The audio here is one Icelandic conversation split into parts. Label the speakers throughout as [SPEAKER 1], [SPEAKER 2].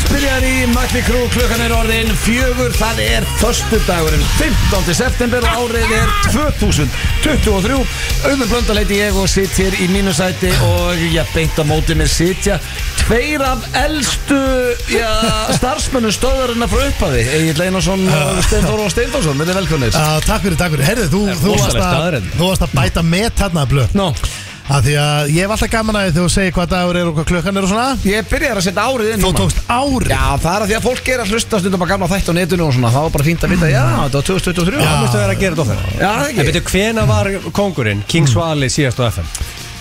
[SPEAKER 1] í Mögli Krú, klukkan er orðin fjögur, það er förstu dagurinn 15. september, árið er 2023 auðvitað blöndaleiti ég og sitt hér í mínu sæti og ég beint á móti mér sitja tveir af elstu já, starfsmönnum stöðarinn frá upphafi, Egil Einarsson og Steintor og Steintorsson, þetta er velkvönnir
[SPEAKER 2] Já, takk fyrir, takk fyrir. Herðu, þú,
[SPEAKER 1] Það er
[SPEAKER 2] þú,
[SPEAKER 1] rosaleg
[SPEAKER 2] varst að,
[SPEAKER 1] staðreynd.
[SPEAKER 2] þú varst að bæta með þarna að blöð.
[SPEAKER 1] Nó,
[SPEAKER 2] Af því að ég hef alltaf gaman að því þú segir hvað dagur er og hvað klukkan er og svona.
[SPEAKER 1] ég byrjar að setja árið inn
[SPEAKER 2] Þú
[SPEAKER 1] núna.
[SPEAKER 2] tókst árið.
[SPEAKER 1] Já, það er að því að fólk er að hlusta stundum að gamla þætt á netinu og svona, það var bara fínt að vita, já, þetta var 2023
[SPEAKER 2] Já.
[SPEAKER 1] það
[SPEAKER 3] Það
[SPEAKER 1] mustu-
[SPEAKER 3] er að gera þetta ofta
[SPEAKER 1] Já, það
[SPEAKER 3] En
[SPEAKER 1] ekki
[SPEAKER 3] betur, hvena var kongurinn, King Svali, síðast á FM?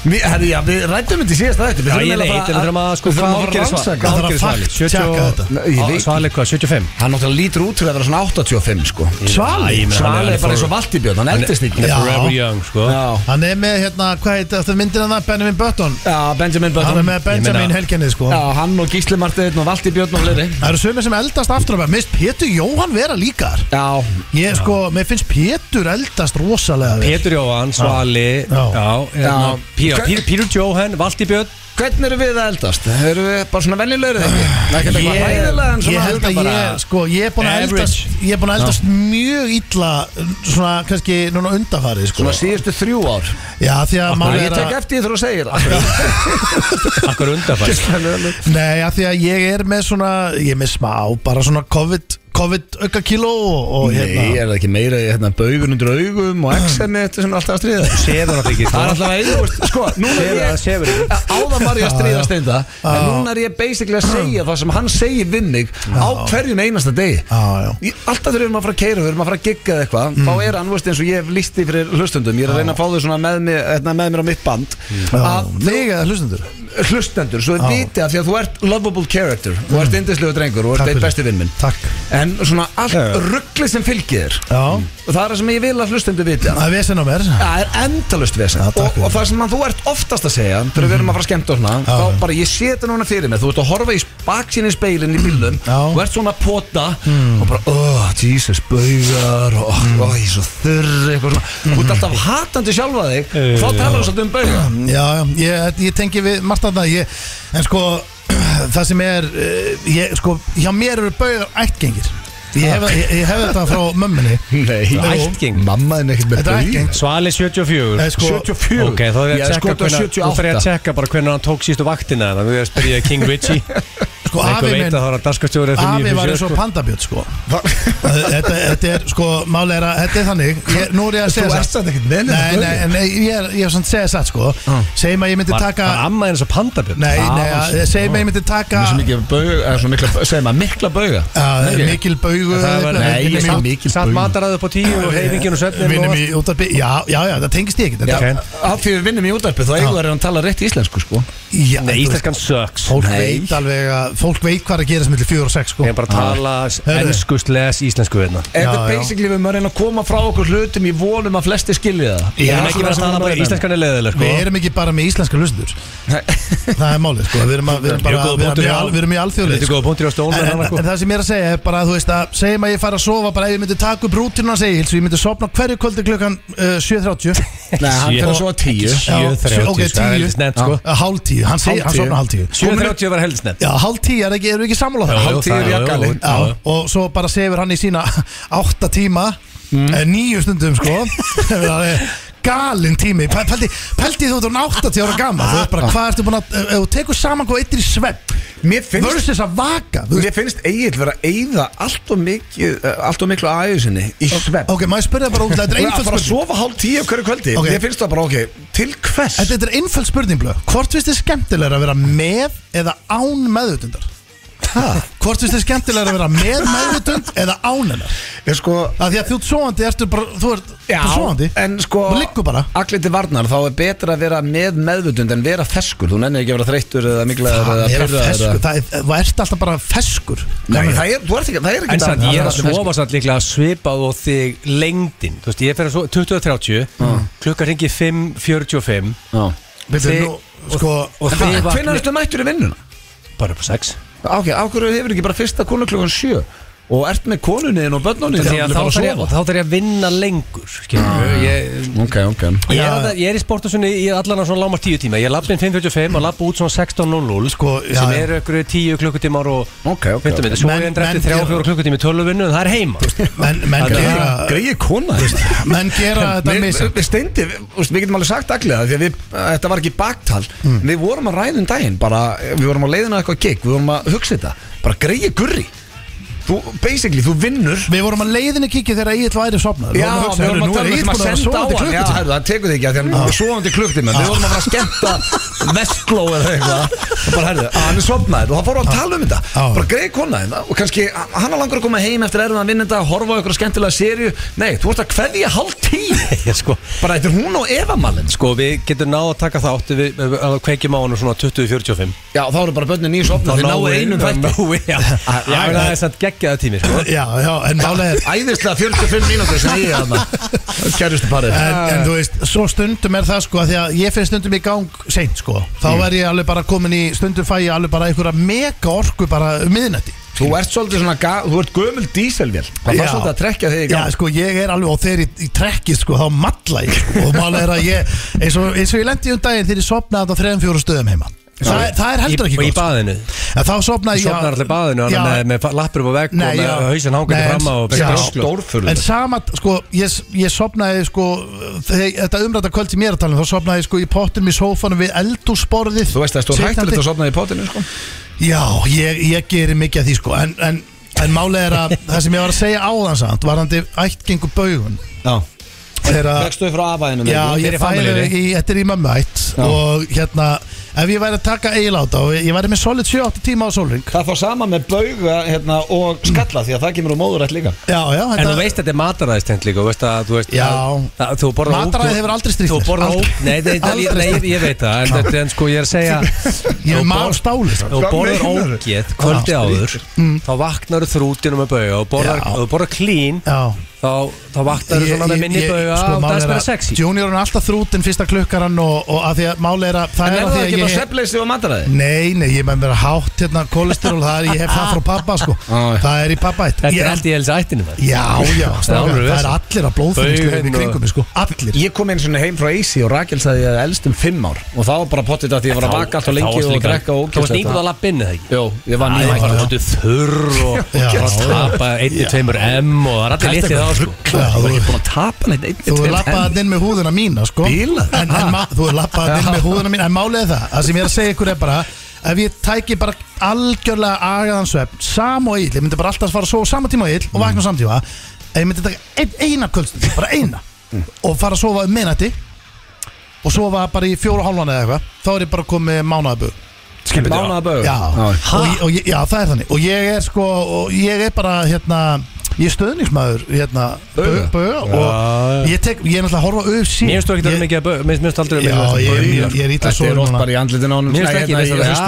[SPEAKER 1] Við, herri, já, við rættum þetta í síðast þætti Við
[SPEAKER 3] Já,
[SPEAKER 1] þurfum
[SPEAKER 3] ég
[SPEAKER 1] eiginlega
[SPEAKER 3] veit,
[SPEAKER 1] bara
[SPEAKER 3] en við þurfum að sko
[SPEAKER 1] við þurfum að
[SPEAKER 3] hvað
[SPEAKER 1] rannsaka
[SPEAKER 2] Það þarf að
[SPEAKER 3] Svali?
[SPEAKER 2] fact checka þetta.
[SPEAKER 1] Nei, ég veit
[SPEAKER 3] Svali hvað, 75?
[SPEAKER 1] Hann náttúrulega lítur út til að vera svona 85 sko
[SPEAKER 2] Svali?
[SPEAKER 3] Já, ég meina, hann
[SPEAKER 1] Svali er bara
[SPEAKER 3] for-
[SPEAKER 1] eins og Valtibjörn, hann eldist ekki
[SPEAKER 3] Hann er
[SPEAKER 2] Já.
[SPEAKER 3] forever young, sko
[SPEAKER 1] Já,
[SPEAKER 2] Hann er með hérna, hvað heit þetta myndir hann það, Benjamin Button.
[SPEAKER 1] já Benjamin
[SPEAKER 2] Hann
[SPEAKER 1] Button
[SPEAKER 2] er með
[SPEAKER 3] Ég
[SPEAKER 2] Benjamin
[SPEAKER 3] meina-
[SPEAKER 2] helgennið sko.
[SPEAKER 1] Já, hann og Gísli Marteinn og Valtibjörn og fleiri
[SPEAKER 2] Það eru sömur sem eldast aftur á mig. Mist Pétur Jóhann vera líkar.
[SPEAKER 1] Já,
[SPEAKER 2] Ég sko, mér finnst Pétur eldast rosalega vel.
[SPEAKER 3] Pétur Jóhann, Svali
[SPEAKER 2] Já.
[SPEAKER 3] Já,
[SPEAKER 1] Já.
[SPEAKER 3] hérna, Pí- já, Pí- Pítur Jóhann, Valdi Björn
[SPEAKER 1] hvernig eru við að eldast? Erum við bara svona venjulegri þegar? Það er ekki eitthvað
[SPEAKER 2] Ég-
[SPEAKER 1] hæðilega en
[SPEAKER 2] Ég
[SPEAKER 1] svona
[SPEAKER 2] held að
[SPEAKER 1] líka bara-
[SPEAKER 2] ég, sko, ég er búin að
[SPEAKER 3] Average.
[SPEAKER 2] eldast Ég er búin að eldast mjög illa Svona, kannski, núna undafarið sko.
[SPEAKER 1] Svona síðustu þrjú ár
[SPEAKER 2] Já, því að maður
[SPEAKER 1] Ég
[SPEAKER 2] er að
[SPEAKER 1] tek eftir því þegar þú segir það. Hérna.
[SPEAKER 3] Akkur undarfæst
[SPEAKER 2] Nei, af því að ég er með svona Ég er með smá, bara svona COVID COVID auka kíló og, og
[SPEAKER 1] Nei,
[SPEAKER 2] hérna
[SPEAKER 1] er það ekki meira í hérna, baugun undir augum og XM þetta sem er alltaf að stríða
[SPEAKER 3] Sefur hann ekki,
[SPEAKER 1] Það
[SPEAKER 3] sko
[SPEAKER 1] er alltaf að einu, veist, sko, núna er
[SPEAKER 3] Sefur hann,
[SPEAKER 1] ég
[SPEAKER 3] sefur ekki
[SPEAKER 1] áðan var ég að stríða steinda en núna er ég basically að segja það sem hann segir við mig á hverjum einasta degi
[SPEAKER 2] Já, já Mm.
[SPEAKER 1] Ég- Alltaf þegar við erum að fara að keira, við erum að fara að gigga eða eitthvað þá er hann, veist, eins og ég hef lísti fyrir hlustendum ég er að reyna að fá þau svona með, mig, hérna, með mér á mitt band að
[SPEAKER 2] Þig eða hlustendur
[SPEAKER 1] hlustendur, svo þið viti að því að þú ert lovable character, þú ert indislegu drengur og
[SPEAKER 2] Mm.
[SPEAKER 1] ert
[SPEAKER 2] Takk
[SPEAKER 1] eitt
[SPEAKER 2] fyrir.
[SPEAKER 1] besti vinn minn
[SPEAKER 2] Takk
[SPEAKER 1] en svona allt ruggli sem fylgir þér
[SPEAKER 2] Já,
[SPEAKER 1] og það er það sem ég vil að hlustendur viti
[SPEAKER 2] það er vesen á mér
[SPEAKER 1] Það er endalust vesen
[SPEAKER 2] Já, takk
[SPEAKER 1] og,
[SPEAKER 2] fyrir.
[SPEAKER 1] og það sem að þú ert oftast að segja Þegar við erum að fara að skemmta og svona Þá
[SPEAKER 2] já.
[SPEAKER 1] bara ég sé þetta núna fyrir mig Þú ert að horfa í baksinn í speilin í bílum
[SPEAKER 2] Já.
[SPEAKER 1] Þú ert svona að pota Og bara, oh, Jesus, baugar Og, mm. oh, ég er svo þurr Eitthvað svona Þú ert alltaf hatandi sjálfa þig
[SPEAKER 3] Eh,
[SPEAKER 1] Þá talar þú svolítið um bauga
[SPEAKER 2] Já, já, ég, ég tengi við margt að það ég, En sko, það sem er eh, ég, sko, Hjá mér eru bauðar ættgengir Ég hef, ég, ég hef þetta frá mömminni
[SPEAKER 1] Nei,
[SPEAKER 3] Ættgeng.
[SPEAKER 1] Mamma er ekkert með
[SPEAKER 2] Þetta er ættgeng.
[SPEAKER 3] Svali 74
[SPEAKER 2] Nei, sko,
[SPEAKER 1] 74
[SPEAKER 3] Ok, þá er
[SPEAKER 1] Ég
[SPEAKER 3] ég að
[SPEAKER 1] er
[SPEAKER 3] tjekka
[SPEAKER 1] skotið
[SPEAKER 3] hvenær- Nú fer ég að
[SPEAKER 1] 78
[SPEAKER 3] tjekka bara hvernig hann tók sístu vaktina Þannig að við erum að spyrja King Richie
[SPEAKER 2] Sko,
[SPEAKER 3] Eitthvað
[SPEAKER 2] afi
[SPEAKER 3] veit
[SPEAKER 2] minn
[SPEAKER 3] að það var að daskastjóri
[SPEAKER 2] Afi var eins og pandabjött, sko þetta, þetta er, sko, máli er að Þetta er þannig, ég, nú er ég að
[SPEAKER 1] Þú
[SPEAKER 2] segja
[SPEAKER 1] ert
[SPEAKER 2] satt
[SPEAKER 1] þetta ekkert með neina
[SPEAKER 2] Nei,
[SPEAKER 1] bauga.
[SPEAKER 2] nei, nei, ég er, ég er svona að segja satt, sko Segjum að ég myndi
[SPEAKER 3] Ah. Var
[SPEAKER 2] taka
[SPEAKER 3] var Ah, amma eins og pandabjörn?
[SPEAKER 2] Nei, nei, að- segjum að ég myndi taka
[SPEAKER 1] Svo mikið bauga, eða svo mikla, segir maður, mikla bauga
[SPEAKER 2] að-
[SPEAKER 1] Nei, ekki.
[SPEAKER 2] Mikil baugu
[SPEAKER 3] Það var-
[SPEAKER 1] Nei, ég
[SPEAKER 3] Satt-
[SPEAKER 1] sé mikil
[SPEAKER 3] Satt
[SPEAKER 1] baug.
[SPEAKER 3] mataraðið upp á tíu og heifingin og svefnin
[SPEAKER 2] Vinnum í útarpi Já, já, já, það tengist ég ekkert
[SPEAKER 1] Já,
[SPEAKER 2] þetta-
[SPEAKER 3] Ok.
[SPEAKER 1] af því við vinnum í útarpi þá eigur er hann tala rétt íslensku sko
[SPEAKER 2] Já,
[SPEAKER 3] Nei,
[SPEAKER 2] þú veist,
[SPEAKER 3] íslenskan sucks
[SPEAKER 2] Fólk
[SPEAKER 1] Nei.
[SPEAKER 2] veit alveg að Fólk veit hvað er að gera sem millir 4 og 6 sko
[SPEAKER 3] Ég er bara að tala
[SPEAKER 2] Heyrðu.
[SPEAKER 3] ennsku sles íslensku hérna
[SPEAKER 1] Þetta
[SPEAKER 2] Já,
[SPEAKER 1] er
[SPEAKER 2] já.
[SPEAKER 1] basically við maður reyna að koma frá okkur hlutum í vonum að flesti skilja það
[SPEAKER 3] Ég
[SPEAKER 2] Já,
[SPEAKER 3] er ekki verið að tala bara um íslenskan er leiðileg sko
[SPEAKER 2] Við erum ekki bara með íslenska hlustur Það er málið sko Við erum, að, við erum bara
[SPEAKER 3] Mjög góður
[SPEAKER 2] Við erum,
[SPEAKER 3] punktur
[SPEAKER 2] við
[SPEAKER 3] hjá-
[SPEAKER 2] erum, við erum í
[SPEAKER 3] Þetta
[SPEAKER 2] alþjóðlið
[SPEAKER 3] er
[SPEAKER 2] sko.
[SPEAKER 3] góða punktur á
[SPEAKER 2] en,
[SPEAKER 3] stónu
[SPEAKER 2] en,
[SPEAKER 3] hann sko
[SPEAKER 2] en það sem ég er að segja er bara Þú veist að Segjum að ég fara að sofa Bara ef ég myndi taka upp rútina hans eigil Svo ég myndi sofna hverju kvöldi klukkan uh, 7.30
[SPEAKER 1] Nei, hann fyrir svo að tíu
[SPEAKER 2] Já, ok,
[SPEAKER 3] 7.30
[SPEAKER 2] tíu.
[SPEAKER 3] heldur snett sko
[SPEAKER 2] Eh, Hálf tíu Hann segir, hann
[SPEAKER 1] Hálf tíu.
[SPEAKER 2] sofna hálf tíu
[SPEAKER 3] 7.30 var heldur snett
[SPEAKER 2] Já, hálf tíu er ekki, erum við ekki sammála á það
[SPEAKER 3] Jú,
[SPEAKER 1] Hálf tíu
[SPEAKER 3] það-
[SPEAKER 1] er
[SPEAKER 3] jú,
[SPEAKER 1] jakkalinn.
[SPEAKER 3] jú,
[SPEAKER 2] Já,
[SPEAKER 3] jú.
[SPEAKER 2] og svo bara sefur hann í sína átta tíma mm. nýju stundum sko það er galinn tími Pæ- pældi, pældi þú ert orðinn 80 ára gammal þú veist bara hvað ertu búin að ef þú tekur saman hvað eittir í svepp
[SPEAKER 1] Mér finnst
[SPEAKER 2] versus að vaka þú veist.
[SPEAKER 1] Mér finnst Egil vera að eyða allt og mikið eh, allt og miklu aðeins sinni í svepp
[SPEAKER 2] ok, maður spyrja bara út þetta er
[SPEAKER 1] Það
[SPEAKER 2] einföld
[SPEAKER 1] fara að
[SPEAKER 2] spurning
[SPEAKER 1] sofa hálf tíu hverju kvöldi
[SPEAKER 2] Ok.
[SPEAKER 1] Mér finnst það bara ok, til hvers?
[SPEAKER 2] Þetta þetta er einföld spurning blöð hvort finnst þið skemmtilega að vera með eða án meðutundar hvort finnst þið skemmtilega að vera með meðutund eða án hennar
[SPEAKER 1] Ég sko
[SPEAKER 2] að því að þú ert svoandi ertu bara, þú ert
[SPEAKER 1] Já,
[SPEAKER 2] bara svoandi
[SPEAKER 1] en sko
[SPEAKER 2] Þú liggur bara.
[SPEAKER 1] Allir til varnar, þá er betra að vera með meðvutund en vera feskur Þú nennir ekki að vera þreyttur eða miklaður
[SPEAKER 2] Það
[SPEAKER 1] eða
[SPEAKER 2] er að
[SPEAKER 1] pirraður eða-
[SPEAKER 2] feskur, það er, þú ert alltaf bara feskur
[SPEAKER 1] Nei, það er, þú ert ekki, það er ekki
[SPEAKER 3] En sann,
[SPEAKER 1] það-
[SPEAKER 3] ég er
[SPEAKER 1] það
[SPEAKER 3] að sofa sann líklega svipað og þig lengdin Þú veist, ég fer að sofa 20.30 Klukka ringi 5.45
[SPEAKER 1] Já.
[SPEAKER 2] Veitu,
[SPEAKER 3] Þið-
[SPEAKER 2] nú, sko,
[SPEAKER 3] Og
[SPEAKER 1] En
[SPEAKER 3] þið
[SPEAKER 1] hvað-
[SPEAKER 3] vakna
[SPEAKER 1] Hvenær ertu mættur í vinnuna?
[SPEAKER 3] bara upp á 6
[SPEAKER 1] Ok, af hverju hefur ekki bara fyrsta konu klukkan sjö? og ert með konunin og börnunin
[SPEAKER 3] Því að Ah. þá
[SPEAKER 1] bara að
[SPEAKER 3] þarf ég,
[SPEAKER 1] sofa
[SPEAKER 3] þá þarf ég að vinna lengur skilur, ég,
[SPEAKER 1] Ok, ok
[SPEAKER 3] ég, er
[SPEAKER 2] Já.
[SPEAKER 3] að- ég er í sportasunni í allan á svona lámar 10 tíma Ég lappi inn 5.45 og lappi út svona 16.00
[SPEAKER 2] Sko, já,
[SPEAKER 3] sem
[SPEAKER 2] já.
[SPEAKER 3] eru ykkur 10 klukkutímar og
[SPEAKER 1] Ok, ok,
[SPEAKER 3] 15 minnir, svo
[SPEAKER 2] Menn-
[SPEAKER 3] er endur eftir
[SPEAKER 2] menn
[SPEAKER 3] 3-4 klukkutími tölvunni en það er heima
[SPEAKER 2] menn, menn gera
[SPEAKER 1] Greið kona
[SPEAKER 2] menn gera þetta
[SPEAKER 1] Við,
[SPEAKER 2] misjafnt.
[SPEAKER 1] við steindi, við, þú veist, við getum alveg sagt allir það því að við, þetta var ekki baktal
[SPEAKER 3] Mm.
[SPEAKER 1] Við vorum að ræða um daginn bara, Við vorum að leiðina eitthvað gig, við vorum að hugsa þetta Bara greið gurri Þú, basically, þú vinnur
[SPEAKER 2] við vorum að leiðinni kíkja þegar Egil væri sopnað
[SPEAKER 1] Já, við vorum að tala um
[SPEAKER 2] Egil
[SPEAKER 1] sem að
[SPEAKER 2] búin að vera
[SPEAKER 1] senda á
[SPEAKER 2] sofandi
[SPEAKER 1] hann Já,
[SPEAKER 2] klukkutíma
[SPEAKER 1] herru, það tekur þig ekki að því að hann er svoðandi klukkutíma Við vorum að fara að skemmta vestló eða eitthvað Og bara, herru, að hann er sopnaður og það fórum að tala um þetta
[SPEAKER 2] Já.
[SPEAKER 1] Bara greið kona þeim Og kannski, hann er langur að koma heim eftir erfiðan vinnenda Horfa á ykkur skemmtilega sériu Nei, þú ert að kveðja hálf tíu
[SPEAKER 3] Ég sko,
[SPEAKER 1] Bara, þetta er hún og Eva Malin
[SPEAKER 3] sko, við getum náð að taka þátt ef við ef við kveikjum á hann svona 20-45
[SPEAKER 1] Já, þá eru bara börnin í sopna Þeir náu einum þætti já,
[SPEAKER 3] Náu, já, já, já, það er samt geggjaðu tími sko.
[SPEAKER 2] já, já, en málega er
[SPEAKER 1] Æðislega 45 mínútur sem ég er þarna Kærustu parið
[SPEAKER 2] En, en þú veist, svo stundum er það sko að Því að ég fyrir stundum í gang seint sko Þá verð ég alveg bara komin í, stundum fæ ég alveg bara einhverja mega orku bara um miðnætti
[SPEAKER 1] Þú ert svolítið svona, ga- þú ert gömul díselvél Það
[SPEAKER 2] Já.
[SPEAKER 1] var svolítið að trekja þig í
[SPEAKER 2] Já,
[SPEAKER 1] gang
[SPEAKER 2] sko, ég er alveg og þegar í, í trekkið sko, þá matla ég sko, og málega er að ég, eins og, eins og ég lendi um daginn þegar ég sopnaði þetta á þrejum fjóru stöðum heima Þa, það er heldur
[SPEAKER 3] Í-
[SPEAKER 2] ekki
[SPEAKER 3] Og í baðinu
[SPEAKER 2] sko. En þá sopnaði ég
[SPEAKER 3] Sopnar allir í baðinu hann
[SPEAKER 2] Já,
[SPEAKER 3] er með, með fa- lappur upp á vegg og
[SPEAKER 2] Nei,
[SPEAKER 3] með
[SPEAKER 2] já.
[SPEAKER 3] hausin hangandi
[SPEAKER 2] Nei,
[SPEAKER 3] fram á sko.
[SPEAKER 2] en-
[SPEAKER 3] og
[SPEAKER 2] já.
[SPEAKER 3] brjóskló.
[SPEAKER 1] Stórfurður
[SPEAKER 2] En sama, sko, ég, ég sopnaði sko, þegar, þetta umræta kvöld í mér að tala um, þá sopnaði ég sko í pottinum í sófanum við eldúsborðið
[SPEAKER 1] Þú veist að það er stór hættilegt að
[SPEAKER 2] Sitjandi.
[SPEAKER 1] sopna í potinu sko.
[SPEAKER 2] Já, ég, ég gerir mikið af því sko En, en, en málega er að það sem ég var að segja áðansamt Varandi ættgengu baugun
[SPEAKER 1] Já
[SPEAKER 2] Þegar að
[SPEAKER 1] Vekstu frá afæðinu
[SPEAKER 2] Já, ég fæði í, þetta er í mömmu ætt Og hérna, ef ég væri að taka eigil á þetta Og ég væri með solid 7-8 tíma á sólring
[SPEAKER 1] Það fór sama með bauga hérna, og skalla því að það kemur úr móðurætt líka
[SPEAKER 2] Já, já,
[SPEAKER 3] En þú veist að þetta er mataræðistent líka þú veist að, þú veist
[SPEAKER 2] Já.
[SPEAKER 3] að, að, þú borðar ógeð-
[SPEAKER 2] Mataræði hefur aldrei strítt
[SPEAKER 3] Þú
[SPEAKER 2] mér.
[SPEAKER 3] borðar
[SPEAKER 2] Aldrei.
[SPEAKER 3] ógeð Nei, nei, nei,
[SPEAKER 2] Aldrei
[SPEAKER 3] nei, nei, ég veit það En, þetta- en sko ég er að segja
[SPEAKER 2] Ég
[SPEAKER 3] þú
[SPEAKER 2] er maður
[SPEAKER 3] borð-
[SPEAKER 2] stáli
[SPEAKER 3] Þú
[SPEAKER 1] Hvað
[SPEAKER 3] borðar
[SPEAKER 1] meinarðu?
[SPEAKER 3] ógeð kvöldi áður
[SPEAKER 1] Mm.
[SPEAKER 3] Þá vaknar þú þrútinu með bauga og borðar,
[SPEAKER 2] Já.
[SPEAKER 3] og þú borðar clean
[SPEAKER 2] Já
[SPEAKER 3] Þá, þá vaknar þú svona með minni bauga
[SPEAKER 1] sko,
[SPEAKER 3] og það er bara sexy
[SPEAKER 2] Junior sko, er alltaf þrútin fyrsta klukkarann og, og að því að máli er að það
[SPEAKER 1] En er
[SPEAKER 2] er
[SPEAKER 1] það
[SPEAKER 2] að því
[SPEAKER 1] ekki
[SPEAKER 2] að
[SPEAKER 1] bara
[SPEAKER 2] ég
[SPEAKER 1] svepleysi og mataræði?
[SPEAKER 2] Nei, nei, ég með vera hátt hérna kolesterol, það er, ég hef það frá pappa sko
[SPEAKER 1] já.
[SPEAKER 2] Það er í pappa eitt
[SPEAKER 3] Þetta er allt í helst ættinu með
[SPEAKER 2] Já, já, strákar,
[SPEAKER 3] alveg
[SPEAKER 2] það er
[SPEAKER 3] vesen.
[SPEAKER 2] allir að
[SPEAKER 1] hérna,
[SPEAKER 2] blóðþyringslu í
[SPEAKER 3] Bauginn og-
[SPEAKER 2] kringum mig sko, allir
[SPEAKER 1] Ég kom einn svona heim frá Eisi og Rakel sagði ég að elst um 5 ár og það var bara pottit að því ég var að vaka allt og lengi og drekka og
[SPEAKER 3] Þú varst nýbúð að lappa inn eða ekki
[SPEAKER 1] Jó, ég var
[SPEAKER 3] Það er bara
[SPEAKER 1] nýmætt
[SPEAKER 3] hóttu þurr og
[SPEAKER 2] Já.
[SPEAKER 3] og tapa 1-2 M og það er allir litið þá sko
[SPEAKER 2] Já,
[SPEAKER 1] Ég var
[SPEAKER 2] þú-
[SPEAKER 1] ekki búin að tapa neitt einn
[SPEAKER 2] Þú er lappaðan inn með húðuna mína sko
[SPEAKER 1] Bílað.
[SPEAKER 2] en, en, ma- Þú er lappaðan inn með húðuna mína En málið er það, það sem ég er að segja ykkur er bara Ef ég tæki bara algjörlega agaðan svefn Sam og ill, ég myndi bara alltaf fara svo Sama tíma og ill og vakna samtíma Ef ég myndi taka ein, eina kvöldstund, bara eina Og fara að sofa um minnati Og sofa bara í fjóra og hálfan eða eitthvað Þá er ég bara komið mánaðaböð
[SPEAKER 1] Mánabög
[SPEAKER 2] Já, og, ég- og, ég- já, það er þannig Og ég er sko, og ég er bara hérna Ég er stöðningsmaður hérna,
[SPEAKER 1] Bauga.
[SPEAKER 2] bau- bauga, Og ég, tek, ég er náttúrulega að horfa á UFC
[SPEAKER 3] Mér finnst þú ekki að vera mikið að bauga Mér finnst aldrei um
[SPEAKER 2] Já,
[SPEAKER 3] vera mikið
[SPEAKER 2] ég,
[SPEAKER 3] að
[SPEAKER 2] ég, ég er
[SPEAKER 1] Þetta
[SPEAKER 2] ítla
[SPEAKER 1] er
[SPEAKER 2] sólin
[SPEAKER 1] rótt
[SPEAKER 2] núna
[SPEAKER 1] bara í andlitin á honum
[SPEAKER 3] Mér finnst
[SPEAKER 1] Nei,
[SPEAKER 3] ekki
[SPEAKER 1] hérna,
[SPEAKER 3] þess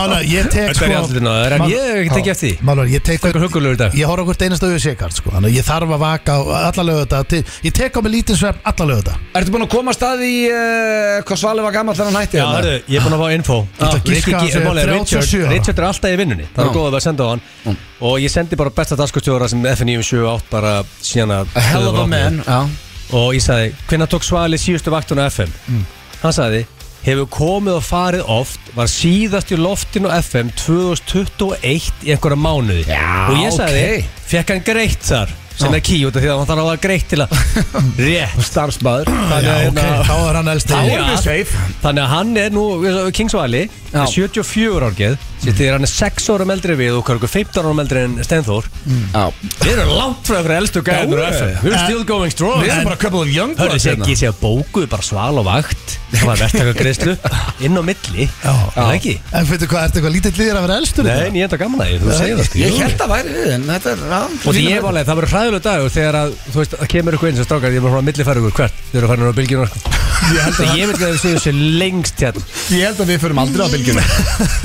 [SPEAKER 1] í hausnum á honum. Já.
[SPEAKER 3] það er hausnum á honum.
[SPEAKER 2] Mála, ég tek sko-
[SPEAKER 3] Þetta er í andlitinu á þér, en ég tek ekki eftir því.
[SPEAKER 2] Mála, ég tek
[SPEAKER 3] Stökkur huggulegur í dag.
[SPEAKER 2] Ég horf okkur einasta UFC-kart sko Þannig að ég þarf að vaka allalegu þetta til, Ég tek á mig lítið svefn allalegu þetta
[SPEAKER 1] Ertu búin að koma að stað í uh, hvað Svali var gammal þegar hann hætti
[SPEAKER 3] Já,
[SPEAKER 1] hérna?
[SPEAKER 3] hörru, ég er búinn að fá info
[SPEAKER 2] ætla að giska að
[SPEAKER 3] Rikki-
[SPEAKER 2] segja
[SPEAKER 3] málið er
[SPEAKER 2] 37
[SPEAKER 3] Richard
[SPEAKER 2] ára.
[SPEAKER 3] Richard er alltaf í vinnunni Það var góð að vera að senda á hann Og ég sendi bara besta dagskustjóra sem FN978 bara síðan að
[SPEAKER 1] A Hell of a man Já
[SPEAKER 3] Og ég sagði, hvenær tók Svali síðustu vaktun á FM?
[SPEAKER 1] Mm.
[SPEAKER 3] Hann sagði, hefur komið og farið oft Var síðast í loftin á FM 2021 í einhverja mánuði
[SPEAKER 1] Já,
[SPEAKER 3] Og ég sagði,
[SPEAKER 1] ok.
[SPEAKER 3] fekk hann greitt þar sem er ký út af því að hann þarf að vera greitt til að rétt
[SPEAKER 1] Starfsmaður
[SPEAKER 2] Já,
[SPEAKER 3] Þannig að
[SPEAKER 2] ok,
[SPEAKER 3] hérna-
[SPEAKER 2] þá er hann elst
[SPEAKER 3] Þá
[SPEAKER 1] erum við safe.
[SPEAKER 3] Þannig að hann er nú, Kingsvali er 74 árgeð Sér þegar hann er 6 árum eldri en við og hverju 15 árum eldri en Stenþór
[SPEAKER 1] Já
[SPEAKER 3] Við erum langt frá ykkur elstu gæðinur
[SPEAKER 1] Já,
[SPEAKER 3] á FM.
[SPEAKER 1] já.
[SPEAKER 3] We're still going strong
[SPEAKER 1] Við erum bara couple of young
[SPEAKER 3] Hörðu
[SPEAKER 1] bloods
[SPEAKER 3] þessi ekki,
[SPEAKER 1] hérna.
[SPEAKER 3] ég sé að bókuðu bara sval og vakt Það var verktakagreðslu Inn á milli
[SPEAKER 2] Já.
[SPEAKER 3] Er Það ekki
[SPEAKER 2] En fyrir hvað, ertu eitthvað lítið líður að vera elstur
[SPEAKER 3] Nei, en ég enda gaman að því, þú segir það sko
[SPEAKER 1] Ég held að væri við en þetta er já,
[SPEAKER 3] Og því
[SPEAKER 1] fínu
[SPEAKER 3] ég
[SPEAKER 1] með-
[SPEAKER 3] var alveg, það verður hræðulega dagur þegar að, þú veist, það kemur ykkur eins og strákar, ég var svona að millifæra ykkur hvert, þau eru að fara inn á bylgjuna, sko. Ég held að ég veit ekki að þau séu sér lengst hérna.
[SPEAKER 1] Ég held að við förum aldrei á bylgjuna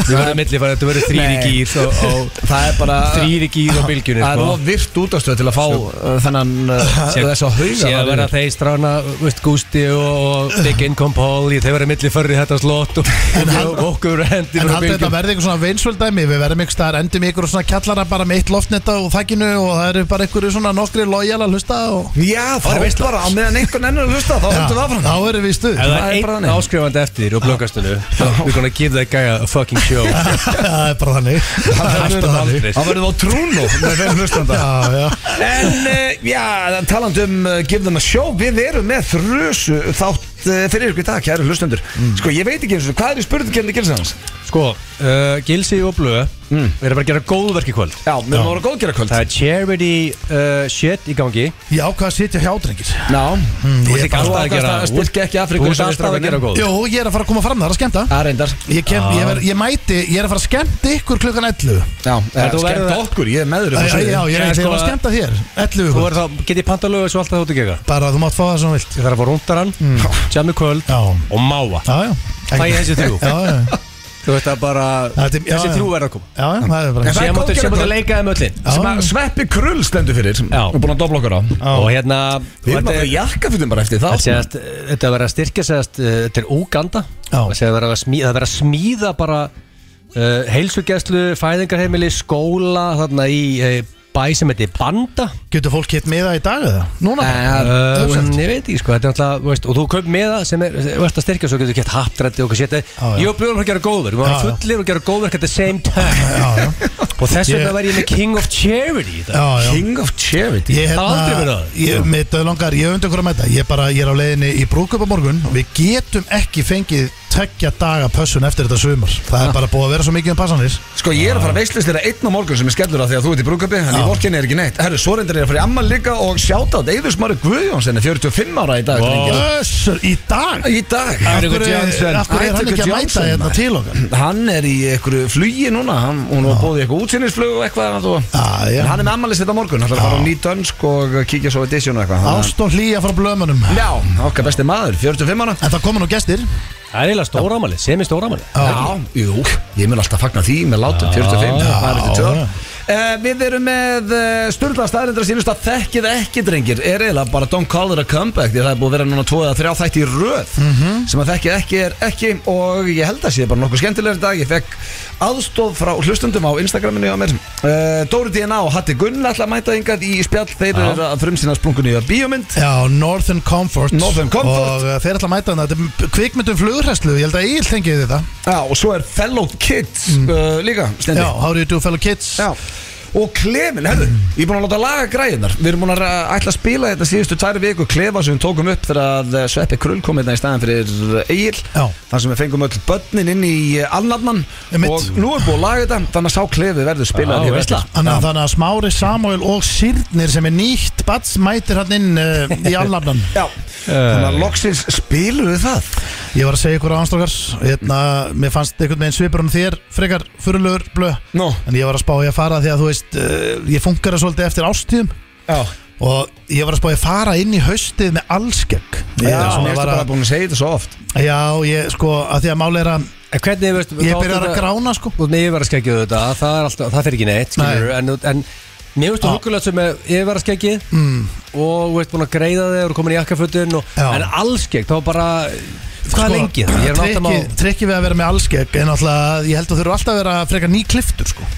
[SPEAKER 3] Við verðum millifæra bara að þetta verður þrýri
[SPEAKER 1] Nei.
[SPEAKER 3] gýr og, og
[SPEAKER 1] Það er bara
[SPEAKER 3] þrýri gýr og bylgjunni sko.
[SPEAKER 1] Það er of virt útastöð til að fá sko. uh, þennan uh, þess að hauga
[SPEAKER 3] Sé að vera þeir strána, veist, Gústi og Big Income Paul, þeir verða milli förri þetta slott og og okkur hendi
[SPEAKER 2] En
[SPEAKER 3] frá
[SPEAKER 2] haldið þetta
[SPEAKER 3] bylgjum
[SPEAKER 2] verði eitthvað svona veinsvöldæmi Við verðum ykkur staðar, endum ykkur á svona kjallara bara með eitt loftnetta og þakkinu og það eru bara ykkur svona nokkri lojal að hlusta og
[SPEAKER 1] Já, þá
[SPEAKER 3] er
[SPEAKER 1] er
[SPEAKER 3] veistla.
[SPEAKER 1] bara á meðan einhvern ennur að hlusta þá höndum við áfram
[SPEAKER 2] þá erum við í stuð
[SPEAKER 3] Ef það
[SPEAKER 1] Það er
[SPEAKER 3] er
[SPEAKER 1] bara
[SPEAKER 3] einn
[SPEAKER 1] þannig.
[SPEAKER 3] áskrifandi eftir þér og blokkastunum We're gonna give that guy a fucking show
[SPEAKER 2] Það er bara þannig Það er
[SPEAKER 3] Alltaf
[SPEAKER 2] bara þannig
[SPEAKER 3] aldrei
[SPEAKER 1] Þá verðum við á trúnu með þeim hlustanda
[SPEAKER 2] Já, já
[SPEAKER 1] En uh, já, talandu um uh, Give them a show, við erum með þrösu þátt uh, fyrir ykkur í dag, kæru hlustendur Sko, ég veit ekki eins og hvað er í spurningkjörni Gilsans?
[SPEAKER 3] Sko, uh, Gilsi og Blöð mm. Við erum bara að gera góðverk í kvöld
[SPEAKER 1] Já, við erum að vera góðgera kvöld
[SPEAKER 3] Það er charity uh, shit í gangi
[SPEAKER 2] Ég ákvað að sitja hjá drengir
[SPEAKER 1] Já,
[SPEAKER 2] ég
[SPEAKER 3] Þú ert
[SPEAKER 2] er
[SPEAKER 3] ekki
[SPEAKER 2] bara-
[SPEAKER 1] þú
[SPEAKER 3] alltaf að
[SPEAKER 1] ákast
[SPEAKER 3] gera
[SPEAKER 1] að styrkja ekki Afríku í
[SPEAKER 3] Þú ert alltaf að
[SPEAKER 1] samstarfinu.
[SPEAKER 3] gera góð
[SPEAKER 2] Jú, ég er að fara að koma fram, það er að skemmta
[SPEAKER 1] það reyndar
[SPEAKER 2] Ég, kem, ég, ver, ég mæti, ég er að fara að skemmta ykkur klukkan 11
[SPEAKER 1] Já, eh,
[SPEAKER 3] þú verður
[SPEAKER 1] skemmt
[SPEAKER 3] að-
[SPEAKER 1] okkur, ég er með þér upp
[SPEAKER 2] Já,
[SPEAKER 1] á
[SPEAKER 2] já,
[SPEAKER 1] sviði.
[SPEAKER 2] já, ég
[SPEAKER 3] Já,
[SPEAKER 2] er að
[SPEAKER 3] sko-
[SPEAKER 2] fara að skemmta þér 11
[SPEAKER 3] Þú
[SPEAKER 2] ykkur
[SPEAKER 3] er þá, get ég pantalögu svo alltaf þáttu gegga
[SPEAKER 2] Bara þú mátt fá það sem þú vilt
[SPEAKER 3] Ég þarf að fá rúndaran, mm. jammi kvöld
[SPEAKER 2] Já,
[SPEAKER 3] og máa
[SPEAKER 2] já, já
[SPEAKER 3] Það er þessi þrjú
[SPEAKER 2] Já, já,
[SPEAKER 3] Þú veist að bara,
[SPEAKER 2] Þetta er- já,
[SPEAKER 3] þessi
[SPEAKER 2] já.
[SPEAKER 3] þrjú verður að koma
[SPEAKER 2] já, já, það er
[SPEAKER 1] En
[SPEAKER 2] bara
[SPEAKER 1] það er
[SPEAKER 3] Sér máttu
[SPEAKER 1] góðgerðarkvöld.
[SPEAKER 3] sér máttu leika þeim öllin
[SPEAKER 1] sem að
[SPEAKER 2] Já,
[SPEAKER 1] Sveppi Krull stendur fyrir
[SPEAKER 3] Já.
[SPEAKER 1] og búin að dobla okkur á
[SPEAKER 3] Og hérna
[SPEAKER 1] Við erum
[SPEAKER 3] þetta
[SPEAKER 1] að
[SPEAKER 3] er-
[SPEAKER 1] fara jakkafutum bara eftir
[SPEAKER 3] Það
[SPEAKER 1] það
[SPEAKER 3] segast, þetta verður að styrkja segast, uh, þetta er Úganda
[SPEAKER 2] Já.
[SPEAKER 3] það segast, verður að smíða, það verður að smíða bara uh, heilsugæslu, fæðingarheimili skóla, þarna í uh, bæ sem heitir Banda
[SPEAKER 2] getur fólk hitt með það í dag eða? Núna bara?
[SPEAKER 3] uh,
[SPEAKER 2] hugsaðu.
[SPEAKER 3] ég veit ekki sko, þetta er alltaf veist, og þú kaup með það sem er, verður að styrkja svo getur gett hattrætti og hvað sétt
[SPEAKER 2] Já, já.
[SPEAKER 3] ég og blöður að gera góður, við
[SPEAKER 2] Já,
[SPEAKER 3] varum
[SPEAKER 2] já.
[SPEAKER 3] fullir og gera góður at the same time
[SPEAKER 2] Já, já,
[SPEAKER 3] og þess
[SPEAKER 2] Ég-
[SPEAKER 3] vegna væri ég með King of Charity í dag.
[SPEAKER 2] já, já
[SPEAKER 1] King of Charity
[SPEAKER 2] Ég, hérna-
[SPEAKER 3] Það var aldrei verið það.
[SPEAKER 2] ég, mitt langar, ég undir okkur að mæta ég, bara, ég er á leiðinni í brúkup á morgun og við getum ekki fengið tekja daga pössun eftir þetta sumar það er bara búið að vera svo mikið um passanir
[SPEAKER 1] Sko ég er að fara að veistlist þér að einn á morgun sem er skellur að því að þú ert í brúkabi en í
[SPEAKER 2] Já.
[SPEAKER 1] vorkinni er ekki neitt Herru, svo reyndar ég að fara í ammal líka og sjáta á Eifur Smári Guðjónsson er 45 ára í dag drengir.
[SPEAKER 2] Össur, í dag
[SPEAKER 1] Í dag
[SPEAKER 2] Af hverju
[SPEAKER 1] Johnson.
[SPEAKER 2] af hverju er hann
[SPEAKER 1] Eiríkur
[SPEAKER 2] ekki að mæta
[SPEAKER 1] Johnson.
[SPEAKER 2] hérna til okkar?
[SPEAKER 1] Hann er í einhverju flugi núna hann, Hún var bóðið eitthvað útsinnisflug og eitthvað og...
[SPEAKER 2] Já, já.
[SPEAKER 1] En hann er með ammalist þetta morgun Hann ætlar að fara á nýt dönsk og kíkja svo við disjónu eitthvað Þannig að-
[SPEAKER 2] Ást og hlýja frá blömanum
[SPEAKER 1] Já, okkar besti maður, 45 ára
[SPEAKER 2] En það koma nú gestir
[SPEAKER 3] það er eiginlega stóramæli, semi stóramæli
[SPEAKER 1] Já, jú, ég mun alltaf fagna því með látum 45,
[SPEAKER 2] Já.
[SPEAKER 1] það er eftir tvö ár. Eh, Við erum með uh, Sturla staðarindra sínust að þekkið ekki drengir er eiginlega bara don't call it a comeback því að það er búið að vera núna tvo eða þrjá þætti í röð
[SPEAKER 2] Mhm.
[SPEAKER 1] sem að þekkið ekki er ekki og ég held að sé bara nokkuð skemmtilegur í dag ég fekk aðstóð frá hlustundum á Instagraminu á mér uh, Dóri DNA og Hatti Gunn ætla að mæta yngað í spjall þeir
[SPEAKER 3] Já.
[SPEAKER 1] eru að frumsýna sprungunni í bíómynd
[SPEAKER 2] Já, Northern Comfort
[SPEAKER 1] Northern Comfort.
[SPEAKER 2] Og uh, þeir ætla að mæta hérna Þetta er kvikmyndum flughræslu Ég held að ég tengi þetta
[SPEAKER 1] Já, og svo er Fellow Kids uh, líka stendi
[SPEAKER 2] Mm. Já, How do you do fellow kids
[SPEAKER 1] Já Og klefin, herðu, ég er búin að láta laga græðinar Við erum búin að ra- ætla að spila þetta síðustu tæri viku Klefa sem við tókum upp þegar að eh, Sveppi Krull kom hérna í staðan fyrir Egil
[SPEAKER 2] Já.
[SPEAKER 1] Þar sem við fengum öll börnin inn í eh, alnafnan
[SPEAKER 2] Einmitt.
[SPEAKER 1] Og nú er búin að laga þetta Þannig að sá klefi verður spilað
[SPEAKER 3] Já,
[SPEAKER 1] hér
[SPEAKER 3] veistla.
[SPEAKER 1] veitla
[SPEAKER 2] Þannig að, þannig að Smári, Samuel og Sýrnir sem er nýtt Bats mætir hann inn uh, í alnafnan
[SPEAKER 1] Já, þannig að loksins spilum við það
[SPEAKER 2] Ég var að segja ykkur á ánstrókars hérna, Mér fannst einhvern veginn svipur um þér Frekar fyrirlugur blö
[SPEAKER 1] Nó,
[SPEAKER 2] En ég var að spá ég að fara því að þú veist uh, Ég funkar það svolítið eftir ástíðum
[SPEAKER 1] já,
[SPEAKER 2] Og ég var að spá ég að fara inn í haustið með allskegg Ég
[SPEAKER 1] já
[SPEAKER 2] svona
[SPEAKER 1] Mér erstu
[SPEAKER 2] var
[SPEAKER 1] bara búin að segja þetta svo oft
[SPEAKER 2] að Já, ég sko, að því að máli er að
[SPEAKER 3] En hvernig, veist,
[SPEAKER 2] Ég
[SPEAKER 3] þá
[SPEAKER 2] byrjar að
[SPEAKER 3] þetta-
[SPEAKER 2] grána sko
[SPEAKER 3] út með yfirvararskeggið þetta það, er alltaf, það fer ekki neitt skilur, en, en mér finnst þú hugulegt sem með yfirvararskeggið mm. og þú ert búin að greiða þig og eru komin í jakkafutin og,
[SPEAKER 2] Já. Sko,
[SPEAKER 3] en allskegg þá bara hvað lengi það? Ég er náttúrulega
[SPEAKER 2] trikki,
[SPEAKER 3] má
[SPEAKER 2] trikki við að vera með allskegg En alltaf, ég held að þú þurfur alltaf að vera frekar ný kliftur sko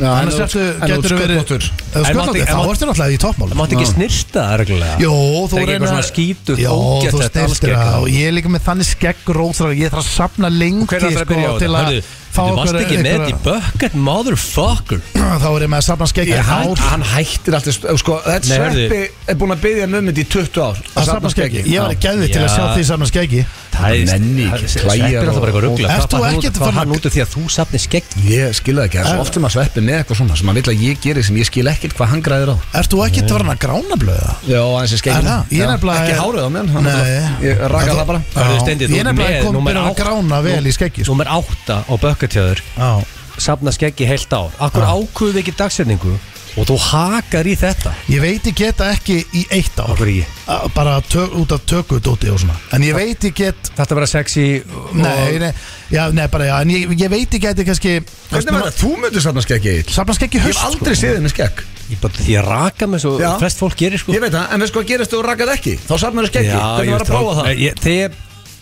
[SPEAKER 1] Já,
[SPEAKER 2] Annars ertu, getur þú verið
[SPEAKER 1] sköldóttur
[SPEAKER 2] Ef þú
[SPEAKER 3] En
[SPEAKER 2] sköllóttur,
[SPEAKER 3] mátti- en
[SPEAKER 2] Þá
[SPEAKER 3] mátti-
[SPEAKER 2] ertu náttúrulega í toppmál
[SPEAKER 3] það mátt ekki snirsta það reglulega
[SPEAKER 2] Jó,
[SPEAKER 3] Það
[SPEAKER 2] þú
[SPEAKER 3] er ekki eitthvað svona skítugt,
[SPEAKER 2] Jó,
[SPEAKER 3] ógeðslegt
[SPEAKER 2] þú stiltir
[SPEAKER 3] allskegg.
[SPEAKER 2] það Og ég er líka með þannig skegg róþra Ég þarf að safna lengi
[SPEAKER 3] hvernig ætlar að byrja á
[SPEAKER 2] sko, Til
[SPEAKER 3] þetta?
[SPEAKER 2] að
[SPEAKER 3] Hörðu,
[SPEAKER 2] fá
[SPEAKER 3] Þú varst
[SPEAKER 2] einhverja-
[SPEAKER 3] ekki með þetta í
[SPEAKER 2] einhverja-
[SPEAKER 3] bucket motherfucker
[SPEAKER 2] Þá er ég með að safna skegg í
[SPEAKER 1] Ég, hann,
[SPEAKER 2] hár
[SPEAKER 1] hann hættir alltaf sp- sko, Þetta
[SPEAKER 3] Nei, heyrðu.
[SPEAKER 1] sveppi er búin að byggja mömmit í 20 ár
[SPEAKER 2] Að safna skeggi Ég var
[SPEAKER 1] Já.
[SPEAKER 2] í gæði til að
[SPEAKER 3] Já.
[SPEAKER 2] sjá því safna skeggi
[SPEAKER 3] Það er
[SPEAKER 1] nenni ekki, klæjar
[SPEAKER 3] Sveppir alltaf
[SPEAKER 1] og-
[SPEAKER 3] bara eitthvað ruggla
[SPEAKER 2] Ert þú ekkert
[SPEAKER 3] Það
[SPEAKER 2] farin að-
[SPEAKER 3] hann út af því að þú safni skegg
[SPEAKER 1] Ég skilða ekki, það er svo oft sem að sveppi með eitthvað svona sem að vilja að ég geri sem ég skil ekkert hvað hann græðir á
[SPEAKER 2] Ert þú ekki til að vera að grána blöða?
[SPEAKER 1] Já, aðeins er
[SPEAKER 2] Er
[SPEAKER 1] skeggið
[SPEAKER 2] það? Ég er nefnilega
[SPEAKER 1] Ekki hárið á mér hann
[SPEAKER 2] Nei.
[SPEAKER 1] náttúrulega- Ég raka það bara
[SPEAKER 3] Hörðu,
[SPEAKER 2] Já.
[SPEAKER 3] Steindi, þú
[SPEAKER 2] Ég er
[SPEAKER 3] ert
[SPEAKER 2] nefnilega
[SPEAKER 3] með
[SPEAKER 2] kom
[SPEAKER 3] númer
[SPEAKER 2] byrjar að
[SPEAKER 3] átta.
[SPEAKER 2] grána vel í skeggi sko.
[SPEAKER 3] Númer 8 á bucket hjá þér
[SPEAKER 2] Já.
[SPEAKER 3] Ah. safna skeggi heilt ár Akkur ákvöðu við ekki dagsetningu Og þú hakar í þetta
[SPEAKER 2] Ég veit ég get það ekki í eitt ár
[SPEAKER 3] Okkur ekki
[SPEAKER 2] A- Bara tö, út af tökudóti og svona En ég veit ég get
[SPEAKER 3] Þetta vera sexy
[SPEAKER 2] Nei, nei, já, nei bara já En ég, ég veit ég geti kannski
[SPEAKER 1] Hvernig var það? Þú myndir safna skegg Egil Sko.
[SPEAKER 2] Safnast ekki
[SPEAKER 1] Ég
[SPEAKER 2] höst
[SPEAKER 1] hef aldrei séð henni skegg
[SPEAKER 3] Ég, bara, ég raka mig svo
[SPEAKER 1] Já.
[SPEAKER 3] flest fólk gerir sko
[SPEAKER 1] Ég veit það, en veist hvað gerist þú rakkað ekki? Þá safnar þú skeggi, hvernig var
[SPEAKER 3] ég veist
[SPEAKER 1] að prófa það?
[SPEAKER 3] ég, Þegar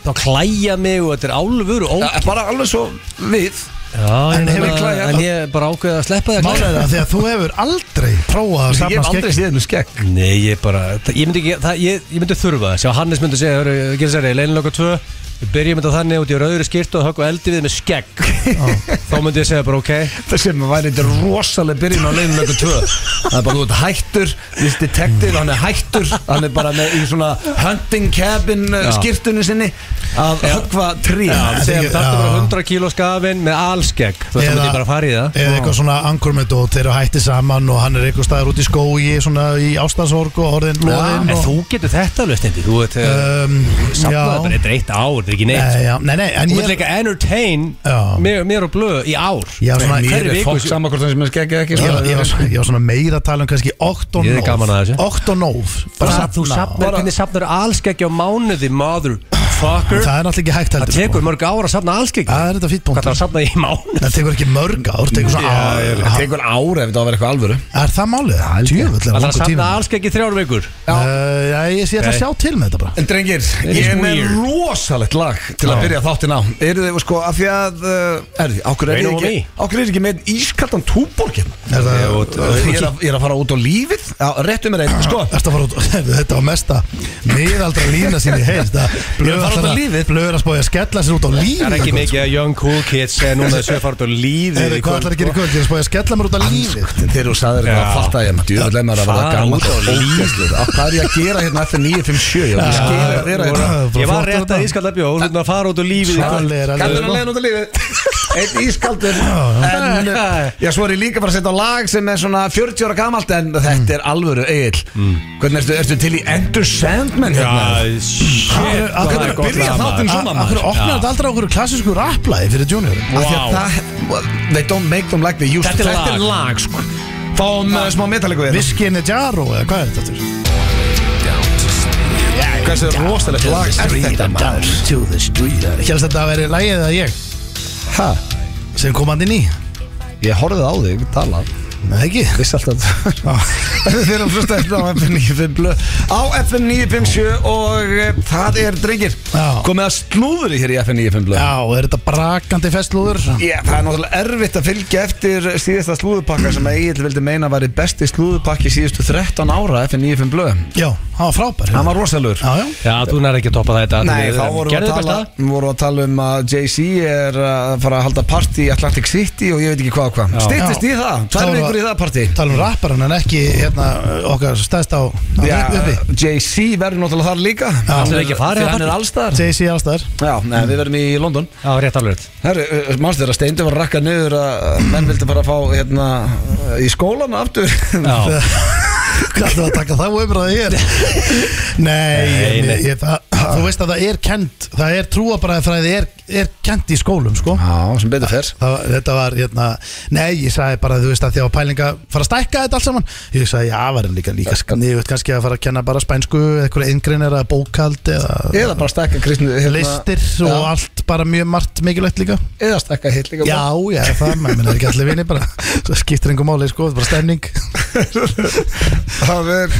[SPEAKER 3] þá klæja mig og þetta er álfur og
[SPEAKER 1] Ja, bara alveg svo við
[SPEAKER 3] Já,
[SPEAKER 2] En
[SPEAKER 3] en,
[SPEAKER 2] hefur
[SPEAKER 3] meina,
[SPEAKER 2] klæjað-
[SPEAKER 3] en ég bara ákveði að sleppa því að
[SPEAKER 2] Málega það því að þú hefur aldrei prófað að
[SPEAKER 1] Ég hef
[SPEAKER 2] safnast
[SPEAKER 1] aldrei
[SPEAKER 2] ekki
[SPEAKER 1] séð henni skegg
[SPEAKER 3] Nei, ég bara, það, ég, myndi ekki, það, ég, ég myndi þurfa það Sjá, Hannes myndi segja, hörru, Gilsari, leilinloka 2 Við byrjum þetta þannig út í rauðri skýrt og höggum eldi við með skegg Þá myndi ég segja bara, ok
[SPEAKER 1] Það sem væri þetta rosalega byrjun á leiðinu lögur 2 Það er bara, þú ert hættur, viðst detektiv, hann er hættur Hann er bara með í svona hunting cabin Já. skýrtunni sinni Að höggva trí
[SPEAKER 2] Já.
[SPEAKER 3] Segja,
[SPEAKER 2] ég-
[SPEAKER 3] þetta er bara
[SPEAKER 2] já.
[SPEAKER 3] 100 kíló skafin með allskegg Þú veist, þá
[SPEAKER 2] Eða-
[SPEAKER 3] myndi ég bara fara í það
[SPEAKER 2] Eða eitthvað svona angurmyndót Þeir eru hætti saman og hann er eitthvað staðar út í skói Svona í ástasorg og orðin loðin
[SPEAKER 3] En
[SPEAKER 2] og-
[SPEAKER 3] þú getur þetta alveg stendi Þú veit,
[SPEAKER 2] Um,
[SPEAKER 3] samlaði
[SPEAKER 2] já.
[SPEAKER 3] bara, þetta er eitt ár, þetta er ekki neitt
[SPEAKER 2] Nei, já, nei, nei, en
[SPEAKER 3] Þú
[SPEAKER 2] ég
[SPEAKER 3] veit líka entertain
[SPEAKER 2] Já.
[SPEAKER 3] mér, mér og blöð í ár
[SPEAKER 2] Já, svona-
[SPEAKER 3] Hverri
[SPEAKER 1] Mér er
[SPEAKER 3] viku-
[SPEAKER 1] fólk saman hvort hann sem er skegg eða ekki sko.
[SPEAKER 2] Ég
[SPEAKER 1] bara-
[SPEAKER 2] var, ég, var, svona- ég var svona meira að tala um kannski 8 og
[SPEAKER 3] Ég er
[SPEAKER 2] 9
[SPEAKER 3] gaman að þessu.
[SPEAKER 2] 8 og 9 bara
[SPEAKER 3] Bara, þú
[SPEAKER 2] safna
[SPEAKER 3] safnar, hvernig safnar allskeggi á mánuði, motherfucker
[SPEAKER 2] Það er náttúrulega ekki hægt
[SPEAKER 3] Það
[SPEAKER 2] heldur sko.
[SPEAKER 3] tekur mörg ára að safna allskeggi
[SPEAKER 2] Það er þetta fýtt
[SPEAKER 3] Hvað það
[SPEAKER 2] bónd
[SPEAKER 3] er að safna í mánuð
[SPEAKER 2] Það tekur ekki mörg ár tekur svona,
[SPEAKER 1] Já, ég-
[SPEAKER 2] ár,
[SPEAKER 1] Ah, Það tekur ára ef þetta á að vera eitthvað alvöru
[SPEAKER 2] Er það málið? Djöfull
[SPEAKER 3] Það
[SPEAKER 2] er
[SPEAKER 3] er að
[SPEAKER 2] langur
[SPEAKER 3] safna Eh.
[SPEAKER 2] tíma
[SPEAKER 3] allskeggi í þrjár vikur
[SPEAKER 2] Uh, Já, ég sé að
[SPEAKER 3] Nei.
[SPEAKER 2] sjá til með þetta bara
[SPEAKER 1] En drengir, ég
[SPEAKER 3] is
[SPEAKER 1] er með
[SPEAKER 3] weird.
[SPEAKER 1] rosalegt lag til að byrja þáttinn á Eru þið, sko, af því að uh, Er þið, okkur er
[SPEAKER 3] Rain
[SPEAKER 1] ég
[SPEAKER 3] on
[SPEAKER 1] ekki
[SPEAKER 3] me.
[SPEAKER 1] Okkur er ég ekki með ískaldan túborg hérna
[SPEAKER 3] Eh,
[SPEAKER 2] Er það-
[SPEAKER 1] Ég út- Ég er að- ég er að fara út á lífið Já, réttu mér einn, sko
[SPEAKER 2] Ertu að fara út, þetta var mesta miðaldra lína sín í heil
[SPEAKER 1] Ég fara út á lífið.
[SPEAKER 2] Blöður að spója að skella sér út á lífið
[SPEAKER 3] Það er ekki
[SPEAKER 2] eitthvað,
[SPEAKER 3] mikið að young cool kids segja núna þessu að fara út á
[SPEAKER 2] sko.
[SPEAKER 3] lífið
[SPEAKER 2] Heyrðu, Hvað ætlar að gera í kvöld? Ég er að spója að skella mér út á lífið
[SPEAKER 1] Sko, Þegar þú sagðir eitthvað
[SPEAKER 3] Já.
[SPEAKER 1] að fatta ég maður Jöfnvel er maður að verða
[SPEAKER 3] Fara
[SPEAKER 1] gammal
[SPEAKER 3] út á
[SPEAKER 1] Hvað er ég að gera hérna eftir 9.57 Ég vil skilja þér að hérna. þetta
[SPEAKER 2] Bara
[SPEAKER 3] Ég
[SPEAKER 2] flott
[SPEAKER 3] var rétt
[SPEAKER 2] þarna.
[SPEAKER 3] að ískalla bjóð Þú ert að fara út á lífið í kvöld
[SPEAKER 2] Svalið er alveg-
[SPEAKER 1] Kallir hann leiðin út af lífið Einn ískaldur En eh, Já, svo er ég líka bara að setja á lag sem er svona 40 ára gamalt En þetta er alvöru eigil Hvernig ertu, ertu til í Ender Sandman hérna?
[SPEAKER 3] Já, shit
[SPEAKER 2] Af
[SPEAKER 3] hvað
[SPEAKER 2] hverju
[SPEAKER 3] er gott
[SPEAKER 1] byrja
[SPEAKER 3] lag,
[SPEAKER 1] þáttinn
[SPEAKER 3] maður.
[SPEAKER 1] svona,
[SPEAKER 2] Af hverju
[SPEAKER 1] maður?
[SPEAKER 2] opnar þetta aldrei á okkur klassísku rapplæði fyrir juniorin?
[SPEAKER 1] Af því að
[SPEAKER 3] Vá.
[SPEAKER 1] það- well, They don't make them like they used to
[SPEAKER 3] Þetta er
[SPEAKER 1] Þetta er
[SPEAKER 3] lag.
[SPEAKER 1] lag sko. Fáum uh, smá metalíku við
[SPEAKER 2] Whisky in a jar og eða hvað er þetta aftur?
[SPEAKER 1] Hversu rosalegt lag er þetta maður?
[SPEAKER 2] to the street Hélst þetta að veri lægið eða ég
[SPEAKER 1] Ha?
[SPEAKER 2] sem kom hann inn í?
[SPEAKER 1] Ég horfði á þig, tala
[SPEAKER 2] Nei ekki
[SPEAKER 1] Vissi alltaf Þeir eru fyrst eftir á FM 95 blöð Á FM 957 og e, það er drengir
[SPEAKER 2] Já.
[SPEAKER 1] Komið að slúðri hér í FM 95 blöð
[SPEAKER 2] Já, er þetta brakandi festlúður?
[SPEAKER 1] Já, það er náttúrulega erfitt að fylgja eftir síðasta slúðupakka sem að Egil vildi meina var í besti slúðupakki síðustu 13 ára FM 95 blöð
[SPEAKER 2] Já, hann var frábær
[SPEAKER 1] Hann var rosalur
[SPEAKER 2] Já, já
[SPEAKER 3] Já, þú nær ekki að toppa þetta
[SPEAKER 1] Nei, þá vorum við,
[SPEAKER 3] Gerðu
[SPEAKER 1] að
[SPEAKER 3] þetta
[SPEAKER 1] tala,
[SPEAKER 3] alltaf?
[SPEAKER 1] vorum við að tala um að Jay-Z er að fara að halda partí í Atlantic City og ég veit ekki hvað og hvað
[SPEAKER 3] Já.
[SPEAKER 1] Stýttist í það,
[SPEAKER 2] Þá
[SPEAKER 1] tvær
[SPEAKER 2] var-
[SPEAKER 1] vikur í það partí
[SPEAKER 2] Tala um rapparann en ekki hérna okkar stæðst á á
[SPEAKER 1] Já,
[SPEAKER 2] uppi
[SPEAKER 1] Jay-Z verður náttúrulega þar líka
[SPEAKER 3] Ætlum við ekki að fara í
[SPEAKER 1] Því
[SPEAKER 3] það
[SPEAKER 1] hann er
[SPEAKER 3] partí?
[SPEAKER 1] allstar
[SPEAKER 2] JC allstaðar
[SPEAKER 1] Já, nei, við verðum í London
[SPEAKER 3] Já, rétt alveg
[SPEAKER 1] Herru, uh, mannstu þér að Steindi var að rakka niður að uh, menn vildi bara fá hérna uh, í skólan aftur
[SPEAKER 3] Já
[SPEAKER 2] Hvað ætlum við að taka þá umræði hér? Nei,
[SPEAKER 3] Nei,
[SPEAKER 2] ég,
[SPEAKER 3] nei.
[SPEAKER 2] Ég, það, þú veist að það er kent Það er trúabræðfræði er, er kent í skólum sko.
[SPEAKER 1] Já, sem betur fer
[SPEAKER 2] það, var- þetta var hérna nei, ég sagði bara, þú veist að því að pælinga fara að stækka þetta allt saman, ég sagði, já, var hann líka líka sniðut kannski að fara að kenna bara spænsku eða eitthvað eingrein eða bókald eða
[SPEAKER 1] Eða bara stekka kristni hérna,
[SPEAKER 2] listir og
[SPEAKER 1] já, Hérna.
[SPEAKER 2] allt bara mjög margt mikilvægt líka
[SPEAKER 1] Eða stekka hitt líka
[SPEAKER 2] já, já, það, maður minn er ekki allir vini bara, það skiptir engum máli, sko, það er bara stemning
[SPEAKER 1] Það er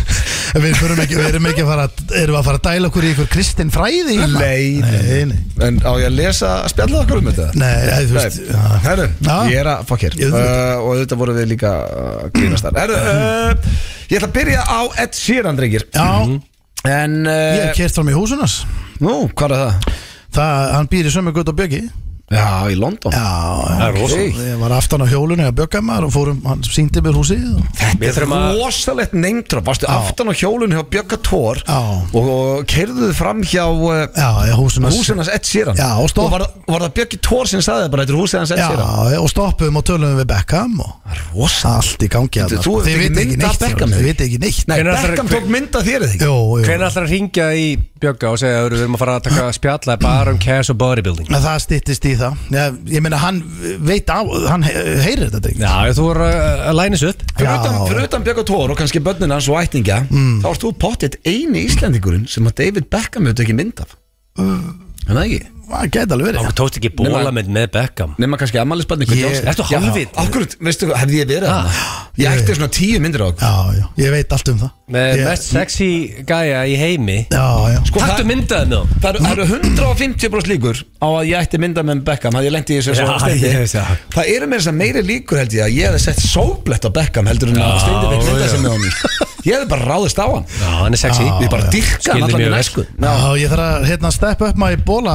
[SPEAKER 2] við erum ekki, við erum ekki að fara erum við að fara að dæla okkur í ykkur kristin fræði hérna?
[SPEAKER 1] Nei,
[SPEAKER 2] nei, nei,
[SPEAKER 1] En á ég að lesa að spjalla okkur um þetta?
[SPEAKER 2] nei, nei þú veist já.
[SPEAKER 1] Herru,
[SPEAKER 2] Já.
[SPEAKER 1] ég er að fokk hér
[SPEAKER 2] Ég
[SPEAKER 1] uh,
[SPEAKER 2] veit
[SPEAKER 1] og auðvitað vorum við líka uh, grínastar Herru, uh, ég ætla að byrja á Ed Sheeran, drengir Mhm.
[SPEAKER 2] já,
[SPEAKER 1] En, uh,
[SPEAKER 2] ég hef kert fram í húsunas
[SPEAKER 1] nú, hvað er það?
[SPEAKER 2] það, hann býr í sömu gutt og bjöggi
[SPEAKER 1] Já, í London
[SPEAKER 2] Já,
[SPEAKER 3] Það er
[SPEAKER 2] ok.
[SPEAKER 3] rosalegt.
[SPEAKER 2] Ég var aftan á hjólunni að bjögga maður og fórum, hann síndi mér húsið og...
[SPEAKER 3] Við
[SPEAKER 1] Þetta er
[SPEAKER 3] þurfum að
[SPEAKER 1] rosalegt neymdra Varstu aftan á hjólun hjá Bjögga Tór
[SPEAKER 2] Já.
[SPEAKER 1] og, og keirðuð fram hjá uh,
[SPEAKER 2] Já, já, húsinu
[SPEAKER 1] húsinans Ed Sheeran
[SPEAKER 2] Já, og stopp.
[SPEAKER 1] var, var það Bjöggi Tór sem sagði það bara Þetta er húsinans Ed
[SPEAKER 2] Já,
[SPEAKER 1] Sheeran
[SPEAKER 2] já, og stoppuðum og töluðum við Beckham og
[SPEAKER 1] Rosa
[SPEAKER 2] allt í gangi
[SPEAKER 1] Þú-
[SPEAKER 2] þarna,
[SPEAKER 1] þú
[SPEAKER 2] sko.
[SPEAKER 1] hefur
[SPEAKER 2] Þeir
[SPEAKER 1] tekið mynd af
[SPEAKER 2] vita ekki neitt
[SPEAKER 1] Beckham,
[SPEAKER 2] Þeir
[SPEAKER 1] eða?
[SPEAKER 2] vita ekki neitt
[SPEAKER 1] Nei,
[SPEAKER 3] Hvenær ætlar-
[SPEAKER 1] Beckham tók mynd af þér eða ekki
[SPEAKER 2] Jó, jó
[SPEAKER 3] Hvernig ætlar að ringja í Bjögga og segja að við erum að fara að taka spjalla bara um cash og bodybuilding
[SPEAKER 2] En það styttist í það Ég, ég meina hann veit á Hann he- heyrir þetta ding
[SPEAKER 3] Já, þú voru að að læna þessu upp
[SPEAKER 1] Fyrir
[SPEAKER 2] Já.
[SPEAKER 1] utan, fyrir utan Björg og Tór og kannski börnin hans og ætninga Þá ert þú pottitt eini Íslendingurinn sem að David Beckham hefur ekki mynd af Er það ekki?
[SPEAKER 2] Það gæti alveg verið
[SPEAKER 3] Þú tókst ekki bólamönd með Beckham
[SPEAKER 1] Nefna kannski ammælisbarni
[SPEAKER 2] Ég-
[SPEAKER 3] Ertu hálfviti?
[SPEAKER 1] Akkurat, veistu hvað, hefði ég verið þarna Ég ætti svona tíu myndir á okkur
[SPEAKER 2] Já, já, ég veit allt um það
[SPEAKER 3] Með
[SPEAKER 2] ég,
[SPEAKER 3] mest sexy gæja í heimi
[SPEAKER 2] Já, já
[SPEAKER 1] Sko,
[SPEAKER 3] Taktu
[SPEAKER 1] það-
[SPEAKER 3] myndaðið með hún
[SPEAKER 1] Það eru- það eru 150 brúst líkur á að ég ætti mynda með Beckham að ég lendi í þessu
[SPEAKER 3] Já,
[SPEAKER 1] svo steindi
[SPEAKER 3] ég veist það.
[SPEAKER 1] Það eru meira þess að meiri líkur held ég að ég hefði sett sóblett á Beckham heldur en að
[SPEAKER 3] Já,
[SPEAKER 1] steindi veit mynda
[SPEAKER 3] já.
[SPEAKER 1] sem með honum Ég hefði bara ráðist á hann
[SPEAKER 3] Já, hann er sexy
[SPEAKER 1] Ég bara dyrka hann
[SPEAKER 3] Skildi
[SPEAKER 1] allan
[SPEAKER 3] mjög
[SPEAKER 1] í
[SPEAKER 3] vel.
[SPEAKER 1] næsku
[SPEAKER 3] sko.
[SPEAKER 2] Já, ég þarf að hérna step up my bóla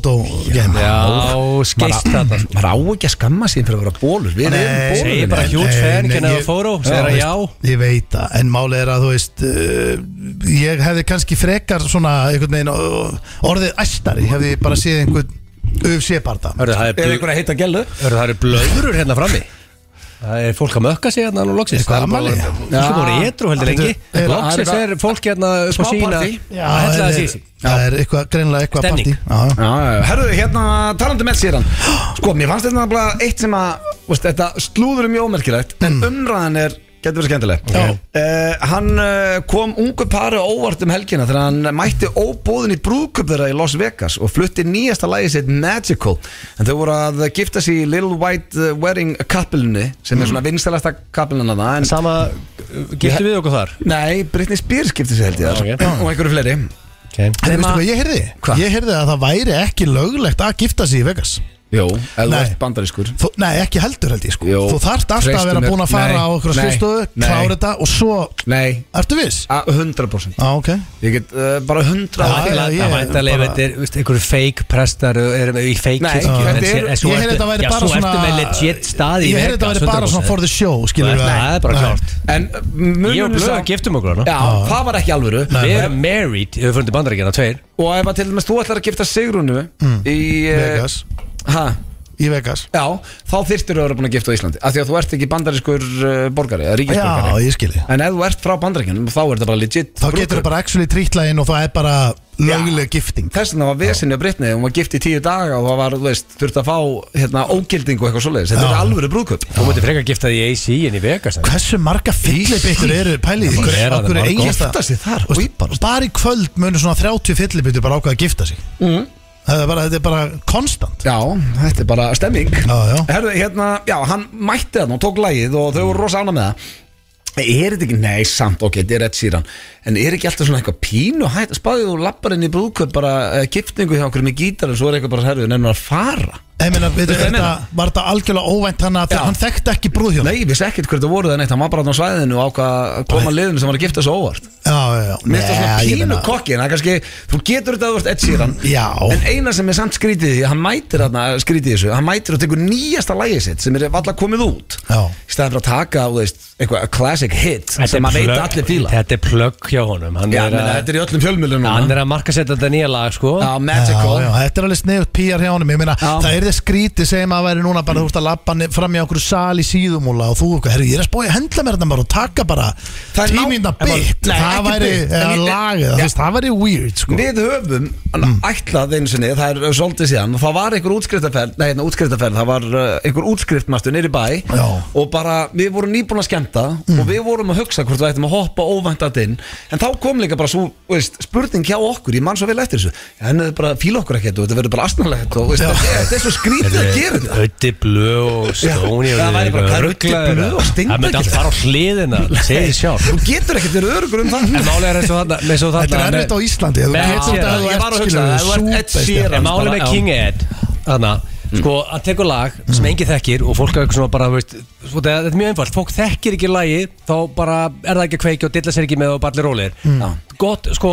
[SPEAKER 2] fotogame
[SPEAKER 3] Já, skeist þetta
[SPEAKER 1] maður, maður á ekki að skamma sín fyrir að vera bólur Við erum
[SPEAKER 2] Nei,
[SPEAKER 1] bólur
[SPEAKER 3] Segir bara
[SPEAKER 2] Nei,
[SPEAKER 3] huge
[SPEAKER 2] nei,
[SPEAKER 3] fan,
[SPEAKER 2] nei,
[SPEAKER 3] kenna
[SPEAKER 2] ég-
[SPEAKER 3] það fóró Segir að já
[SPEAKER 2] Ég veit það, en málið er að þú veist uh, Ég hefði kannski frekar svona einhvern veginn uh, orðið æstari Hefði ég bara séð einhvern UFC-barda
[SPEAKER 3] Hörðu, það er
[SPEAKER 1] Ef
[SPEAKER 3] bl-
[SPEAKER 1] einhver að heita gælu
[SPEAKER 3] hörðu, það eru blöðurur hérna frammi Það er fólk að mökka sig hérna nú loksins
[SPEAKER 2] Eitthvað
[SPEAKER 3] Það er
[SPEAKER 2] afmæli?
[SPEAKER 3] bara- Fólk er bara í etru heldur lengi
[SPEAKER 2] er-
[SPEAKER 3] Loksins er fólk hérna upp á
[SPEAKER 1] Smá
[SPEAKER 3] sína
[SPEAKER 1] partí.
[SPEAKER 2] Já,
[SPEAKER 3] að hella
[SPEAKER 2] það
[SPEAKER 3] þessi í
[SPEAKER 2] er,
[SPEAKER 3] sig.
[SPEAKER 2] það er eitthvað, greinlega eitthvað partí
[SPEAKER 3] Stemning.
[SPEAKER 2] Já, já.
[SPEAKER 1] Herðu, hérna talandi með sér hann Sko, mér fannst þetta bara eitt sem að veist, Þetta slúður um jómerkilegt En umræðan er, getur verið skemmtileg
[SPEAKER 2] Já.
[SPEAKER 1] Eh, Hann eh, kom ungu pari á óvart um helgina Þegar hann mætti óbóðin í brúðköp þeirra í Las Vegas Og flutti nýjasta lagi sitt Magical En þau voru að gifta sig í Little White eh, Wedding kappilunni Sem er svona vinstalasta kappilunna Mm. En
[SPEAKER 3] Sama, getur við okkur þar
[SPEAKER 1] Nei, Britney Spears skipti sig held ég þar
[SPEAKER 3] Já, ok.
[SPEAKER 1] Og einhverju fleiri
[SPEAKER 2] En
[SPEAKER 1] Nema-
[SPEAKER 2] veistu hvað ég heyrði?
[SPEAKER 1] Hva?
[SPEAKER 2] Ég heyrði að það væri ekki löglegt að gifta sig í Vegas
[SPEAKER 1] Jó, ef þú
[SPEAKER 2] Nei.
[SPEAKER 1] ert bandarískur
[SPEAKER 2] Þú, nei, ekki heldur held ég sko
[SPEAKER 1] Jú.
[SPEAKER 2] Þú þarft alltaf að vera
[SPEAKER 1] Treystu mér.
[SPEAKER 2] búin að fara
[SPEAKER 1] Nei,
[SPEAKER 2] á okkur
[SPEAKER 1] nei,
[SPEAKER 2] skrifstofu,
[SPEAKER 1] nei.
[SPEAKER 2] klára þetta og svo
[SPEAKER 1] Nei,
[SPEAKER 2] Ertu viss?
[SPEAKER 1] a- 100%
[SPEAKER 2] Já, ok
[SPEAKER 1] Ég get uh, bara 100
[SPEAKER 2] Já,
[SPEAKER 1] Ég-
[SPEAKER 2] já, ég-
[SPEAKER 3] Það væntalega,
[SPEAKER 2] bara-
[SPEAKER 3] þetta er veist, einhverju fake prestar og erum í fake
[SPEAKER 1] Nei,
[SPEAKER 3] kirkju,
[SPEAKER 1] þetta
[SPEAKER 3] en
[SPEAKER 1] er-
[SPEAKER 3] sé- en svo
[SPEAKER 2] Ég heyrði
[SPEAKER 3] Sko, ertu-
[SPEAKER 2] þetta væri bara
[SPEAKER 3] Já, svo
[SPEAKER 2] svona
[SPEAKER 3] ertu með legit stað í
[SPEAKER 2] Ég heyrði þetta
[SPEAKER 3] Vegas,
[SPEAKER 2] væri bara
[SPEAKER 3] 100%.
[SPEAKER 2] svona for the show, skilur
[SPEAKER 3] Nei, það er bara klárt.
[SPEAKER 1] En uh, munum
[SPEAKER 3] Ég og
[SPEAKER 1] við
[SPEAKER 3] Blöð
[SPEAKER 1] sá-
[SPEAKER 3] giftum okkur hana
[SPEAKER 1] Já, það var ekki alvöru
[SPEAKER 3] Við erum married, við fundum bandaríkjana, tveir
[SPEAKER 1] Og ef að til dæmis þú ætlar að gifta Sigrúnu Í eh,
[SPEAKER 2] Mm. Vegas,
[SPEAKER 1] ha,
[SPEAKER 2] í Vegas
[SPEAKER 1] Já, þá þyrstur þú að vera búin að gifta á Íslandi Af því að þú ert ekki bandarískur uh, borgari Eða
[SPEAKER 2] Já,
[SPEAKER 1] ríkisborgari
[SPEAKER 2] ég skilji
[SPEAKER 1] En ef þú ert frá bandaríkjanum þá er þetta bara legit
[SPEAKER 2] Þá getur
[SPEAKER 1] brúðkaup.
[SPEAKER 2] það bara actually trítlægin og það er bara löguleg gifting
[SPEAKER 1] Þess vegna var vesinni um að Britni, hún var gift í tíu daga og það var, þú veist, þurfti að fá hérna, ógildingu eitthvað svoleiðis, þetta
[SPEAKER 2] Já.
[SPEAKER 1] er alvöru brúðköp
[SPEAKER 3] Þú mútið frekar gifta því í AC en í Vegas en-
[SPEAKER 2] Hversu marga fyllibittur eru pælið
[SPEAKER 3] Já,
[SPEAKER 2] í
[SPEAKER 3] er það
[SPEAKER 2] Okkur
[SPEAKER 3] marga.
[SPEAKER 1] Gifta sig þar,
[SPEAKER 2] og íbarast Bara í kvöld munur svona 30 fyllibittur bara ákveða að gifta sig
[SPEAKER 3] Mhm.
[SPEAKER 1] mm.
[SPEAKER 2] Það er bara, þetta er bara konstant
[SPEAKER 1] Já, þetta er bara stemming
[SPEAKER 3] Mm.
[SPEAKER 2] Já, já.
[SPEAKER 1] Herðu, hérna, já, hann mætti þarna og tók lagið og þau voru rosa ána með það Er þetta ekki, nei, samt, ok, þetta er Ed Sheeran En er ekki alltaf svona eitthvað pínu hætt Spáðið þú lappar inn í brúðköp bara uh, giftingu hjá okkur með gítar en svo er eitthvað bara herfið nefnum að fara
[SPEAKER 2] Ég meina, við,
[SPEAKER 1] Veistu hvað ég
[SPEAKER 2] þetta, var þetta algjörlega óvænt hann að
[SPEAKER 1] Já.
[SPEAKER 2] þegar hann þekkti ekki brúðhjóna
[SPEAKER 1] Nei, ég vissi ekkert hverju það voru það neitt, hann var bara þarna á svæðinu og ákvað að koma liðinu sem var að gifta svo óvart
[SPEAKER 2] Já, já, já
[SPEAKER 1] Mér finnst það
[SPEAKER 2] Nei, ég
[SPEAKER 1] svona pínu
[SPEAKER 2] meina-
[SPEAKER 1] kokki En það er kannski, þú getur þetta að þú ert Ed Sheeran
[SPEAKER 2] Já.
[SPEAKER 1] En eina sem er samt skrítið í því, Hann mætir þarna skrítið í þessu Hann mætir og tekur nýjasta lagið sitt Sem er valla komið út
[SPEAKER 2] Já.
[SPEAKER 1] Í staðan fyrir að taka, þú veist, eitthvað a classic hit
[SPEAKER 3] Þetta er
[SPEAKER 1] Sem maður veit
[SPEAKER 3] plugg-
[SPEAKER 1] allir fíla
[SPEAKER 3] Þetta er plögg hjá honum Hann
[SPEAKER 1] Já,
[SPEAKER 3] er
[SPEAKER 1] menna,
[SPEAKER 3] að-
[SPEAKER 1] þetta er í öllum fjölmjölum
[SPEAKER 3] hann er að marka setja þetta nýja lag sko
[SPEAKER 1] Já,
[SPEAKER 2] Já,
[SPEAKER 1] magical
[SPEAKER 2] já, þetta er alveg sniðut PR hjá honum Ég meina,
[SPEAKER 1] Já.
[SPEAKER 2] það er þið skrítið segjum að væri núna bara þú ert að labba ne- fram í okkur sal í síðumúla og þú, herru, ég er að spója hendla mér þetta bara og taka bara
[SPEAKER 1] Það er ná-
[SPEAKER 2] tímina
[SPEAKER 1] En bara-
[SPEAKER 2] byggt
[SPEAKER 1] Nei,
[SPEAKER 2] það
[SPEAKER 1] ekki
[SPEAKER 2] væri,
[SPEAKER 1] byggt, en
[SPEAKER 2] eða
[SPEAKER 1] ég-
[SPEAKER 2] lagið,
[SPEAKER 1] Já.
[SPEAKER 2] það, það væri weird, sko
[SPEAKER 1] Við höfum mm. ætlað einu sinni, það er uh, svolítið síðan og það var einhver útskriftaferð, nei hérna útskriftaferð það var uh, einhver útskriftmastu nýri bæ
[SPEAKER 2] Já.
[SPEAKER 1] og bara við vorum nýbúin að skemmta og við vorum að hugsa hvort við ættum að hoppa óvæntat inn en þá kom líka bara svo veist, spurning hjá okkur, ég man svo vel eftir þessu en það er bara fíla okkur ekkert og þetta verður bara asnalegt og veist, þetta, er- þetta er svo skrítið að gera þetta
[SPEAKER 3] Ötti blö og stóni
[SPEAKER 1] Já, það væri bara, hvað er Öddi Blöð og Steindór
[SPEAKER 3] Það myndi
[SPEAKER 1] að
[SPEAKER 3] alltaf
[SPEAKER 1] gera?
[SPEAKER 3] fara á hliðina Segði sjálf
[SPEAKER 1] Þú getur ekkert verið örugur um það
[SPEAKER 3] En málið er eins og þarna með svo
[SPEAKER 2] Þetta
[SPEAKER 3] þarna
[SPEAKER 2] er erfitt á
[SPEAKER 3] með-
[SPEAKER 2] Íslandi þú
[SPEAKER 3] Nei,
[SPEAKER 2] getur samt
[SPEAKER 3] ég-
[SPEAKER 2] að
[SPEAKER 3] ég
[SPEAKER 2] þú
[SPEAKER 1] var
[SPEAKER 2] ert,
[SPEAKER 1] að hugsa
[SPEAKER 2] skilur
[SPEAKER 1] það, ef
[SPEAKER 2] við,
[SPEAKER 1] þú ert Ed
[SPEAKER 2] súper-
[SPEAKER 1] Sheeran.
[SPEAKER 3] En málið með
[SPEAKER 1] Já. Mm.
[SPEAKER 3] King Ed Þarna Sko, hann tekur lag sem enginn þekkir og fólk er eitthvað svona bara, veist, sko, þetta þetta er mjög einfalt, fólk þekkir ekki lagi þá bara er það ekki að kveiki og dilla sér ekki með og ballir rólir.
[SPEAKER 1] Já.
[SPEAKER 3] Gott, sko,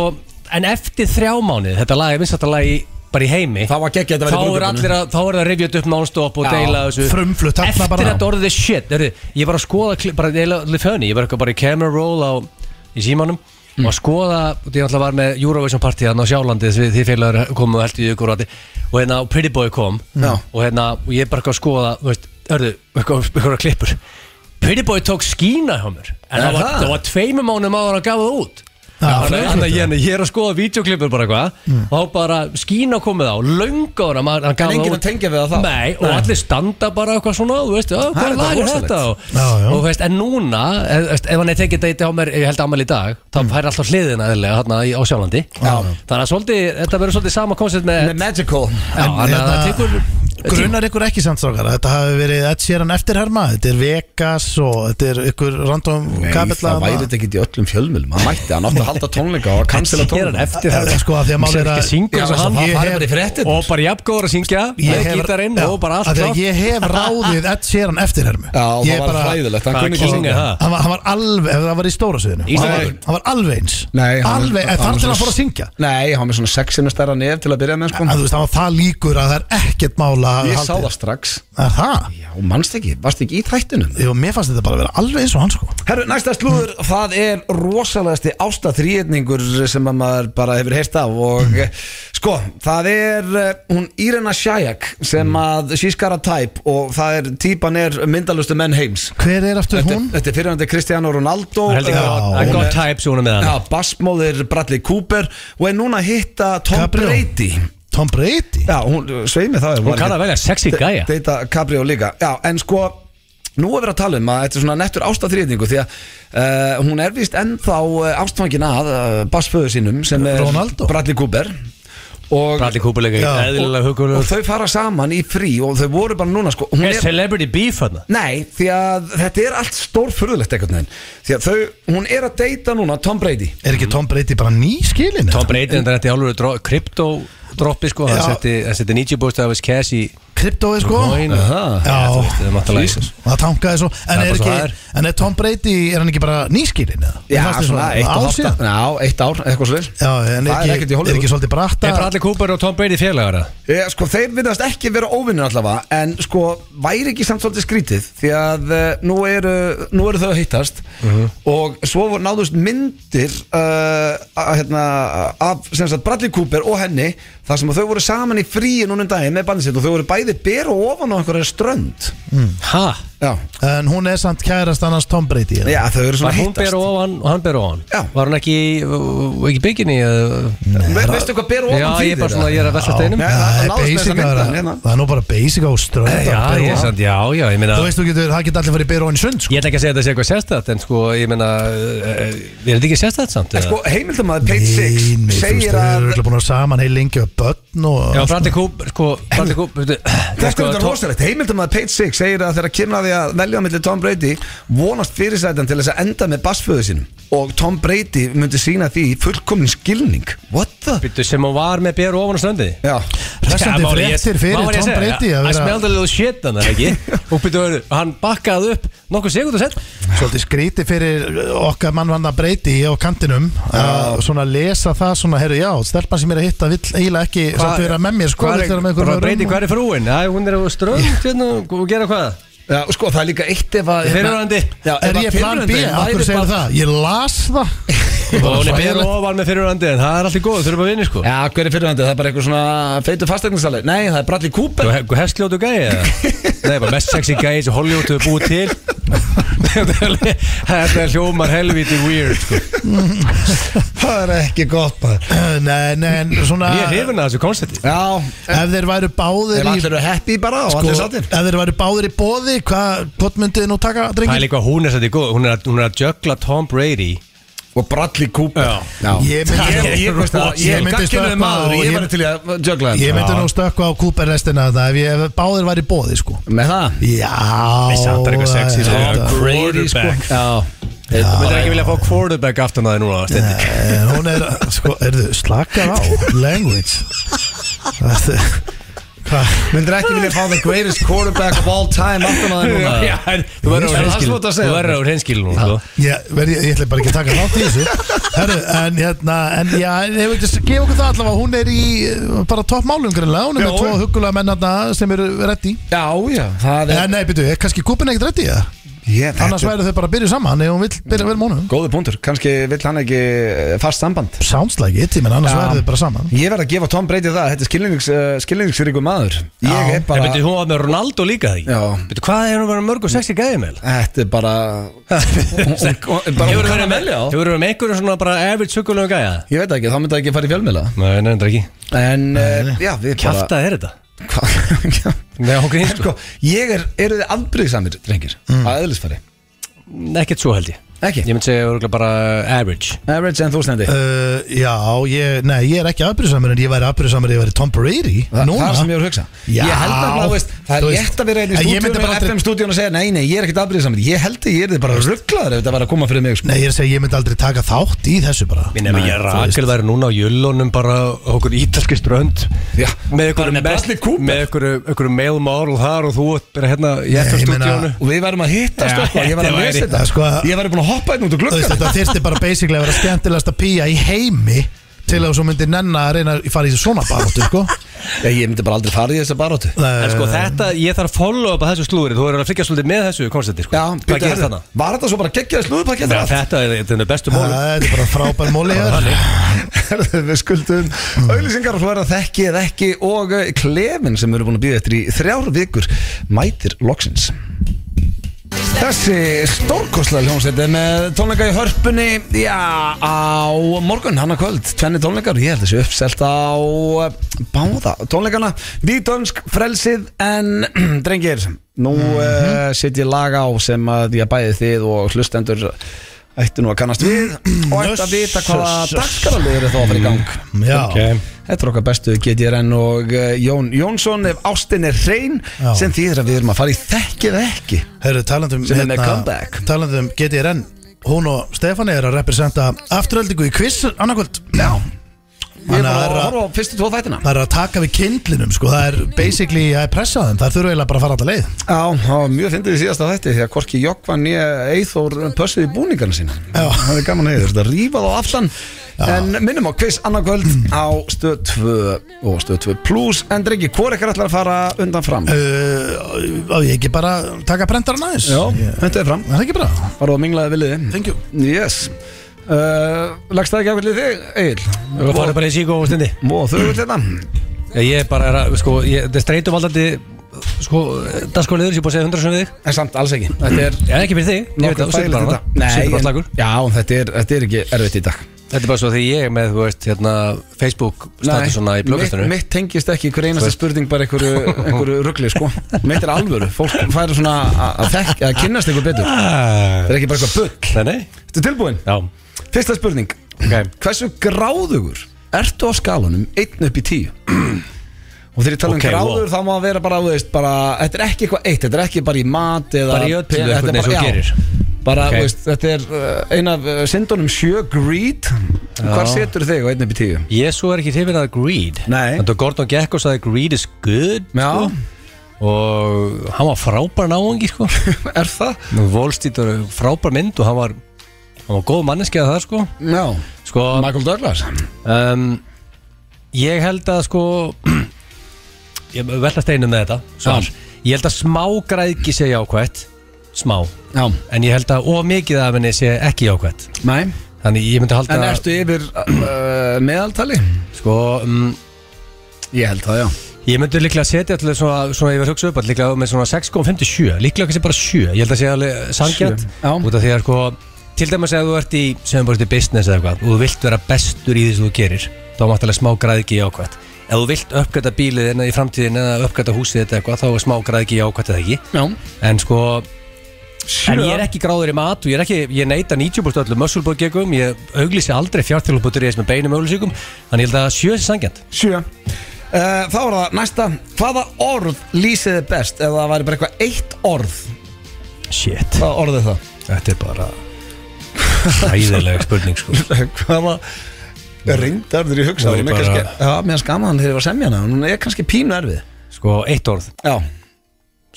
[SPEAKER 3] en eftir þrjá mánuð, þetta lag, ég minnst þetta lag í, bara í heimi,
[SPEAKER 1] Það var geggjað að þetta væri
[SPEAKER 3] þá
[SPEAKER 1] í
[SPEAKER 3] er
[SPEAKER 1] brúðkaupinu.
[SPEAKER 3] allir að, þá er það að rifja þetta upp non-stop og
[SPEAKER 1] Já.
[SPEAKER 3] deila þessu.
[SPEAKER 2] Frumflutt, þarna
[SPEAKER 3] Eftir
[SPEAKER 2] bara.
[SPEAKER 3] þetta orðið er shit, heyrðu, ég var að skoða, kli- bara deila fönni, ég var eitthvað bara í camera roll á, í símanum og að skoða, og ég alltaf var með Eurovision party þarna á Sjálandi því því félagur komu og held í ykkur og allir, og hérna og Pretty Boy kom
[SPEAKER 1] Já.
[SPEAKER 3] og hérna, og ég er bara eitthvað að skoða þú veist, hörðu, eitthvað, eitthvað klippur Pretty Boy tók skína hjá mér en
[SPEAKER 1] Er
[SPEAKER 3] það var,
[SPEAKER 1] það?
[SPEAKER 3] það var tveimum mánum áður að gafa það út Þannig að ég, ég er að skoða videoklippur bara eitthvað og þá bara skína komið á löngu ára maður, hann gaf
[SPEAKER 4] Mm. En enginn
[SPEAKER 3] það
[SPEAKER 4] að tengja við það þá?
[SPEAKER 3] Nei, og allir standa bara eitthvað svona þú veist, "Ah,
[SPEAKER 4] Það er
[SPEAKER 3] hvað lag er
[SPEAKER 4] þetta
[SPEAKER 3] þetta og,
[SPEAKER 2] Já, já.
[SPEAKER 3] og veist, en núna, ef, veist, ef hann er tekið þetta á mér, ég held ámæli í dag þá fær alltaf hliðina eðlilega þarna í- á sjálfandi þannig að svolítið, þetta verður svolítið sama koncept með,
[SPEAKER 4] Með Magical
[SPEAKER 3] já, þannig að það tekur
[SPEAKER 2] Grunar ykkur ekki samt strákar að Þetta hafi verið Ed Sheeran eftirherma Þetta er Vegas og þetta er ykkur random
[SPEAKER 1] Nei,
[SPEAKER 2] kapilla
[SPEAKER 1] það væri þetta ekki í öllum fjölmjölum Hann mætti, hann átti að halda tónleika og að cancela
[SPEAKER 3] hér er
[SPEAKER 1] tónleika
[SPEAKER 3] eftir
[SPEAKER 2] Eh, sko, að því að málið
[SPEAKER 3] Sér
[SPEAKER 2] er
[SPEAKER 3] ekki
[SPEAKER 2] að-
[SPEAKER 3] að
[SPEAKER 2] Já,
[SPEAKER 3] syngja eins og
[SPEAKER 2] það
[SPEAKER 3] hann.
[SPEAKER 2] fara
[SPEAKER 3] Ég
[SPEAKER 2] bara í
[SPEAKER 3] hef-
[SPEAKER 4] fréttirnar.
[SPEAKER 3] og bara jafngóður að syngja með gítarinn og bara allt
[SPEAKER 2] klátt
[SPEAKER 3] klátt
[SPEAKER 2] Ég hef ráðið Ed Sheeran eftirhermu
[SPEAKER 1] Já, og
[SPEAKER 2] Ég
[SPEAKER 1] það var
[SPEAKER 2] bara-
[SPEAKER 1] hræðilegt Hann
[SPEAKER 3] Hvað
[SPEAKER 1] kunni ekki
[SPEAKER 3] kynni
[SPEAKER 1] syngja
[SPEAKER 3] það?
[SPEAKER 2] Hann var, hann var alveg, ef það var í stóra sviðinu
[SPEAKER 3] Í
[SPEAKER 2] Hann
[SPEAKER 1] stóra
[SPEAKER 2] var-
[SPEAKER 1] sviðinu?
[SPEAKER 2] hann var alveg eins
[SPEAKER 1] Nei, hann-
[SPEAKER 2] Alveg,
[SPEAKER 1] hann-
[SPEAKER 2] en þar
[SPEAKER 1] hann-
[SPEAKER 2] til hann fór að syngja
[SPEAKER 1] Nei, hann var með svona sexinu stærra nef til að byrja með sko
[SPEAKER 2] En þú veist, hann var það líkur að það er ekkert mála
[SPEAKER 1] Ég sá það strax
[SPEAKER 2] Er það?
[SPEAKER 1] Já, mannst ekki, varst ekki í þættinum
[SPEAKER 2] Jú, mér fannst þetta bara að vera alveg eins og hann sko
[SPEAKER 1] Herru, næsta slúður, það er rosalegasti ástaþrýðningur sem að maður bara hefur heyrt af og mm. sko, það er eh, hún Irena Shayek sem að sískara tæp og það er típan er myndalustu menn heims
[SPEAKER 2] Hver er aftur
[SPEAKER 1] Þetta,
[SPEAKER 2] hún?
[SPEAKER 1] þetta er fyrirhandi Cristiano Ronaldo
[SPEAKER 3] Það held ég
[SPEAKER 1] eh,
[SPEAKER 2] Já,
[SPEAKER 3] að
[SPEAKER 1] hún
[SPEAKER 3] gott
[SPEAKER 1] er-
[SPEAKER 3] type sem hún er með
[SPEAKER 1] Já,
[SPEAKER 3] hann
[SPEAKER 1] bassmóðir Bradley Cooper og er núna að hitta Tom
[SPEAKER 2] Cabrio.
[SPEAKER 1] Brady
[SPEAKER 2] Tom Brady?
[SPEAKER 1] Já, hún sveið mig það
[SPEAKER 3] Hún kann að velja sexy gæja
[SPEAKER 1] Deita Cabrio líka Já, en sko Nú er verið að tala um að þetta er svona nettur ástaþrýðningu því að uh, hún er vist ennþá eh, ástfangin að uh, bassföðu sínum sem er
[SPEAKER 2] Ronaldo.
[SPEAKER 1] Bradley Cooper og,
[SPEAKER 3] Bradley Cooper leika
[SPEAKER 2] Já.
[SPEAKER 3] eðlilega
[SPEAKER 1] og
[SPEAKER 3] hugulegur
[SPEAKER 1] þau fara saman í frí og þau voru bara núna sko hún
[SPEAKER 3] Er celebrity beef hann?
[SPEAKER 1] Nei, því að þetta er allt stór furðulegt einhvern veginn Því að þau, hún er að deyta núna Tom Brady
[SPEAKER 2] Er ekki Tom Brady bara ný skilin?
[SPEAKER 3] Tom Brady en það er þetta í alveg kryptodroppi sko hann
[SPEAKER 2] Já.
[SPEAKER 3] setti- hann setti 90 búst af þess cash í
[SPEAKER 2] Kryptóið sko
[SPEAKER 3] coin og-
[SPEAKER 2] Já.
[SPEAKER 3] þú veist, það er náttúrulega
[SPEAKER 2] Og Það tankaði svo En
[SPEAKER 3] Það er
[SPEAKER 2] er,
[SPEAKER 3] bara svo
[SPEAKER 2] ekki,
[SPEAKER 3] það er.
[SPEAKER 2] en er Tom Brady, er hann ekki bara nýskilin?
[SPEAKER 1] Já, svona eitt og hálft
[SPEAKER 2] ársíðan
[SPEAKER 1] Já, eitt ár, eitthvað svolítið
[SPEAKER 2] Já, en
[SPEAKER 1] Það er ekkert í
[SPEAKER 2] er ekki, er
[SPEAKER 1] Hollywood.
[SPEAKER 2] ekki svolítið bratta
[SPEAKER 3] Er Bradley Cooper og Tom Brady félagar það?
[SPEAKER 1] Já, sko, þeir virðast ekki vera óvinnir allavega En sko, væri ekki samt svolítið skrítið Því að uh, nú, eru, nú eru þau að hittast
[SPEAKER 3] Mhm.
[SPEAKER 1] Og svo voru- náðust myndir uh, að, hérna, Af sem sagt Bradley Cooper og henni þar sem að þau voru saman í fríi núna um daginn Með bannin sitt og þau voru bæði bera ofan á einhverja strönd
[SPEAKER 3] Ha?
[SPEAKER 1] Já,
[SPEAKER 2] En hún er samt kærast annars Tom Brady eða?
[SPEAKER 1] Já þau eru svona
[SPEAKER 3] Var
[SPEAKER 1] að
[SPEAKER 3] hún
[SPEAKER 1] hittast
[SPEAKER 3] ber ofan og hann ber ofan?
[SPEAKER 1] Já.
[SPEAKER 3] Var hann ekki, í- uh, ekki bygginni?
[SPEAKER 1] Ve Veistu hvað bera ofan
[SPEAKER 3] Já,
[SPEAKER 1] þýðir?
[SPEAKER 3] ég er bara svona, ég er að velta steinum
[SPEAKER 1] Nei,
[SPEAKER 2] Já,
[SPEAKER 1] það-
[SPEAKER 2] það
[SPEAKER 1] náðist
[SPEAKER 2] er
[SPEAKER 1] með
[SPEAKER 2] basic
[SPEAKER 1] þessa mynd
[SPEAKER 2] að
[SPEAKER 1] þarna,
[SPEAKER 2] vera
[SPEAKER 1] hérna.
[SPEAKER 2] Það er nú bara basic á strönd
[SPEAKER 3] Já,
[SPEAKER 2] að
[SPEAKER 3] ég
[SPEAKER 2] bera
[SPEAKER 3] er
[SPEAKER 2] ofan.
[SPEAKER 3] sant, já, já, ég meina
[SPEAKER 2] Þú veist, þú getur, það getur allir farið bera ofan í sund sko.
[SPEAKER 3] Ég ætla ekki að segja að þetta sé eitthvað sérstætt En sko, ég meina, eh, eh, er þetta ekki sérstætt samt?
[SPEAKER 1] En
[SPEAKER 3] eða?
[SPEAKER 1] sko, heimildamæður Page Six
[SPEAKER 2] Nei, nei, þú veist,
[SPEAKER 1] segir
[SPEAKER 2] þau eru
[SPEAKER 1] að
[SPEAKER 2] örugglega búin að vera saman heil lengi og börn og
[SPEAKER 3] Já, Bradley Cooper, sko Bradley Cooper, veitu,
[SPEAKER 1] Þetta
[SPEAKER 3] sko,
[SPEAKER 1] er þetta
[SPEAKER 3] Tom-
[SPEAKER 1] rosalegt, heimildamæður Page Six segir að þegar kemur að því að velja millir Tom Brady vonast fyrirsætan til þess að enda með bassföðu sinum og Tom Brady myndi sína því fullkomin skilning What the?
[SPEAKER 3] Veitu, sem hún var með bér ofan á ströndinni
[SPEAKER 1] Já,
[SPEAKER 2] Hressandi fréttir fyrir Tom Brady að
[SPEAKER 3] I
[SPEAKER 2] vera-
[SPEAKER 3] smelled a little shit hann er ekki Og byrju, hann bakkaði upp nokkuð segundu sett
[SPEAKER 2] Svolítið skríti fyrir okkar mannvanna breyti á kantinum að svona lesa það svona, herru, já, stelpan sem er að hitta vill eiginlega ekki samt vera með mér, sko,
[SPEAKER 3] Hvað
[SPEAKER 2] vill
[SPEAKER 3] er,
[SPEAKER 2] vera með
[SPEAKER 3] bara
[SPEAKER 2] einhverjum
[SPEAKER 3] Brady,
[SPEAKER 2] öðrum
[SPEAKER 3] hvað er frúin? Æ, hún er á strönd, hérna, og gera hvað?
[SPEAKER 1] já og sko það er líka eitt ef að
[SPEAKER 3] Fyrirverandi
[SPEAKER 1] Já,
[SPEAKER 2] og- Er
[SPEAKER 1] ef að
[SPEAKER 2] ég plan B?
[SPEAKER 1] fyrrverandi
[SPEAKER 2] Akkur
[SPEAKER 1] væri
[SPEAKER 2] segir
[SPEAKER 1] bara-
[SPEAKER 2] það? Ég las það
[SPEAKER 3] Og hún er bér ofan með fyrirverandi En það er alltaf góð, þurfum að vinni sko
[SPEAKER 1] Já, hver er fyrirverandi? Það er bara eitthvað svona feitu fastegnisali Nei, það er Bradley Cooper
[SPEAKER 3] Þú hef- Hestljótu gæi eða? Nei, bara mest sexy gæi sem Hollywood hefur búið til Þetta er hljómar helviti weird sko.
[SPEAKER 1] Það er ekki gott maður
[SPEAKER 2] Nei, nei, en svona
[SPEAKER 3] Ég er hrifin að þessu koncepti
[SPEAKER 1] Já,
[SPEAKER 2] Ef þeir væru báðir
[SPEAKER 1] ef
[SPEAKER 2] í
[SPEAKER 1] allir eru happy bara og
[SPEAKER 2] sko,
[SPEAKER 1] allir
[SPEAKER 2] Ef
[SPEAKER 1] sattir
[SPEAKER 2] þeir væru báðir í bóði, hvað, hvort myndið þið nú taka,
[SPEAKER 3] Það er
[SPEAKER 2] drengir?
[SPEAKER 3] líka hún er sætti góð Hún er að, hún er að jökla Tom Brady
[SPEAKER 1] Og Bradley Cooper
[SPEAKER 3] Já.
[SPEAKER 2] Ég myndi-
[SPEAKER 1] Ég- ég- veist það,
[SPEAKER 2] Ég
[SPEAKER 1] ég
[SPEAKER 2] myndi
[SPEAKER 1] gagkinuði
[SPEAKER 2] stökkva
[SPEAKER 1] maður og ég
[SPEAKER 2] og ég-
[SPEAKER 1] var til í að jögla
[SPEAKER 2] Ég
[SPEAKER 1] þetta
[SPEAKER 2] myndi nú stökkva á Cooper restina þetta ef ég ef báðir væri í bóði, sko
[SPEAKER 1] með það
[SPEAKER 2] Já
[SPEAKER 3] Nei, samt er eitthvað sexy, sko.
[SPEAKER 2] þetta-
[SPEAKER 3] Tom Brady, sko.
[SPEAKER 1] já,
[SPEAKER 3] Þú myndir ekki vilja fá quarterback aftan að þið núna Steindi.
[SPEAKER 2] Eh, hún er, sko, erðu, slakar á language þetta er hvað,
[SPEAKER 1] myndir ekki vilja fá the greatest quarterback of all time aftan að það núna
[SPEAKER 3] Já, en Þú verður á
[SPEAKER 1] Það er
[SPEAKER 3] hreinskil
[SPEAKER 1] svont að segja.
[SPEAKER 3] Þú verður á hreinskil núna sko.
[SPEAKER 2] ég, verð, ég, ég ætla bara ekki að taka þátt í þessu herru, en hérna en já, en hefur ekki að gefa okkur það allavega hún er í eh, bara toppmálum greinlega hún er með
[SPEAKER 1] Já.
[SPEAKER 2] tvo hugulega menn hérna sem eru Eh, reddi
[SPEAKER 1] já, já, það
[SPEAKER 2] en nei, byrju, er kannski kúpin ekkert reddi, ja?
[SPEAKER 1] Ég- þetta-
[SPEAKER 2] annars væri þau bara að byrja saman ef hún vill byrja að vera mónum
[SPEAKER 1] Góðu punktur, kannski vill hann ekki eh, fast samband
[SPEAKER 2] sounds like it, ég menn annars
[SPEAKER 1] Já.
[SPEAKER 2] væri þau bara saman
[SPEAKER 1] Ég verð að gefa Tom Brady það, þetta er skilnings, uh, skilningsríku maður Ég er
[SPEAKER 3] En
[SPEAKER 1] bara,
[SPEAKER 3] betur, hún var með Ronaldo líka því
[SPEAKER 1] Já.
[SPEAKER 3] Betur, hvað er hún verið mörg og sexy gæði með?
[SPEAKER 1] þetta er bara
[SPEAKER 3] Hefur
[SPEAKER 1] Hefur
[SPEAKER 3] verið með, hefur verið með einhverjum svona bara average sökulegu gæða?
[SPEAKER 1] Ég veit það ekki, þá myndi það ekki fara í fjölmiðla
[SPEAKER 3] Nei, nefnir ekki
[SPEAKER 1] En, uh, já, við bara
[SPEAKER 3] Kjafta er þetta?
[SPEAKER 1] Hva-
[SPEAKER 3] Nei, hún grýn
[SPEAKER 1] Sko, ég er, eru þið afbrýðsamir, drengir Að eðlisfari
[SPEAKER 3] Ekkert svo held ég
[SPEAKER 1] Ekki?
[SPEAKER 3] Ég myndi segja örugglega bara average
[SPEAKER 1] Average Eh, en þú snendi
[SPEAKER 2] Uh, já, ég, nei, ég er ekki afbyrðisamur en ég væri afbyrðisamur ég væri Tom Brady
[SPEAKER 1] Þa, það
[SPEAKER 2] núna
[SPEAKER 1] er sem ég voru að hugsa
[SPEAKER 2] Já.
[SPEAKER 1] Ég held að þú veist, það
[SPEAKER 2] Þú
[SPEAKER 1] er
[SPEAKER 2] veist,
[SPEAKER 1] létt að vera einn í
[SPEAKER 2] en ég myndi
[SPEAKER 1] stúdíunum
[SPEAKER 2] bara aldrei-
[SPEAKER 1] FM stúdíunum og segja, nei, nei, ég er ekkert afbrýðsamur Ég held að ég er þið bara rugglaður ef þetta var að koma fyrir mig sko.
[SPEAKER 2] Nei, ég er að segja, ég myndi aldrei taka þátt í þessu bara
[SPEAKER 3] Minn ef ég Rakel væri núna á jöllunum bara á okkur ítalski strönd
[SPEAKER 1] Já.
[SPEAKER 3] með ykkur
[SPEAKER 1] Bara með Bradley Cooper.
[SPEAKER 3] með ykkur, ykkur male model þar og þú ert bara hérna í
[SPEAKER 2] Nei, ég meina-
[SPEAKER 3] eftirstúdíónu
[SPEAKER 1] Og við værum að hitta,
[SPEAKER 3] Já,
[SPEAKER 1] sko, ég var að
[SPEAKER 3] þetta
[SPEAKER 1] lesa
[SPEAKER 3] væri-
[SPEAKER 1] þetta
[SPEAKER 2] Sko-
[SPEAKER 1] Ég væri búin að hoppa einn út úr
[SPEAKER 2] Þú veist,
[SPEAKER 1] gluggan
[SPEAKER 2] þetta þyrfti bara basically að vera skemmtilegasta pía í heimi til að þú myndir nenn að reyna að fara í svona baróttu sko. Eh,
[SPEAKER 1] Já, Ég myndi bara aldrei fara í þessa baróttu
[SPEAKER 3] En sko þetta, ég þarf að follow up að þessu slúri Þú verður að fylgja svolítið með þessu konstanti sko.
[SPEAKER 1] Já,
[SPEAKER 3] Hvað
[SPEAKER 1] byrju,
[SPEAKER 3] gerir
[SPEAKER 1] herðu,
[SPEAKER 3] þarna?
[SPEAKER 1] var þetta svo bara hérna? geggjaði
[SPEAKER 3] Þetta
[SPEAKER 1] slúðupakki
[SPEAKER 3] er- Þetta er þetta er bestu mólum
[SPEAKER 2] Það er bara frábær móli hér
[SPEAKER 1] Herðu, Við skuldum auðlýsingar og svo er það þekki eða ekki og eh, klefinn sem við erum búin að býða eftir í þrjár vikur mætir loksins Þessi stórkoslega hljómsveit er með tónleika í hörpunni já, á morgun, hann að kvöld tvenni tónleikar, ég held þessi uppselt á eh, báða tónleikana Vítönsk, frelsið en drengir, nú mm set ég lag á sem að ég bæði þið og hlustendur ættu nú að kannast við og ættu að vita hvaða
[SPEAKER 2] Jesus.
[SPEAKER 1] dagskaralöður er þá að fara í gang
[SPEAKER 2] Já,
[SPEAKER 1] Þetta er okkar bestu GTRN og eh, Jón Jónsson ef ástin er hrein
[SPEAKER 2] Já.
[SPEAKER 1] sem þýðir að við erum að fara í þekki eða ekki
[SPEAKER 2] heyrðu, talandum hérna-
[SPEAKER 1] Sem er með comeback.
[SPEAKER 2] Talandum um GTRN Hún og Stefán er að representa afturöldingu í quiz annarkvöld Já
[SPEAKER 1] Ég er
[SPEAKER 2] Þannig
[SPEAKER 1] bara að
[SPEAKER 2] að það er
[SPEAKER 1] horfa
[SPEAKER 2] að-
[SPEAKER 1] á fyrstu tvo þættina
[SPEAKER 2] það er að taka við kindlinum sko. Það er basically að pressa þeim Það þurfa eiginlega bara að fara alltaf leið
[SPEAKER 1] Já, það var mjög fyndið í síðasta þætti því að Korki Jokvan ég Eithór pössuð í búningarna sína
[SPEAKER 2] Já.
[SPEAKER 1] Það er gaman að eða þetta rífað á aftan En minnum á quiz annarkvöld á stöð 2 og stöð 2 plus En drengi, hvor ekkert ætlar að fara undan
[SPEAKER 2] Eh,
[SPEAKER 1] fram?
[SPEAKER 2] uh, Á ég ekki bara að taka brendaran aðeins
[SPEAKER 1] Já,
[SPEAKER 2] Ég-
[SPEAKER 1] þetta er fram
[SPEAKER 2] Það er ekki bara
[SPEAKER 1] Bara að minglaði viljiði
[SPEAKER 2] Thank you
[SPEAKER 1] Yes uh, Lagst það ekki ákveðlið þig, Egil?
[SPEAKER 3] Þú verður bara í síkó og stundi
[SPEAKER 1] Mó, þau eru þetta
[SPEAKER 3] Já, Eh. Ég er bara, er að, sko, ég- þetta er streituvaldandi Sko, dagskóliður, ég er búin að segja hundra sem við þig
[SPEAKER 1] En samt alls ekki Þetta er
[SPEAKER 3] Já, ekki fyrir þig, ég veit það,
[SPEAKER 1] nokkuð
[SPEAKER 3] þú setur
[SPEAKER 1] þægilegt
[SPEAKER 3] bara
[SPEAKER 1] þetta.
[SPEAKER 3] hana Setur bara
[SPEAKER 1] Nei,
[SPEAKER 3] slagur
[SPEAKER 1] en- já, en þetta er, þetta er ekki erfitt í dag
[SPEAKER 3] Þetta er bara svo því ég er með, þú veist, hérna Facebook statusuna í blöggastinu
[SPEAKER 1] mitt, mitt tengist ekki hver einasta spurning bara einhverju, einhverju ruggli sko Mitt er alvöru, fólk færi svona að- að þekk- að kynnast einhver betur
[SPEAKER 3] Nei,
[SPEAKER 1] Þetta er ekki bara eitthvað bull
[SPEAKER 3] Ah. nei,
[SPEAKER 1] Þetta er tilbúin
[SPEAKER 3] já,
[SPEAKER 1] Fyrsta spurning
[SPEAKER 3] ok
[SPEAKER 1] Hversu gráðugur ertu á skalanum 1 upp í 10? Og þegar ég tala um
[SPEAKER 3] Ok,
[SPEAKER 1] gráður
[SPEAKER 3] wow.
[SPEAKER 1] þá má það vera bara, þú veist, bara Þetta er ekki eitthvað eitt, þetta er ekki bara í mat eða
[SPEAKER 3] Bara í öllu
[SPEAKER 1] Þetta er
[SPEAKER 3] einhvern veginn
[SPEAKER 1] bara-
[SPEAKER 3] sem þú
[SPEAKER 1] já.
[SPEAKER 3] gerir.
[SPEAKER 1] Bara,
[SPEAKER 3] Ok.
[SPEAKER 1] þú veist, þetta er uh, ein af uh, syndunum sjö greed Hvar setur þig á 1 upp í 10?
[SPEAKER 3] Jésu er ekki hrifin að greed
[SPEAKER 1] Nei.
[SPEAKER 3] Þannig að Gordon Gekko sagði greed is good sko.
[SPEAKER 1] Já,
[SPEAKER 3] Og hann var frábær náungi sko
[SPEAKER 1] er það?
[SPEAKER 3] Volstýt er frábær mynd og hann var Hann var góð manneski að það sko
[SPEAKER 1] Já
[SPEAKER 3] Sko
[SPEAKER 1] Michael Douglas
[SPEAKER 3] um, Ég held að sko Ég velta steinum með þetta svar.
[SPEAKER 1] Já.
[SPEAKER 3] Ég held að smá græðgi sé jákvætt Smá
[SPEAKER 1] Já,
[SPEAKER 3] En ég held að ómikið af henni sé ekki jákvætt
[SPEAKER 1] næ
[SPEAKER 3] Þannig ég myndi halda
[SPEAKER 1] En ertu yfir uh, meðaltali?
[SPEAKER 3] Sko, um,
[SPEAKER 1] Ég held það, já
[SPEAKER 3] ég myndi líklega setja allir svona, svona ég verð hugsa upp allir líklega með svona 6,57 líklega kannski bara 7, ég held að sé alveg sangjant
[SPEAKER 1] Sjö, já.
[SPEAKER 3] út af því að sko til dæmis ef þú ert í, sem bara í business eða eitthvað og þú vilt vera bestur í því sem þú gerir þá er máttalega smá græðgi í ákvæmt ef þú vilt uppgöta bílið þinn í framtíðin eða uppgöta húsið þetta eitthvað þá er smá græðgi í ákvæmt eða ekki
[SPEAKER 1] Já
[SPEAKER 3] en sko, en ég er ekki gráður í mat og ég er ekki, ég neita 90% öllum musclebookgegum, ég auglýsi aldrei fjártilbútur í þess með beinum auglýsingum þannig ég held að sjö er sangjant
[SPEAKER 1] Sjö Uh, þá er það næsta Hvaða orð lýsið þið best Ef það væri bara eitthvað eitt orð
[SPEAKER 3] Shit
[SPEAKER 1] Hvaða orð er það?
[SPEAKER 3] Þetta er bara Hæðilega spurning sko
[SPEAKER 1] Hvaða reyndarður ég hugsa
[SPEAKER 3] Það væri
[SPEAKER 1] Mér
[SPEAKER 3] bara-
[SPEAKER 1] kannski Já, mér skamaði hann þegar ég var að semja hana Hún er kannski pínu erfið
[SPEAKER 3] Sko, eitt orð
[SPEAKER 1] Já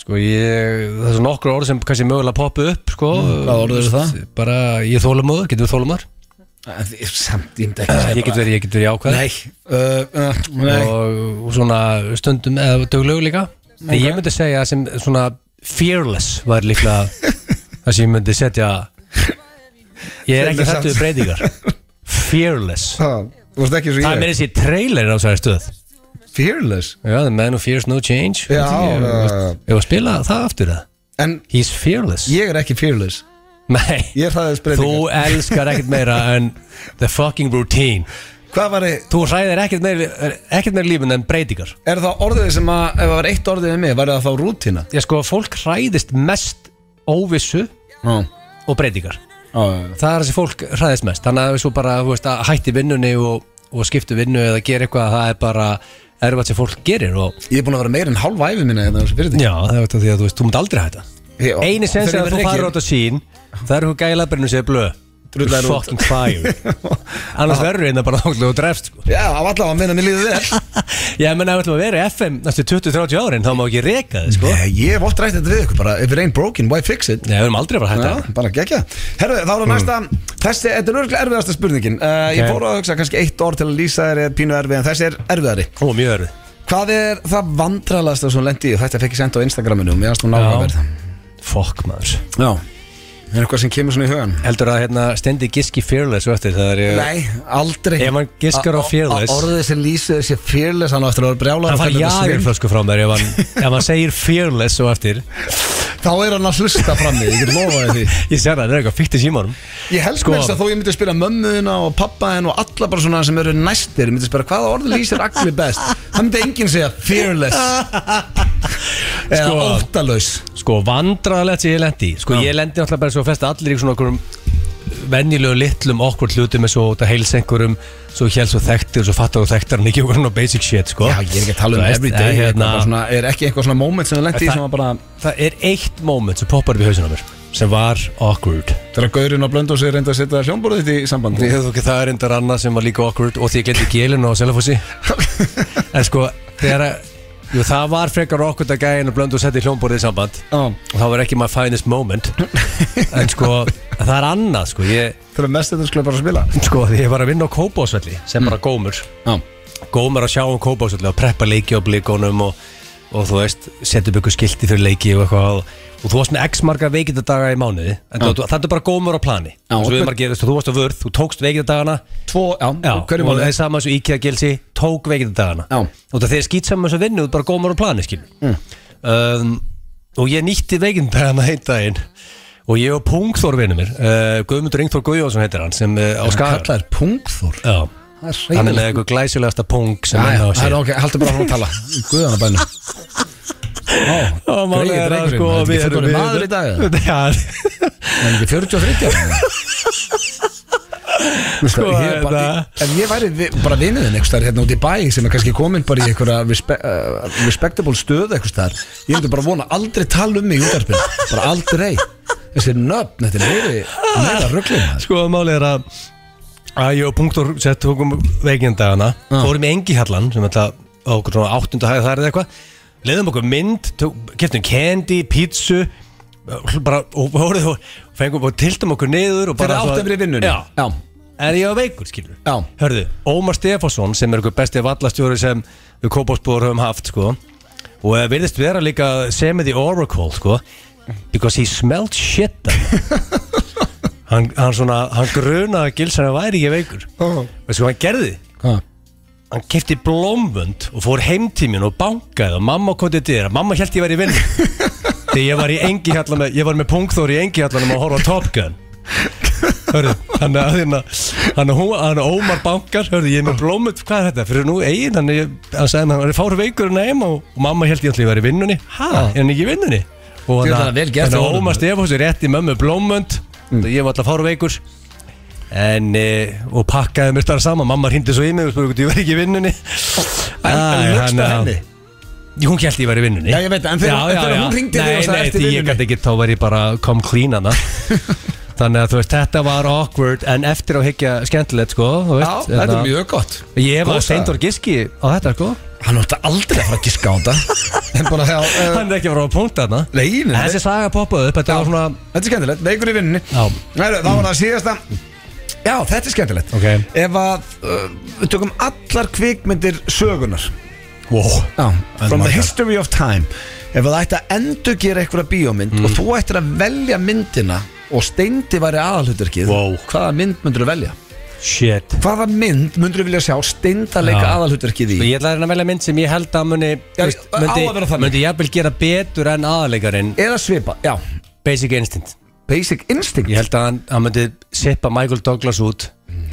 [SPEAKER 3] Sko, ég Það er svo nokkur orð sem kannski mögulega poppu upp sko
[SPEAKER 1] Mm, hvaða orð eru það?
[SPEAKER 3] Bara, ég þólum öður, getur við þólum öður
[SPEAKER 1] Það er Samt, Eh, ég myndi ekki að segja
[SPEAKER 3] Ég get
[SPEAKER 1] bara-
[SPEAKER 3] verið, ég get verið ákvæð
[SPEAKER 1] Nei uh, uh, Nei
[SPEAKER 3] og, og svona stundum eða döglegu líka En ég myndi segja sem svona fearless var líklega Það sem ég myndi setja Ég er ekki
[SPEAKER 1] Fearless
[SPEAKER 3] hættu við breytingar Fearless
[SPEAKER 1] Ha, Þú veist ekki eins
[SPEAKER 3] Það
[SPEAKER 1] og
[SPEAKER 3] er
[SPEAKER 1] ég
[SPEAKER 3] meira þessi trailer á þessari stöð
[SPEAKER 1] Fearless
[SPEAKER 3] Já, the man who fears no change
[SPEAKER 1] Já, uh,
[SPEAKER 3] Ég-
[SPEAKER 1] já, já.
[SPEAKER 3] Ef að spila það aftur það
[SPEAKER 1] En
[SPEAKER 3] He's fearless
[SPEAKER 1] ég er ekki fearless
[SPEAKER 3] Nei,
[SPEAKER 1] Ég er hraðaðis
[SPEAKER 3] þú
[SPEAKER 1] breytingar
[SPEAKER 3] elskar ekkert meira en the fucking routine
[SPEAKER 1] Hvað var þið
[SPEAKER 3] Þú hræðir ekkert meira, eh, ekkert meira lífin en breytingar
[SPEAKER 1] Er það orðið sem að, ef það var eitt orðið með mig, var það þá rútina?
[SPEAKER 3] Já, sko, fólk hræðist mest óvissu
[SPEAKER 1] Já,
[SPEAKER 3] og breytingar
[SPEAKER 1] já, já.
[SPEAKER 3] það er það sem fólk hræðist mest þannig að við svo bara þú veist, að hætti vinnunni og, og skiptu vinnu eða gera eitthvað það er bara erfað sem fólk gerir og
[SPEAKER 1] Ég er búin að vera meira en hálfa æfi minna hérna á þessu fyrirtæki.
[SPEAKER 3] já, það er þetta því að þú veist, þú munt aldrei hætta
[SPEAKER 1] Ég-
[SPEAKER 3] eini sens er
[SPEAKER 1] Þegar ég
[SPEAKER 3] að þú
[SPEAKER 1] verð
[SPEAKER 3] farir
[SPEAKER 1] rekinn.
[SPEAKER 3] át að sín það er hún gæla byrnu sér blöð
[SPEAKER 1] Drullar
[SPEAKER 3] You're
[SPEAKER 1] út.
[SPEAKER 3] fucking fire annars verður hérna bara náttúrulega og drefst sko.
[SPEAKER 1] Já, af allavega minna mér líður vel sko.
[SPEAKER 3] ég menna ef við ætlum að vera í FM næstu 20-30 árin þá má ekki reka þið sko
[SPEAKER 1] Nei, Eh, Ég hef oft rætt þetta við ykkur bara If it ain't broken, why fix it?
[SPEAKER 3] Nei, við erum aldrei að fara að
[SPEAKER 1] Já, Mm.
[SPEAKER 3] hætta
[SPEAKER 1] bara gegja Herru, þá er það næsta Þessi, þetta er örgulega erfiðasta spurningin uh, Ég
[SPEAKER 3] Ok.
[SPEAKER 1] fór að hugsa kannski eitt orð til að lýsa þér er pínu erfið En þessi er erfiðari
[SPEAKER 3] Ó, mjög erfið
[SPEAKER 1] Hvað er það vandralasta sem hún lendi í? Þetta fekk ég senda á Instagraminu Mér fannst hún
[SPEAKER 3] Já.
[SPEAKER 1] nákvæmverð
[SPEAKER 3] Fuck maður
[SPEAKER 1] Já Er eitthvað sem kemur svona í hugan?
[SPEAKER 3] Heldur að hérna stendi giski fearless og eftir það er ég
[SPEAKER 1] Eh, Nei, aldrei
[SPEAKER 3] Ef hann giskar á
[SPEAKER 1] A- a-
[SPEAKER 3] fearless.
[SPEAKER 1] a- Orðið sem lýsir þessi fearless Hann á eftir að vera brjálaður
[SPEAKER 3] Það fara
[SPEAKER 1] að kalla þetta svindl.
[SPEAKER 3] jagerflösku frá mér ef hann, ef hann segir fearless og eftir
[SPEAKER 1] Þá er hann að hlusta fram mig Ég get lofaði því
[SPEAKER 3] Ég sér það, það er eitthvað fyrst í símanum
[SPEAKER 1] Ég helst
[SPEAKER 3] Sko-
[SPEAKER 1] sko, með þess að þó ég myndi spyrja mömmuðina og pappaðin og alla bara svona sem eru næstir Ég myndi spyrja hvaða orði lýsir Agli best Það myndi enginn segja fearless eða
[SPEAKER 3] Sko-
[SPEAKER 1] óttalaus
[SPEAKER 3] Sko vandraðalegt sem ég lendi í. Sko ég lendi náttúrulega bara svo flest allir í svona okkurum venjulegu litlum okkur hlutum eins og út að heils einhverjum svo hél svo þekktir og svo fattar og þekktar hann ekki okkur svona basic shit sko
[SPEAKER 1] Já, ég er ekki að tala
[SPEAKER 3] Þú
[SPEAKER 1] um
[SPEAKER 3] veist,
[SPEAKER 1] everyday
[SPEAKER 3] eh,
[SPEAKER 1] hérna.
[SPEAKER 3] hérna,
[SPEAKER 1] svona, Er ekki eitthvað svona moment sem það lendi í
[SPEAKER 3] Það-
[SPEAKER 1] sem var bara
[SPEAKER 3] Það er eitt moment sem poppar upp í hausinu á mér sem var awkward
[SPEAKER 1] Þegar gaurinn á blöndu og sér reynda að setja hljómborðið þitt í samband
[SPEAKER 3] Ég hefði ekki það er endar annað sem var líka awkward og því ég gletti gélinu á Selafossi En sko, þegar að Jú, það var frekar awkward að gæðin og blöndu og setja hljómborðið í samband
[SPEAKER 1] Já,
[SPEAKER 3] og það var ekki my finest moment en sko, það er annað sko ég,
[SPEAKER 1] þegar mest þetta skulle bara spila
[SPEAKER 3] sko, því ég var að vinna á kópásvelli sem bara gómur
[SPEAKER 1] Já,
[SPEAKER 3] gómur að sjá um kópásvelli og preppa leiki á blíkonum og, og þú veist, setja upp ykkur skilti fyrir leiki og eitthvað og, og þú varst með x marga veikindadaga í mánuði en þú, þetta er bara gómur á plani
[SPEAKER 1] Já,
[SPEAKER 3] Svo
[SPEAKER 1] og-
[SPEAKER 3] við erum að gera, þú, þú varst á vörð, þú tókst veikindadagana
[SPEAKER 1] tvo, já,
[SPEAKER 3] Já,
[SPEAKER 1] og
[SPEAKER 3] og
[SPEAKER 1] hverju
[SPEAKER 3] það
[SPEAKER 1] máli
[SPEAKER 3] er sama eins og IKEA gilsi tók veikindadagana
[SPEAKER 1] Já. Mm.
[SPEAKER 3] og það þeir skýt saman eins og vinnu þú ert bara gómar á plani skil um, og ég nýtti veikindagana einn daginn og ég og Pungþór vinnu mér uh, Guðmundur Ingþór Guðjónsson heitir hann sem uh, á skar
[SPEAKER 1] Kallar pungþór
[SPEAKER 3] Já,
[SPEAKER 1] Það er
[SPEAKER 3] hann er
[SPEAKER 1] reyðilegt
[SPEAKER 3] með eitthvað glæsilegasta pung sem hann á
[SPEAKER 1] Það er
[SPEAKER 3] sér
[SPEAKER 1] ok, haldur bara frá að tala Guðan að bænum
[SPEAKER 3] Já, málið
[SPEAKER 1] Greið
[SPEAKER 3] er að
[SPEAKER 1] drengurinn,
[SPEAKER 3] sko
[SPEAKER 1] þetta er
[SPEAKER 3] við
[SPEAKER 1] ekki
[SPEAKER 3] erum
[SPEAKER 1] fullorðinn
[SPEAKER 3] við-
[SPEAKER 1] maður í dag, eða?
[SPEAKER 3] Já,
[SPEAKER 1] En ekki 40 og 30 ára Sko, ég er bara,
[SPEAKER 3] þetta-
[SPEAKER 1] ef ég væri vi, bara vinnuðin einhverstaðar hérna út í bæ sem er kannski komin bara í einhverja respe, uh, respectable stöð einhverstaðar ég myndi bara vona aldrei tala um mig í útarpinu bara aldrei þessi nöfn, þetta er meiri meira rugglum
[SPEAKER 3] sko málið er að að ég og Punktur sett tókum veikindagana fórum í Engihallan sem þetta á okkur svona áttunda hæði þar eða eitthvað leiðum okkur mynd, tók- keyptum candy, pítsu bara, og voruð og fengum og tiltum okkur niður og
[SPEAKER 1] Fyrir
[SPEAKER 3] bara
[SPEAKER 1] áttum fyrir vinnunni
[SPEAKER 3] já,
[SPEAKER 1] Já.
[SPEAKER 3] er ég á veikur skilur
[SPEAKER 1] Já.
[SPEAKER 3] hörðu, Ómar Stefánsson sem er okkur besti vallastjóri sem við kópásbúður höfum haft sko og eh, virðist vera líka semið í Oracle sko because he smelled shit down there. hann, hann svona, hann grunaði að gilsan að væri ekki veikur
[SPEAKER 1] Oh.
[SPEAKER 3] veistu hvað hann gerði?
[SPEAKER 1] Hvað?
[SPEAKER 3] hann kefti blómvönd og fór heimtímin og bankaði og mamma kom til dyr mamma held ég væri í vinn þegar ég var í engi með, ég var með pungþór í engi hallanum að horfa á Top Gun hörðu, hann að hérna hann að hún- hann að Ómar bankar hörðu, ég er með blómvönd, hvað er þetta, fyrir nú eigin hann, er- hann sagði hann, hann er fáru veikur en heima og mamma held ég alltaf ég væri í vinnunni ha, er hann ekki í vinnunni og
[SPEAKER 1] Djöfull,
[SPEAKER 3] hann
[SPEAKER 1] það er vel
[SPEAKER 3] að-
[SPEAKER 1] gert
[SPEAKER 3] hann
[SPEAKER 1] hjá
[SPEAKER 3] að
[SPEAKER 1] honum.
[SPEAKER 3] Ómar Stefáns er rétt í mömmu blómvönd og ég var alltaf fáru veikur en, e, og pakkaði mér þar saman mamma hindi svo í mig og spurði hvort ég var ekki í vinnunni
[SPEAKER 1] En, en
[SPEAKER 3] Æ,
[SPEAKER 1] lögstu
[SPEAKER 3] hann, Ah, já.
[SPEAKER 1] henni?
[SPEAKER 3] Jú, hún held ég var í vinnunni
[SPEAKER 1] Já, ég veit það, en þegar- en þegar hún hringdi þig
[SPEAKER 3] Nei,
[SPEAKER 1] og sagði,
[SPEAKER 3] nei,
[SPEAKER 1] "Ertu í
[SPEAKER 3] því ég
[SPEAKER 1] vinnunni?"
[SPEAKER 3] gæti ekki, þá var ég bara kom clean hana Þannig að þú veist, þetta var awkward en eftir á higgja skemmtilegt sko þú
[SPEAKER 1] Já,
[SPEAKER 3] veist,
[SPEAKER 1] þetta
[SPEAKER 3] hérna.
[SPEAKER 1] er mjög gott
[SPEAKER 3] Ég var
[SPEAKER 1] Góð
[SPEAKER 3] Steindor Giski á þetta sko
[SPEAKER 1] Hann átti aldrei að fara að giska á þetta En bara þegar uh,
[SPEAKER 3] Hann er ekki að fara á punkt þarna
[SPEAKER 1] Nei, nei,
[SPEAKER 3] En Þessi saga poppaði upp, þetta var svona
[SPEAKER 1] Þetta er skemmtilegt, veikur í vinnunni
[SPEAKER 3] Já.
[SPEAKER 1] Næru, þá var það síðasta Já, þetta er skemmtilegt
[SPEAKER 3] Ok.
[SPEAKER 1] Ef að, uh, við tökum allar kvikmyndir sögunar
[SPEAKER 3] Wow
[SPEAKER 1] Já, From the
[SPEAKER 2] my God.
[SPEAKER 1] history of time Ef það ætti að endurgera einhverja bíómynd
[SPEAKER 3] Mm.
[SPEAKER 1] Og þú ættir að velja myndina Og steindi væri aðalhuturkið
[SPEAKER 3] Wow.
[SPEAKER 1] Hvaða mynd myndur þú velja?
[SPEAKER 3] Shit
[SPEAKER 1] Hvaða mynd myndur þú vilja sjá steinda leika
[SPEAKER 3] Já. Sko
[SPEAKER 1] aðalhuturkið í?
[SPEAKER 3] Ég ætla að reyna að velja mynd sem ég held að muni
[SPEAKER 1] Já,
[SPEAKER 3] þú veist,
[SPEAKER 1] á að vera
[SPEAKER 3] Myndi,
[SPEAKER 1] þannig.
[SPEAKER 3] myndi jafnvel gera betur en aðalegarinn
[SPEAKER 1] Eða svipa, já
[SPEAKER 3] Basic Instinct
[SPEAKER 1] Basic Instinct
[SPEAKER 3] Ég held að hann, hann myndi sippa Michael Douglas út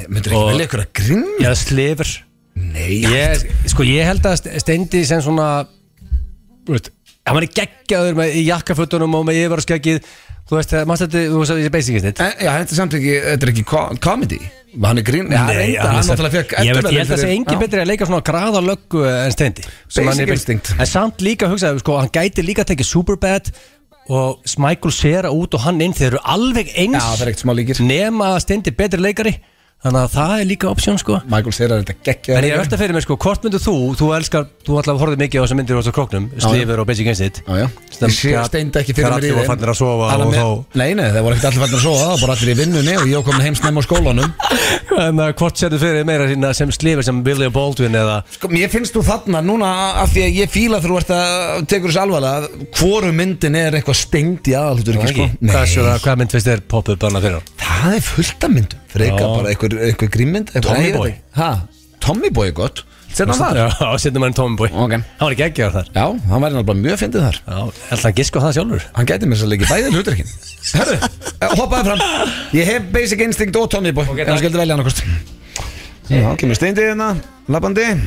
[SPEAKER 1] Myndur ekki
[SPEAKER 3] Og-
[SPEAKER 1] velja einhverja grinn?
[SPEAKER 3] Eða slifur
[SPEAKER 1] Nei
[SPEAKER 3] ég, Sko ég held að Steindi sem svona þú veist, Hann var í geggjaður með, í jakkafötunum og með yfirvaraskeggið Þú veist, maður stætti, þú veist, þessi Basic Instinct
[SPEAKER 1] En, Eh, já, þetta er samt ekki, þetta er ekki ko- comedy Hann er grín, já,
[SPEAKER 3] Nei,
[SPEAKER 1] reynda, hann
[SPEAKER 3] hann
[SPEAKER 1] náttúrulega fekk
[SPEAKER 3] Ég veit- ég held að það
[SPEAKER 1] Edduverðlaun
[SPEAKER 3] sé engin
[SPEAKER 1] fyrir-
[SPEAKER 3] betri að leika svona graða löggu en steindi Sem
[SPEAKER 1] Basic
[SPEAKER 3] hann er-
[SPEAKER 1] instinct.
[SPEAKER 3] En samt líka hugsaði, sko, hann gæti líka að tekið Superbad og Michael Cera út og hann inn þeir eru alveg
[SPEAKER 1] Já,
[SPEAKER 3] eins
[SPEAKER 1] það er ekkert smá líkir
[SPEAKER 3] nema að steindi er betri leikari þannig að það er líka option sko
[SPEAKER 1] Michael Cera er þetta geggja
[SPEAKER 3] En ég er velta fyrir mig sko, hvort myndir þú, þú elskar, þú alltaf horfðið mikið á þessar myndir á þessar króknum, Slífur og Basic Instinct
[SPEAKER 1] Já, já.
[SPEAKER 3] Stem-
[SPEAKER 1] Ég sé
[SPEAKER 3] þegar-
[SPEAKER 1] steinda ekki fyrir mér í
[SPEAKER 3] þegar allir voru
[SPEAKER 1] þeim.
[SPEAKER 3] farnir að sofa
[SPEAKER 1] Alla
[SPEAKER 3] og
[SPEAKER 1] með-
[SPEAKER 3] þá-
[SPEAKER 1] Nei, nei, það voru ekkert allir fannir að sofa, það var bara allir í vinnunni og ég kom heim snemma á skólanum
[SPEAKER 3] En uh, hvort setur fyrir þér meira sína sem Slífur, sem William Baldwin eða
[SPEAKER 1] Sko, mér finnst þú þarna núna af því að ég fíla þú ert að tekur þessu alvarlega hvoru myndin er eitthvað stengd í aðalhutur ekki, sko?
[SPEAKER 3] Hvað er svona- hvað mynd finnst þér poppuð banna fyrir hann?
[SPEAKER 1] það er fullt af myndum frekar
[SPEAKER 3] Já.
[SPEAKER 1] bara einhver, einhver grímmynd einhver-
[SPEAKER 3] Tommy
[SPEAKER 1] Nei, ég veit
[SPEAKER 3] Boy.
[SPEAKER 1] ekki. Ha? Tommy Boy er gott Setna það?
[SPEAKER 3] Já, setjum hann í Tommy Boy
[SPEAKER 1] Ok.
[SPEAKER 3] Hann var ekki ekki á þar
[SPEAKER 1] Já, hann væri náttúrulega bara mjög fyndið þar
[SPEAKER 3] Já, held hann gisk á það sjálfur
[SPEAKER 1] Hann gæti mér svo leikið bæðið hluturkinn Herru, eh, hoppaðu fram Ég hef Basic Instinct og Tommy Boy En hann skildi velja hann okkur Já, kemur steindið hérna, labbandi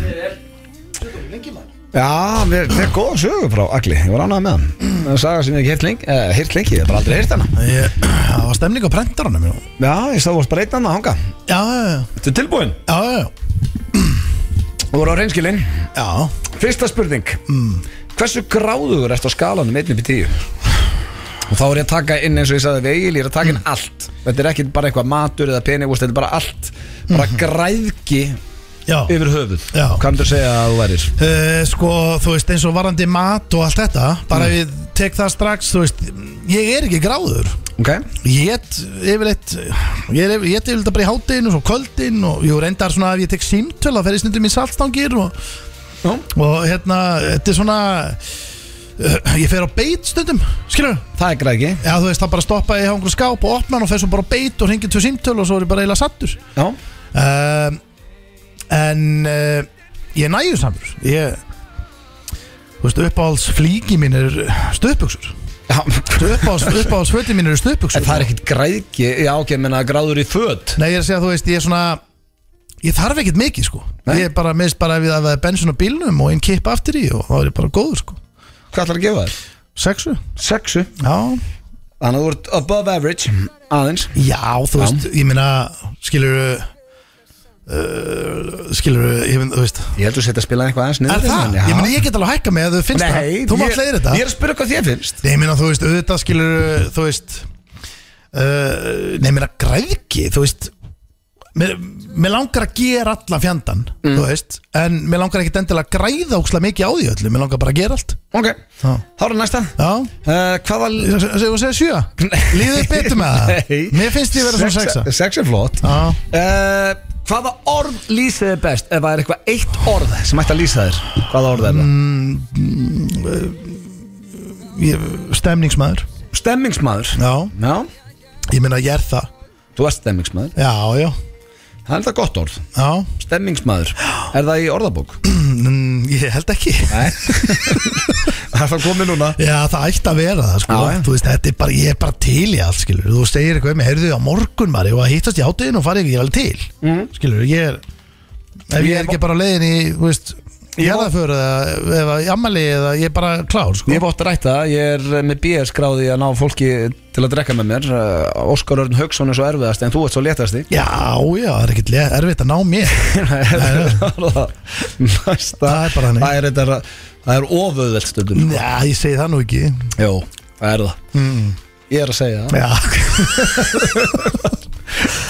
[SPEAKER 1] Já, mér- þetta er góð sögur frá Agli Ég var ánægð með hann Það er saga sem ég hef heyrt lengi, eh, heyrt lengi Ég hef bara aldrei heyrt hana
[SPEAKER 2] Ég- Það var stemning á prentarunum já.
[SPEAKER 1] Já, ég sá þú varst bara einn annað að hanga
[SPEAKER 2] Já, já, já.
[SPEAKER 1] Þetta er tilbúin
[SPEAKER 2] já, já, já.
[SPEAKER 1] Þú voru á reynskilin
[SPEAKER 2] já
[SPEAKER 1] Fyrsta spurning Hversu gráðugur ertu á skalanum 1 upp í 10? Og þá er ég að taka inn eins og ég sagði við Egil, ég er að taka inn allt Þetta er ekki bara eitthvað matur eða peningúst, þetta er bara allt Bara græðki
[SPEAKER 2] Já,
[SPEAKER 1] Mhm. yfir höfuð
[SPEAKER 2] Já.
[SPEAKER 1] Hvað myndir segja að þú værir?
[SPEAKER 2] Eh, sko, þú veist, eins og varandi mat og allt þetta, bara ef ég tek það strax, þú veist, ég er ekki gráður
[SPEAKER 1] Ok?
[SPEAKER 2] ég get yfirleitt ég er yfir- ég get yfirleitt bara í hátinn og svo kvöldin og ég reyndar svona ef ég tek símtöl að ferði snundum í saltstangir og,
[SPEAKER 1] Já.
[SPEAKER 2] og hérna, þetta er svona eh, ég fer á beit stundum skilur,
[SPEAKER 1] Það er græðki
[SPEAKER 2] já þú veist það bara stoppa ég á einhverju skáp og opna hann og fer svo bara á beit og hringi tvö símtöl og svo er ég bara eiginlega sattur
[SPEAKER 1] Já
[SPEAKER 2] um, en uh, ég er nægjur samur ég þú veist uppáhalds flíki mín er stöðbuksur
[SPEAKER 1] Já
[SPEAKER 2] uppáhalds, uppáhalds fötin mín
[SPEAKER 1] En
[SPEAKER 2] er stöðbuksur
[SPEAKER 1] það er ekkit græðki, já ok, menna gráður í föt
[SPEAKER 2] Nei, ég er að segja, þú veist, ég er svona Ég þarf ekkert mikið, sko
[SPEAKER 1] Nei.
[SPEAKER 2] Ég er bara meðist bara ef ég að það er bensin á bílnum og einn kippa aftur í og þá er ég bara góður, sko
[SPEAKER 1] Hvað ætlar að gefa þér?
[SPEAKER 2] Sexu?
[SPEAKER 1] Sexu
[SPEAKER 2] Já
[SPEAKER 1] Þannig að þú ert above average Aðeins
[SPEAKER 2] Já, þú veist, ég meina, skilur uh, Skilur, uh, ég meina, þú veist
[SPEAKER 1] Ég heldur að setja að spila eitthvað aðeins
[SPEAKER 2] Er
[SPEAKER 1] niður
[SPEAKER 2] það?
[SPEAKER 1] Já.
[SPEAKER 2] Ég meina, ég get alveg hækka mig að þú finnst
[SPEAKER 1] Nei,
[SPEAKER 2] það Þú
[SPEAKER 1] ég-
[SPEAKER 2] mátt leiðir þetta
[SPEAKER 1] Ég er að spyrja hvað þér finnst
[SPEAKER 2] Nei, ég meina, þú veist, auðvitað skilur, þú veist uh, Nei, ég meina, græðki, þú veist Mér, mér langar að gera allan fjandan, þú veist En mér langar ekkit endilega að græða ókslega mikið á því öllu Mér langar bara að gera allt
[SPEAKER 1] Ok,
[SPEAKER 2] Já.
[SPEAKER 1] þá er næsta
[SPEAKER 2] Já,
[SPEAKER 1] uh, Hvaða
[SPEAKER 2] ég segja seg, sjö Líður þér betur með það Mér finnst ég vera svona sexa
[SPEAKER 1] Sex er flott
[SPEAKER 2] Já.
[SPEAKER 1] uh, Hvaða orð lýsið þið best Ef það er eitthvað eitt orð sem ætti að lýsa þér Hvaða orð er það?
[SPEAKER 2] ég, Stemningsmaður
[SPEAKER 1] Stemmingsmaður
[SPEAKER 2] Já,
[SPEAKER 1] Já,
[SPEAKER 2] ég meina, ég er það
[SPEAKER 1] þú ert stemmingsmaður
[SPEAKER 2] Já, já,
[SPEAKER 1] Það er það gott orð
[SPEAKER 2] já
[SPEAKER 1] Stemmingsmaður Er það í orðabók?
[SPEAKER 2] mm, Ég held ekki
[SPEAKER 1] Nei Það er það komið núna
[SPEAKER 2] Já, það ætti að vera það, sko
[SPEAKER 1] Já, já.
[SPEAKER 2] Þú veist, þetta er bara, ég er bara til í allt, skilur Þú segir eitthvað með, heyrðu á morgun maður Ég var að hittast í átöðin og farið ekki, ég er alveg til mm. Skilur, ég er
[SPEAKER 1] Ég
[SPEAKER 2] Ef ég, er
[SPEAKER 1] var-
[SPEAKER 2] ekki bara á leiðin í, þú veist Ég er það fyrir það, eða í ammali Eða ég er bara klár, sko
[SPEAKER 1] Ég hef ótt að rætta, ég er eh, með BS skráði að ná fólki til að drekka með mér Eh, Óskar Örn Hauksson er svo erfiðast en þú ert svo léttasti
[SPEAKER 2] Já, já, það er ekkert le- erfitt að ná mér
[SPEAKER 1] Næsta
[SPEAKER 2] Það er bara þannig.
[SPEAKER 1] Það er, þetta, það er oföðveld stundum
[SPEAKER 2] Já, ég segi það nú ekki
[SPEAKER 1] Jó, það er það
[SPEAKER 2] Mm.
[SPEAKER 1] Ég er að segja það
[SPEAKER 2] Já,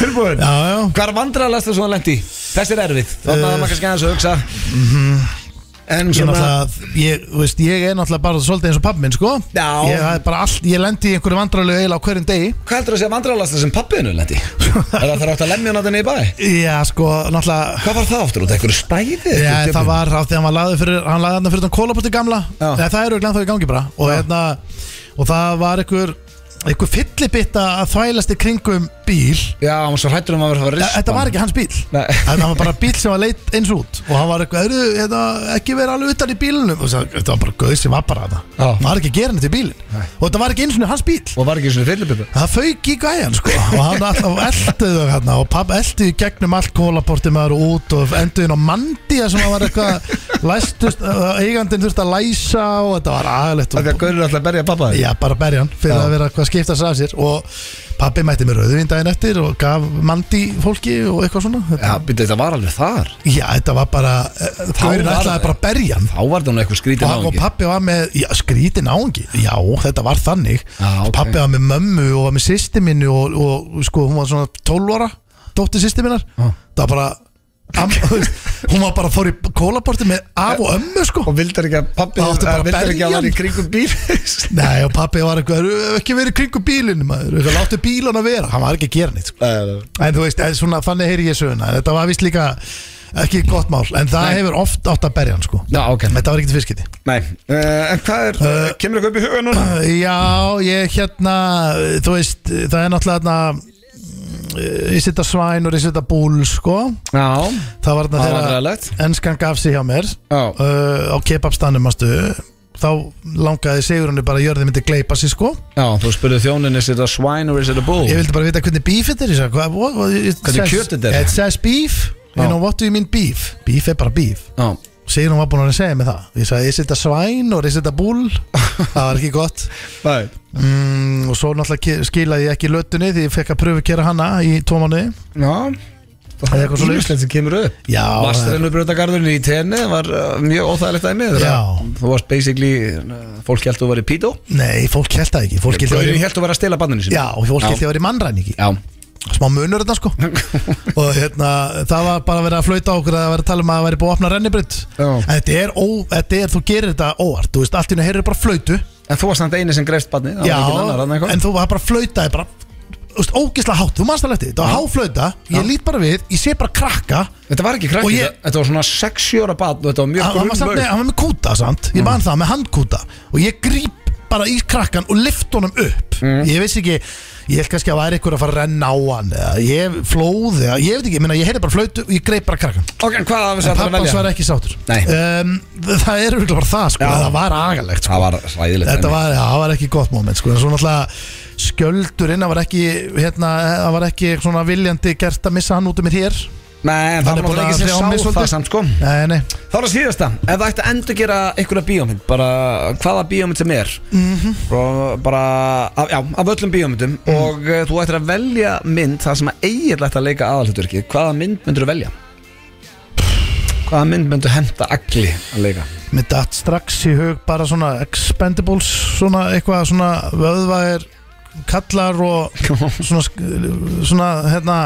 [SPEAKER 1] Tilbúin
[SPEAKER 2] já, já
[SPEAKER 1] Hvað er vandrarlegasta sem það lendi? Þessi er erfið Þannig að maður kannski aðeins að hugsa En
[SPEAKER 2] Eh. Mhm. Ég er
[SPEAKER 1] svona-
[SPEAKER 2] náttúrulega, ég, þú veist, ég er náttúrulega bara svolítið eins og pappi minn, sko
[SPEAKER 1] Já.
[SPEAKER 2] Ég, það er bara allt, ég lendi í einhverju vandrarlegu eiginlega á hverjum degi
[SPEAKER 1] Hvað heldur að segja vandrarlasta sem pappiðinu lendi? Er það þarf átt að lemja hann að þenni í bæ?
[SPEAKER 2] Já, sko, náttúrulega
[SPEAKER 1] Hvað var það aftur út? Ekkur stæði?
[SPEAKER 2] Já, það var á því að hann var laðið fyrir Hann laðið hann fyrir þann kólaporti gamla
[SPEAKER 1] Já.
[SPEAKER 2] Nei, það eru glæðan þá í gangi bara Og, hérna, og það var einhver Einhver fyllibitta að þvælast í kringum bíl
[SPEAKER 1] Já, hann var svo hrættur um að vera að
[SPEAKER 2] Þa,
[SPEAKER 1] rispa
[SPEAKER 2] Þetta var ekki hans bíl
[SPEAKER 1] Nei.
[SPEAKER 2] Þetta var bara bíl sem var leitt eins út Og hann var eitthvað, "Heyrðu, hérna, ekki verið alveg utan í bílunum Og það- Þetta var bara gauð sem var bara þetta
[SPEAKER 1] Já.
[SPEAKER 2] Hann var ekki að gera neitt í bílinn Og þetta var ekki eins og hans bíl
[SPEAKER 1] Og var ekki svona fyllipipa
[SPEAKER 2] Það fauk í gæjan sko og hann alltaf eldið þau hérna og papp eldið í gegnum allt kólaportið maður og út og endur inn á mandíja sem hann var eitthvað læstust, uh, eigandinn þurfti að læsa og þetta var aðalegt
[SPEAKER 1] Það er að
[SPEAKER 2] og,
[SPEAKER 1] gaurið alltaf að berja pappa þig
[SPEAKER 2] Já, bara berja hann fyrir
[SPEAKER 1] Já.
[SPEAKER 2] að vera hvað skipta sér af sér og pappi mætti mér auðvinn daginn eftir og gaf mandi fólki og eitthvað svona
[SPEAKER 1] Já,
[SPEAKER 2] þetta,
[SPEAKER 1] býttu, þetta var alveg þar
[SPEAKER 2] já. þetta var bara uh, Gaurin
[SPEAKER 1] var-
[SPEAKER 2] ætlaði bara að berja hann
[SPEAKER 1] Þá var það nú eitthvað skrítið
[SPEAKER 2] og, og pappi var með já, skrítin áhengi já, þetta var þannig
[SPEAKER 1] Já, ok.
[SPEAKER 2] pappi var með mömmu og var með sýsti minni og, og sko, hún var svona 12 ára dóttir sýsti minnar það var bara am, þú veist, hún var bara fór í kólaporti með af og ömmu sko
[SPEAKER 1] Og vildar ekki að pappi
[SPEAKER 2] Þá áttu bara að
[SPEAKER 1] Vildar ekki
[SPEAKER 2] berja
[SPEAKER 1] að hann
[SPEAKER 2] hann.
[SPEAKER 1] í kringum bíl Nei,
[SPEAKER 2] Nei, og pappi var eitthvað, "Eru ekki verið kringu bílinn maður, eitthvað, láttu bílan að vera hann var ekki að gera neitt, sko.
[SPEAKER 1] nei, nei.
[SPEAKER 2] en þú veist, en svona, þannig heyri ég söguna, En þetta var vist líka ekki gott mál, en það hefur oft átt að berja hann, sko,
[SPEAKER 1] Já, ok
[SPEAKER 2] þetta var ekkert fiskiti
[SPEAKER 1] Nei, eh, en hvað er,
[SPEAKER 2] Eh,
[SPEAKER 1] kemur eitthvað upp í huga núna?
[SPEAKER 2] Já, ég hérna Þú veist, það er náttúrulega hérna, Ég setja svæn og ég setja búl Sko,
[SPEAKER 1] Já,
[SPEAKER 2] það var
[SPEAKER 1] það var
[SPEAKER 2] hérna þegar
[SPEAKER 1] aðræðilegt
[SPEAKER 2] Enskan gaf sig hjá mér
[SPEAKER 1] Já.
[SPEAKER 2] uh, Á kebabstanum, mástu Þá langaði Sigurunni bara að jörði myndi gleypa sig sko
[SPEAKER 1] Já, þú spurði þjónin, is it a swine or is it a bull?
[SPEAKER 2] Ég vildi bara vita hvernig beef þetta er ég sagði, hvað- what- what- it
[SPEAKER 1] Hvernig
[SPEAKER 2] says-
[SPEAKER 1] kjöt þetta er?
[SPEAKER 2] It says beef, you
[SPEAKER 1] Já.
[SPEAKER 2] know what do you mean beef Beef er bara beef
[SPEAKER 1] Já,
[SPEAKER 2] Sigurinn var búin að segja mig það Ég sagði, ég setja svæn og ég setja búl Það var ekki gott
[SPEAKER 1] nei
[SPEAKER 2] mm, og svo náttúrulega ki- skilaði ég ekki lötunni því ég fekk að pröfu kera hana í tvo mánuði
[SPEAKER 1] Já Það er
[SPEAKER 2] er eitthvað
[SPEAKER 1] eitthvað svo
[SPEAKER 2] svoleiðis.
[SPEAKER 1] sem kemur upp
[SPEAKER 2] Já, það er-
[SPEAKER 1] Vastarinn uppröðagarðurinn í tenni var uh, mjög óþægilegt dæmi þegar
[SPEAKER 2] Já.
[SPEAKER 1] Þú varst basically, uh, fólk held þú verið pító
[SPEAKER 2] nei, fólk held það ekki fólk held það
[SPEAKER 1] Gaurin
[SPEAKER 2] ekki
[SPEAKER 1] held þú verið að stela banninu sín
[SPEAKER 2] Já, fólk held ég að vera í mannræningi
[SPEAKER 1] Já,
[SPEAKER 2] Smá munur þetta sko Og hérna, það var bara að vera að flauta á okkur að vera að tala um að það væri búið að opna rennibrut
[SPEAKER 1] Já.
[SPEAKER 2] Þetta er, ó, þetta er, þú gerir þetta óvart Þú veist, allt í henni heyrir bara flautu
[SPEAKER 1] en þú varst samt eini sem greifst banni
[SPEAKER 2] Já,
[SPEAKER 1] en
[SPEAKER 2] en þú var bara að flauta bara, þú veist, ógislega hátt, þú manst alveg eftir því. Þetta var háflauta, ég lít bara við, ég sé bara krakka
[SPEAKER 1] Þetta var ekki
[SPEAKER 2] Og
[SPEAKER 1] krakki,
[SPEAKER 2] ég-
[SPEAKER 1] þetta- þetta var svona 6 ára bann og þetta var mjög
[SPEAKER 2] hann, hann, var samt,
[SPEAKER 1] grunn
[SPEAKER 2] með, hann var með kúta samt Ég man það með handkúta Og ég gríp bara í krakkan og lift honum upp Ég veist ekki Ég held kannski að væri einhver að fara að renna á hann eða Ég flóði, eða, ég veit ekki, ég, meina, ég heyrði bara flautu og ég greip bara krakkan
[SPEAKER 1] Ok, en hvað hafði
[SPEAKER 2] En
[SPEAKER 1] þetta að
[SPEAKER 2] pappans var
[SPEAKER 1] velja?
[SPEAKER 2] ekki sátur
[SPEAKER 1] Nei.
[SPEAKER 2] um, Það er auðvitað bara það sko,
[SPEAKER 1] Já.
[SPEAKER 2] það var agalegt sko.
[SPEAKER 1] Það var ræðilegt
[SPEAKER 2] Þetta var, já, það var ekki gott moment sko. En Svo náttúrulega skjöldurinn Það var ekki, hérna, það var ekki svona viljandi gert að missa hann út um mér hér
[SPEAKER 1] Nei, en
[SPEAKER 2] Hann
[SPEAKER 1] það
[SPEAKER 2] er
[SPEAKER 1] var
[SPEAKER 2] búinn
[SPEAKER 1] náttúrulega
[SPEAKER 2] að
[SPEAKER 1] ekki
[SPEAKER 2] hrjá mig
[SPEAKER 1] sem sá það
[SPEAKER 2] svolítið.
[SPEAKER 1] samt sko
[SPEAKER 2] Nei, nei
[SPEAKER 1] Þá er það síðasta, ef það ætti að endur gera einhverja bíómynd, bara hvaða bíómynd sem er Mhm. bara, bara af, já, af öllum bíómyndum og uh, þú ættir að velja mynd það sem að eiginlega ætti að leika aðalhutverki hvaða mynd myndur þú velja? Hvaða mynd myndur henda agli að leika?
[SPEAKER 2] Mér datt strax í hug bara svona expendables, svona eitthvað svona vöðvæðir kallar og svona, sk- svona hérna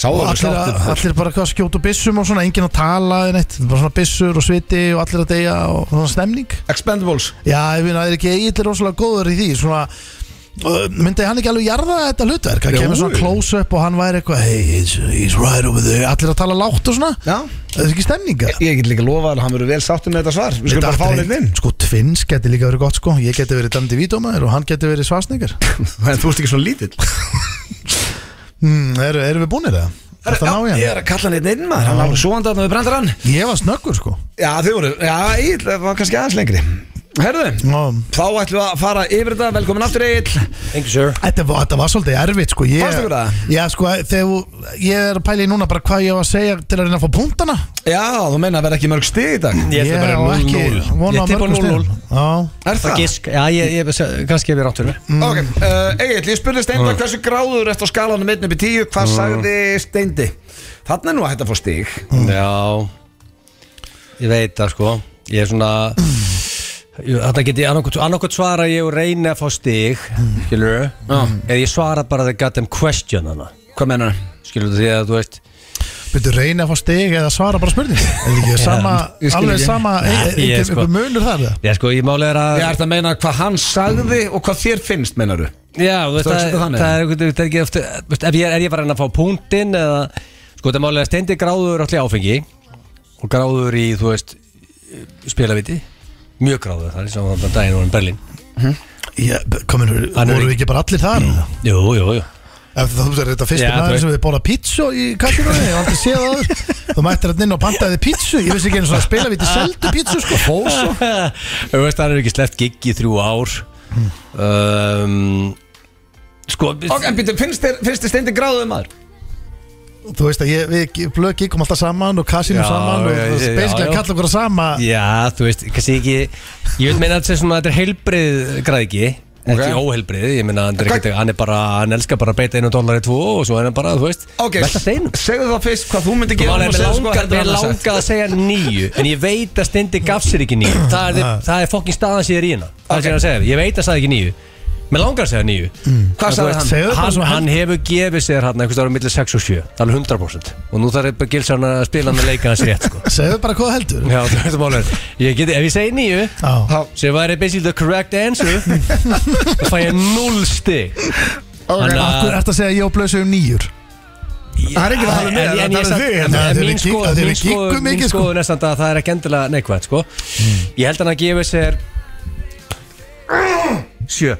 [SPEAKER 1] Sáður
[SPEAKER 2] allir, að, allir bara hvað skjótu byssum og svona enginn að tala eða neitt, bara svona byssur og sviti og allir að deyja og svona stemning
[SPEAKER 1] Expendables
[SPEAKER 2] Já, ég finna, það er ekki eiginlega rosalega góður í því svona uh, myndi hann ekki alveg jarða þetta hlutverk hann
[SPEAKER 1] Jú.
[SPEAKER 2] kemur svona close up og hann væri eitthvað hey, he's, he's right over there, allir að tala lágt og svona
[SPEAKER 1] Já,
[SPEAKER 2] það er ekki stemninga
[SPEAKER 1] ég get líka lofað að hann verður vel sáttur með þetta svar Við skulum bara fá hann einn inn
[SPEAKER 2] Sko Twins geti líka verið gott sko Ég geti verið Dandi Vítómaður og hann geti verið Svarsningar
[SPEAKER 1] En þú ert ekki svona lítill
[SPEAKER 2] mm, eru, eru við búinir það? Er það ná
[SPEAKER 1] Já, Ég
[SPEAKER 2] ég hann?
[SPEAKER 1] er að kalla hann einn inn maður, hann er alveg svoandi að við brendar hann
[SPEAKER 2] Ég var snöggur sko
[SPEAKER 1] Já, þið voru, já, ég var kannski aðeins lengri Herðu,
[SPEAKER 2] Ná,
[SPEAKER 1] Þá ætlum við að fara yfir þetta, velkomin aftur Egil
[SPEAKER 3] Thank you sir
[SPEAKER 2] Þetta var, þetta var svolítið erfitt sko ég,
[SPEAKER 1] Fannst ykkur það?
[SPEAKER 2] Já sko þegar þú- ég er að pæla í núna bara hvað ég á að segja til að reyna að fá punktana
[SPEAKER 1] Já, þú meina að vera ekki mörg stig í dag
[SPEAKER 3] Ég ætla
[SPEAKER 2] á
[SPEAKER 3] bara 0-0.
[SPEAKER 2] ekki vona
[SPEAKER 3] Ég
[SPEAKER 2] á
[SPEAKER 3] tippa
[SPEAKER 2] mörgum
[SPEAKER 3] 0-0.
[SPEAKER 2] stigum. Já
[SPEAKER 1] Er það?
[SPEAKER 3] Gisk, já, ég, ég, kannski hefur átt fyrir mér
[SPEAKER 1] Ok, uh, Egil, ég spurði Steinda hversu gráður eftir á skalanum 1 upp í 10 Hvað sagði Steindi? Þannig er nú að þetta fór stig
[SPEAKER 3] Mm. Já Ég veit það sko Ég er svona Þetta geti annarkot svara ég og reyna að fá stig Skilur Eða ég svara bara the goddamn question hana
[SPEAKER 1] Hvað menar það?
[SPEAKER 3] Skilur þú því að þú veist
[SPEAKER 2] Byrju reyna að fá stig eða svara bara spurning Er ekki sama,
[SPEAKER 1] ég skil
[SPEAKER 2] alveg
[SPEAKER 1] ekki.
[SPEAKER 2] sama e- e-
[SPEAKER 3] Ég
[SPEAKER 2] Einhver
[SPEAKER 3] sko-
[SPEAKER 2] einhver munur þar eða?
[SPEAKER 3] Já, sko, ég málega er að
[SPEAKER 1] Ég ætti að meina hvað hann sagði og hvað þér finnst, meinar
[SPEAKER 3] Já, þú veist,
[SPEAKER 1] Þú
[SPEAKER 3] það,
[SPEAKER 1] hugsaðu
[SPEAKER 3] það,
[SPEAKER 1] þannig?
[SPEAKER 3] er, einhvern veginn- það er ekki oft þú veist, ef ég, Er ég bara að reyna að fá punktinn eða Sko, þetta er málega steindi gráður allir áfengi Og gráður í, þú veist, spilaviti Mjög gráður, það er svo þannig að daginn vorum Berlín
[SPEAKER 2] Já, komin,
[SPEAKER 3] Hann er
[SPEAKER 2] voru
[SPEAKER 3] ekki-
[SPEAKER 2] við ekki bara allir þar eða?
[SPEAKER 3] Jú, jú, jú
[SPEAKER 2] Ef þú veist þetta fyrstu
[SPEAKER 3] Já, þú
[SPEAKER 2] maður
[SPEAKER 3] veist.
[SPEAKER 2] sem við bóla pítsu í kassinunni, ég hef aldrei séð það áður. Þú mættir hann inn og pantaði pítsu Ég vissi ekki einu svona spila við til seldu pítsu sko Fós og
[SPEAKER 3] Þú veist, það er ekki sleppt gig í þrjú ár um, Sko
[SPEAKER 1] Ok, en býttu, finnst þér, finnst þér steindi gráðuð maður?
[SPEAKER 2] Þú veist að ég, við blöki kom alltaf saman og kassinu
[SPEAKER 3] Já,
[SPEAKER 2] saman og
[SPEAKER 3] já,
[SPEAKER 2] það
[SPEAKER 3] já,
[SPEAKER 2] er basically
[SPEAKER 3] já.
[SPEAKER 2] að kalla okkur að sama
[SPEAKER 3] Já, þú veist, kannski ekki Ég vil meina að þetta er svona, þetta er heilbrið græðiki Ekki
[SPEAKER 1] Ok.
[SPEAKER 3] óheilbrið, ég meina hann er,
[SPEAKER 1] Hvað-
[SPEAKER 3] ekkert, hann er bara, hann elskar bara að beita einu dólar í tvo og svo er hann bara, þú veist
[SPEAKER 1] Ok,
[SPEAKER 3] Velta steinum
[SPEAKER 1] segðu þá fyrst hvað þú myndi gera og
[SPEAKER 3] Málega, mér
[SPEAKER 1] segðu sko,
[SPEAKER 3] langar,
[SPEAKER 1] heldur
[SPEAKER 3] mér
[SPEAKER 1] hann að sagt.
[SPEAKER 3] langar að segja nýju En ég veit að Steindi gaf sér ekki nýju Það er, það er fokkin staðan sér í hérna
[SPEAKER 1] Ok.
[SPEAKER 3] Það er sér að segja, ég veit að sagði ekki nýju Mér langar að segja nýju
[SPEAKER 1] Hvað sagði hann?
[SPEAKER 2] Segðu þetta
[SPEAKER 3] hann,
[SPEAKER 2] svo
[SPEAKER 3] hann hefur gefið sér hann einhvers ára millir 6 og 7, alveg 100% og nú þarf bara gilsa hann að spila hann að leika hans rétt sko.
[SPEAKER 2] Segðu bara hvað þú heldur
[SPEAKER 3] Já, þú veist málið Ég geti, ef ég segi nýju
[SPEAKER 2] Já,
[SPEAKER 3] sem væri basically the correct answer þá fæ ég 0 stig
[SPEAKER 2] Akkur
[SPEAKER 3] Þannig að-
[SPEAKER 2] er þetta að segja ég og blösi um nýjur
[SPEAKER 1] Það er ekki það talað um mig,
[SPEAKER 3] En-
[SPEAKER 1] það
[SPEAKER 3] en
[SPEAKER 1] er talað um þig,
[SPEAKER 2] hérna. Þeir eru gigg-
[SPEAKER 3] ég samt- en- en Mín skoðun
[SPEAKER 2] þeir eru
[SPEAKER 3] mín skoðun-
[SPEAKER 2] giggum
[SPEAKER 3] mín
[SPEAKER 2] mikið, sko.
[SPEAKER 3] skoðun er samt að það er ekki endilega neikvæð sko.
[SPEAKER 1] Hmm.
[SPEAKER 3] Ég held að hann að gefa sér 7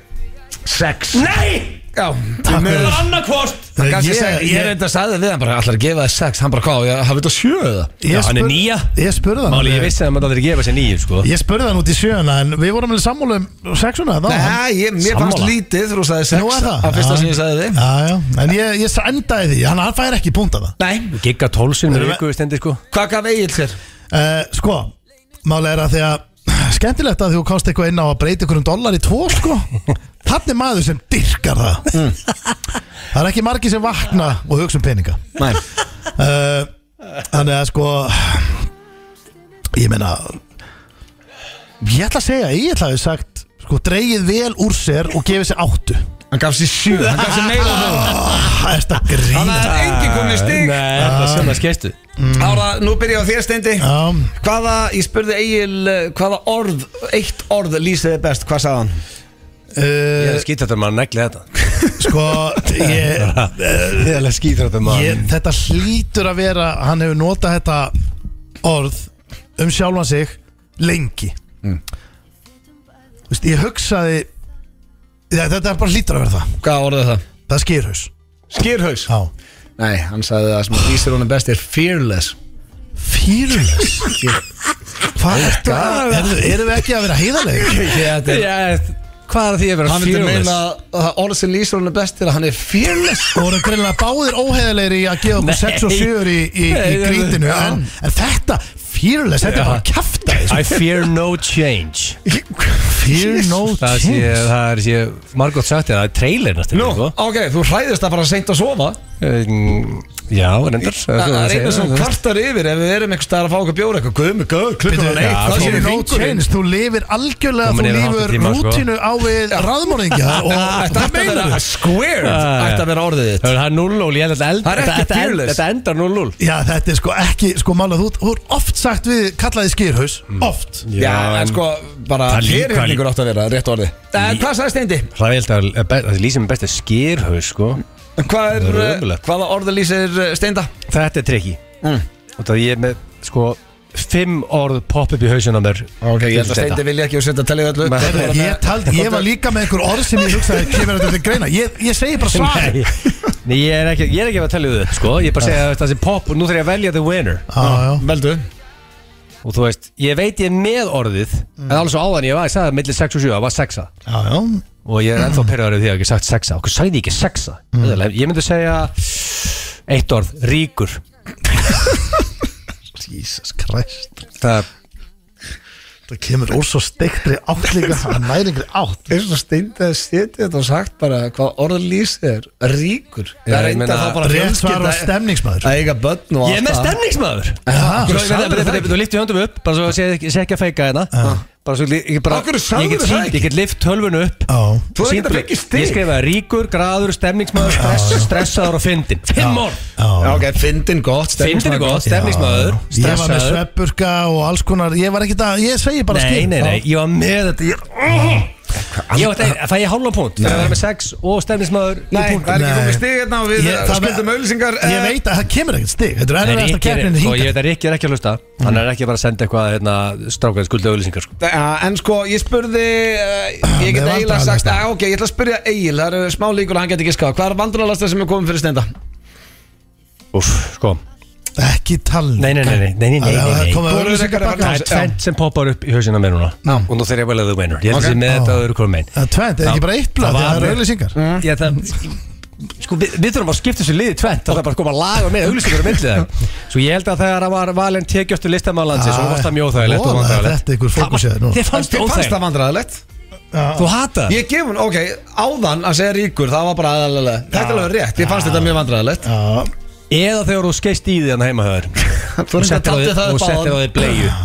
[SPEAKER 3] 6 Nei!
[SPEAKER 1] Já, því
[SPEAKER 2] fyrir.
[SPEAKER 1] miður.
[SPEAKER 3] annarkvort
[SPEAKER 1] Það kannski
[SPEAKER 2] Ég-
[SPEAKER 1] segi-
[SPEAKER 2] ég-
[SPEAKER 1] Ég reynda að sagði við hann bara, ætlar að gefa þér sex Hann bara, hvað, ég hafði þetta sjö eða?
[SPEAKER 3] Já, hann er
[SPEAKER 2] spurði-
[SPEAKER 3] nýja.
[SPEAKER 2] Ég spurði hann
[SPEAKER 3] Máli, ég
[SPEAKER 2] alveg-
[SPEAKER 3] vissi að maður aldrei gefa sér 9 sko.
[SPEAKER 2] Ég spurði hann út í sjöuna en við vorum alveg sammála um sexuna þá
[SPEAKER 1] Nei, ég, mér fannst
[SPEAKER 3] Sammála.
[SPEAKER 1] lítið þegar þú sagði
[SPEAKER 2] Nú
[SPEAKER 1] sex
[SPEAKER 2] er það
[SPEAKER 1] Að fyrsta
[SPEAKER 2] Já.
[SPEAKER 1] sem ég sagði þig
[SPEAKER 2] Já, já, en ég, ég sa- endaði því, hann, hann fær ekki punkt af það
[SPEAKER 1] Nei,
[SPEAKER 3] Gigga 12 sinni
[SPEAKER 2] Erum
[SPEAKER 3] með
[SPEAKER 2] við-
[SPEAKER 3] viku stendi sko
[SPEAKER 1] hvað gaf Egil sér?
[SPEAKER 2] uh, Sko, málega er að því að skemmtilegt að þú komst eitthvað inn á að breyta ykkur um dólar í tvo sko Þannig maður sem dyrkar það
[SPEAKER 1] Mm.
[SPEAKER 2] Það er ekki margir sem vakna og hugsa um peninga
[SPEAKER 1] Nei,
[SPEAKER 2] Eh, Þannig að sko Ég meina Ég ætla að segja Ég ætla að hafa sagt Sko dreigið vel úr sér og gefið sér áttu
[SPEAKER 1] hann
[SPEAKER 2] Ah,
[SPEAKER 1] gaf sér sjö, hann gaf sér meira en þú.
[SPEAKER 2] Það er þetta grín
[SPEAKER 1] Þannig að engin komin í stig Ah.
[SPEAKER 3] Nei, það er sem að skeistu
[SPEAKER 1] Ára, nú byrja ég á þér steindi
[SPEAKER 2] Já, um,
[SPEAKER 1] Hvaða, ég spurði Egil eh, Hvaða orð, eitt orð lýsið þið best Hvað sagði hann?
[SPEAKER 3] Ég
[SPEAKER 1] Eh.
[SPEAKER 2] uh,
[SPEAKER 3] er skítrættur maður að negli þetta
[SPEAKER 2] Sko ég,
[SPEAKER 3] Ég er skítrættur
[SPEAKER 2] ég, Þetta hlýtur að vera Hann hefur notað þetta orð Um sjálfan sig Lengi
[SPEAKER 3] Mm.
[SPEAKER 2] Þú veist, Ég hugsaði Já, Þetta er bara hlýtur að vera það
[SPEAKER 1] Hvaða orð er það?
[SPEAKER 2] Það skýr haus
[SPEAKER 1] Skýrhaus
[SPEAKER 2] Já
[SPEAKER 1] Nei, hann sagði það sem lýsir honum best er fearless
[SPEAKER 2] Fearless
[SPEAKER 3] Oh
[SPEAKER 2] Hvað er þetta? Erum erum við ekki að vera heiðarlega?
[SPEAKER 1] Þetta
[SPEAKER 3] Hvað er að því að vera
[SPEAKER 1] Hann vildi meina að það orð sem lýsir honum best er að hann er fearless
[SPEAKER 2] Þú voru greinlega báðir óheðilegir í að gefa okkur
[SPEAKER 3] Nei.
[SPEAKER 2] 6 og 7 í, í, í
[SPEAKER 3] Nei,
[SPEAKER 2] grítinu
[SPEAKER 3] já.
[SPEAKER 2] en, en þetta, fearless, þetta
[SPEAKER 3] Já.
[SPEAKER 2] er bara sko. kæfta
[SPEAKER 3] I fear no change
[SPEAKER 2] Fear no
[SPEAKER 3] Það sé,
[SPEAKER 2] change
[SPEAKER 3] það er sé, margótt sagt eða það er
[SPEAKER 1] Nú,
[SPEAKER 3] trailerna stefnir sko
[SPEAKER 1] ok, þú hræðist að fara seint að sofa
[SPEAKER 3] Mm, Já, reyndar
[SPEAKER 1] Það er einu sem
[SPEAKER 3] þú veist.
[SPEAKER 1] kvartar yfir ef við erum einhvers staðar að fá okkur bjóra eitthvað Guðmi, guð, klukkan
[SPEAKER 2] Bittu,
[SPEAKER 1] hann
[SPEAKER 2] ja,
[SPEAKER 1] eitt Það
[SPEAKER 2] fear
[SPEAKER 1] sé
[SPEAKER 2] no
[SPEAKER 1] vingurinn
[SPEAKER 2] change, þú lifir algjörlega
[SPEAKER 3] Komin
[SPEAKER 2] þú
[SPEAKER 3] yfir
[SPEAKER 2] lifir
[SPEAKER 3] háttatíma, sko.
[SPEAKER 2] rútínu á við raðmóringja og
[SPEAKER 1] Þetta
[SPEAKER 2] það
[SPEAKER 1] ætti að
[SPEAKER 2] meinar
[SPEAKER 1] vera
[SPEAKER 2] við
[SPEAKER 1] squared
[SPEAKER 3] Ah, já.
[SPEAKER 1] Ætti að vera orðið þitt
[SPEAKER 3] Það er 0-0, ég held að þetta eld-
[SPEAKER 1] Það er ekki
[SPEAKER 3] þetta- þetta-
[SPEAKER 1] fearless.
[SPEAKER 3] Þetta endar 0-0
[SPEAKER 2] Já, þetta er sko ekki, sko málað út Þú er oft sagt við, kallaði skýrhaus,
[SPEAKER 1] Mm.
[SPEAKER 2] oft
[SPEAKER 1] Já, en sko, bara
[SPEAKER 3] Það er líka-
[SPEAKER 1] fyrirhjöfningur átt að vera, rétt orði En hvað sagði Steindi?
[SPEAKER 3] Það er held að að be- að lýsum best er skýrhaus sko
[SPEAKER 1] Hvað er,
[SPEAKER 3] Það er
[SPEAKER 1] eh,
[SPEAKER 3] ömurlegt.
[SPEAKER 1] Hvaða orði lýsir eh, Steinda?
[SPEAKER 3] Þetta er trikki
[SPEAKER 1] Mm.
[SPEAKER 3] Og það ég er með sko Fimm orð popp upp í hausuna mér
[SPEAKER 1] Ok, ég held að Steindi vilja ekki að setja að tellið öllu upp.
[SPEAKER 3] Nei.
[SPEAKER 1] Þetta er
[SPEAKER 2] Heyrðu,
[SPEAKER 1] bara
[SPEAKER 2] Ég,
[SPEAKER 1] með-
[SPEAKER 2] taldi, ég var líka með einhver orð sem ég hugsaði kemur þetta til greina Ég, ég segi bara svar
[SPEAKER 3] Nei, nei, ég er ekki, ég er ekki að tellja þau upp sko Ég er bara að segja að það sem popp og nú þarf ég að velja the winner
[SPEAKER 2] Já,
[SPEAKER 1] Veldu
[SPEAKER 3] Og þú veist, ég veit ég er með orðið
[SPEAKER 1] Mm.
[SPEAKER 3] En alveg svo áðan ég var, ég sagði millir 6 og 7, það var 6
[SPEAKER 2] já, já, já
[SPEAKER 3] Og ég er ennþá perraður af því að ég hef ekki sagt 6 Okkur sagði ég ekki 6 mm. Ég myndi segja Eitt orð, ríkur
[SPEAKER 2] Jesus Christ
[SPEAKER 3] Það,
[SPEAKER 2] Það kemur úr svo steiktri átt líka Það næri yngri átt
[SPEAKER 1] Eins og Steindi að setja þetta og sagt bara hvað orði lýsir er ríkur
[SPEAKER 3] Já,
[SPEAKER 1] Það
[SPEAKER 3] ég
[SPEAKER 1] reynda
[SPEAKER 3] meina-
[SPEAKER 1] það bara
[SPEAKER 2] Rétt svar var
[SPEAKER 1] fjölskylda
[SPEAKER 2] stemningsmaður
[SPEAKER 1] að eiga börn og
[SPEAKER 3] Ég er með stemningsmaður
[SPEAKER 2] Já,
[SPEAKER 3] Þú
[SPEAKER 2] sagðirðu það
[SPEAKER 3] lyfti höndum upp, bara svo sé, sé ekki að feika hérna bara svo ég get bara
[SPEAKER 1] Af hverju sagðirðu
[SPEAKER 3] ég get
[SPEAKER 1] það
[SPEAKER 3] sýnt-
[SPEAKER 1] ekki?
[SPEAKER 3] ég get lift tölvun upp
[SPEAKER 2] Já.
[SPEAKER 1] Þú hefur
[SPEAKER 3] sýnt-
[SPEAKER 1] getað fengið stig.
[SPEAKER 3] ég skrifaði ríkur, graður, stemningsmaður stress, stressaður og fyndin Ah. fimm orð
[SPEAKER 1] Já, ok, fyndin gott
[SPEAKER 3] fyndin er gott, stemningsmaður
[SPEAKER 2] Ég var með
[SPEAKER 3] stressaður
[SPEAKER 2] sveppurka og alls konar Ég var ekki það, ég segi bara
[SPEAKER 3] nei,
[SPEAKER 2] skil
[SPEAKER 3] nei, nei, ég var með þetta ég, ég var þetta, fæ ég hálfa punkt fyrir að vera með sex og stemningsmaður í
[SPEAKER 1] Nei, það
[SPEAKER 3] punktum.
[SPEAKER 1] er ekki
[SPEAKER 2] Nei.
[SPEAKER 1] komið stig hérna og við
[SPEAKER 2] Ég- það-
[SPEAKER 1] skuldum eh. auðlýsingar
[SPEAKER 2] Ég veit að það kemur ekkert stig Þetta er
[SPEAKER 3] Nei,
[SPEAKER 2] erfiðast að
[SPEAKER 3] Rikki er-
[SPEAKER 2] keppninni
[SPEAKER 3] sko, ég
[SPEAKER 2] hingað
[SPEAKER 3] veit að Rikki er ekki að hlusta hann er ekki bara að senda eitthvað hérna, strákaði skulda auðlýsingar sko.
[SPEAKER 1] En sko, ég spurði uh, Ég get
[SPEAKER 2] Með
[SPEAKER 1] eiginlega
[SPEAKER 2] vandræðalasta.
[SPEAKER 1] sagt að, Ok, ég ætla að spyrja Egil, það eru smá líkur að hann geti ekki skáð Hvað er vandralasta sem er komið fyrir stenda?
[SPEAKER 3] Úf, sko
[SPEAKER 2] Ekki tala
[SPEAKER 3] Nei, nei, nei, nei, nei, nei, nei,
[SPEAKER 2] Það- það
[SPEAKER 3] nei.
[SPEAKER 1] Þú
[SPEAKER 2] komið að
[SPEAKER 1] eru
[SPEAKER 2] auglýsingar
[SPEAKER 1] þekkar að
[SPEAKER 2] baka.
[SPEAKER 1] fara
[SPEAKER 3] Það er
[SPEAKER 1] Já.
[SPEAKER 3] tvent sem poppar upp í hausina mér núna
[SPEAKER 1] Já.
[SPEAKER 3] Og nú þegar ég vel að þú meinar Ég held
[SPEAKER 1] Ok.
[SPEAKER 3] að sé með
[SPEAKER 2] Já.
[SPEAKER 3] þetta öðru hvað mein
[SPEAKER 2] Það er tvent, er ekki bara eitt blad
[SPEAKER 3] Það var
[SPEAKER 2] Það eru
[SPEAKER 3] alveg-
[SPEAKER 2] auðlýsingar
[SPEAKER 3] Ég það Sko, við, við þurfum að skipta þessu liði tvent Það er bara að koma að laga með auglýsingar og myndið það Svo Sko, ég held að þegar það var valinn tekjöldu listamálansi Svo
[SPEAKER 2] Ah,
[SPEAKER 3] varst það mjög óþægilegt og
[SPEAKER 2] voða,
[SPEAKER 3] vandræðalegt.
[SPEAKER 2] þetta er ykkur fókus í þér núna.
[SPEAKER 3] Þið
[SPEAKER 1] Fannst
[SPEAKER 3] fannst
[SPEAKER 1] fannst
[SPEAKER 3] það
[SPEAKER 1] það
[SPEAKER 3] óþægilegt
[SPEAKER 1] vandralegt?
[SPEAKER 3] Þú hatað
[SPEAKER 1] Ég gef hún, ok, áðan að segja ríkur Það var bara aðalega Þetta er alveg rétt, ég fannst þetta mjög vandralegt
[SPEAKER 2] Já,
[SPEAKER 3] Eða þegar þú skeist í því hann heima höður
[SPEAKER 1] Þú
[SPEAKER 3] Og
[SPEAKER 1] reyndar
[SPEAKER 3] settir á
[SPEAKER 1] taldi
[SPEAKER 3] þig-
[SPEAKER 1] það
[SPEAKER 3] og
[SPEAKER 1] upp
[SPEAKER 3] settir á
[SPEAKER 1] áðan.
[SPEAKER 3] því bleju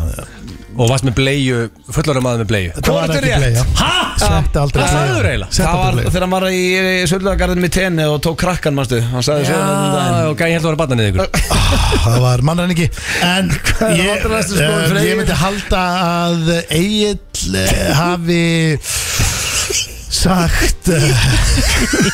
[SPEAKER 3] Og varst með bleju, fullorum maður með bleju
[SPEAKER 2] þetta
[SPEAKER 1] Hvort
[SPEAKER 2] var
[SPEAKER 1] er
[SPEAKER 2] ekki
[SPEAKER 1] rétt?
[SPEAKER 2] playa
[SPEAKER 3] Hæ?
[SPEAKER 2] Sett aldrei playa.
[SPEAKER 3] Hvað sagðirðu eiginlega?
[SPEAKER 2] Sett
[SPEAKER 1] Það var
[SPEAKER 2] aldrei playa
[SPEAKER 1] þegar hann var í Söldagagarðin með tenni og tók krakkan, manstu Hann sagði
[SPEAKER 3] Já,
[SPEAKER 1] svo
[SPEAKER 3] og gæði heldur að vera barnanið ykkur
[SPEAKER 2] Það var mannræningi En
[SPEAKER 1] er
[SPEAKER 2] ég,
[SPEAKER 1] vandræðalegasta skoðun
[SPEAKER 2] eh,
[SPEAKER 1] fyrir
[SPEAKER 2] ég
[SPEAKER 1] Egil?
[SPEAKER 2] myndi halda að Egil hafi sagt eh,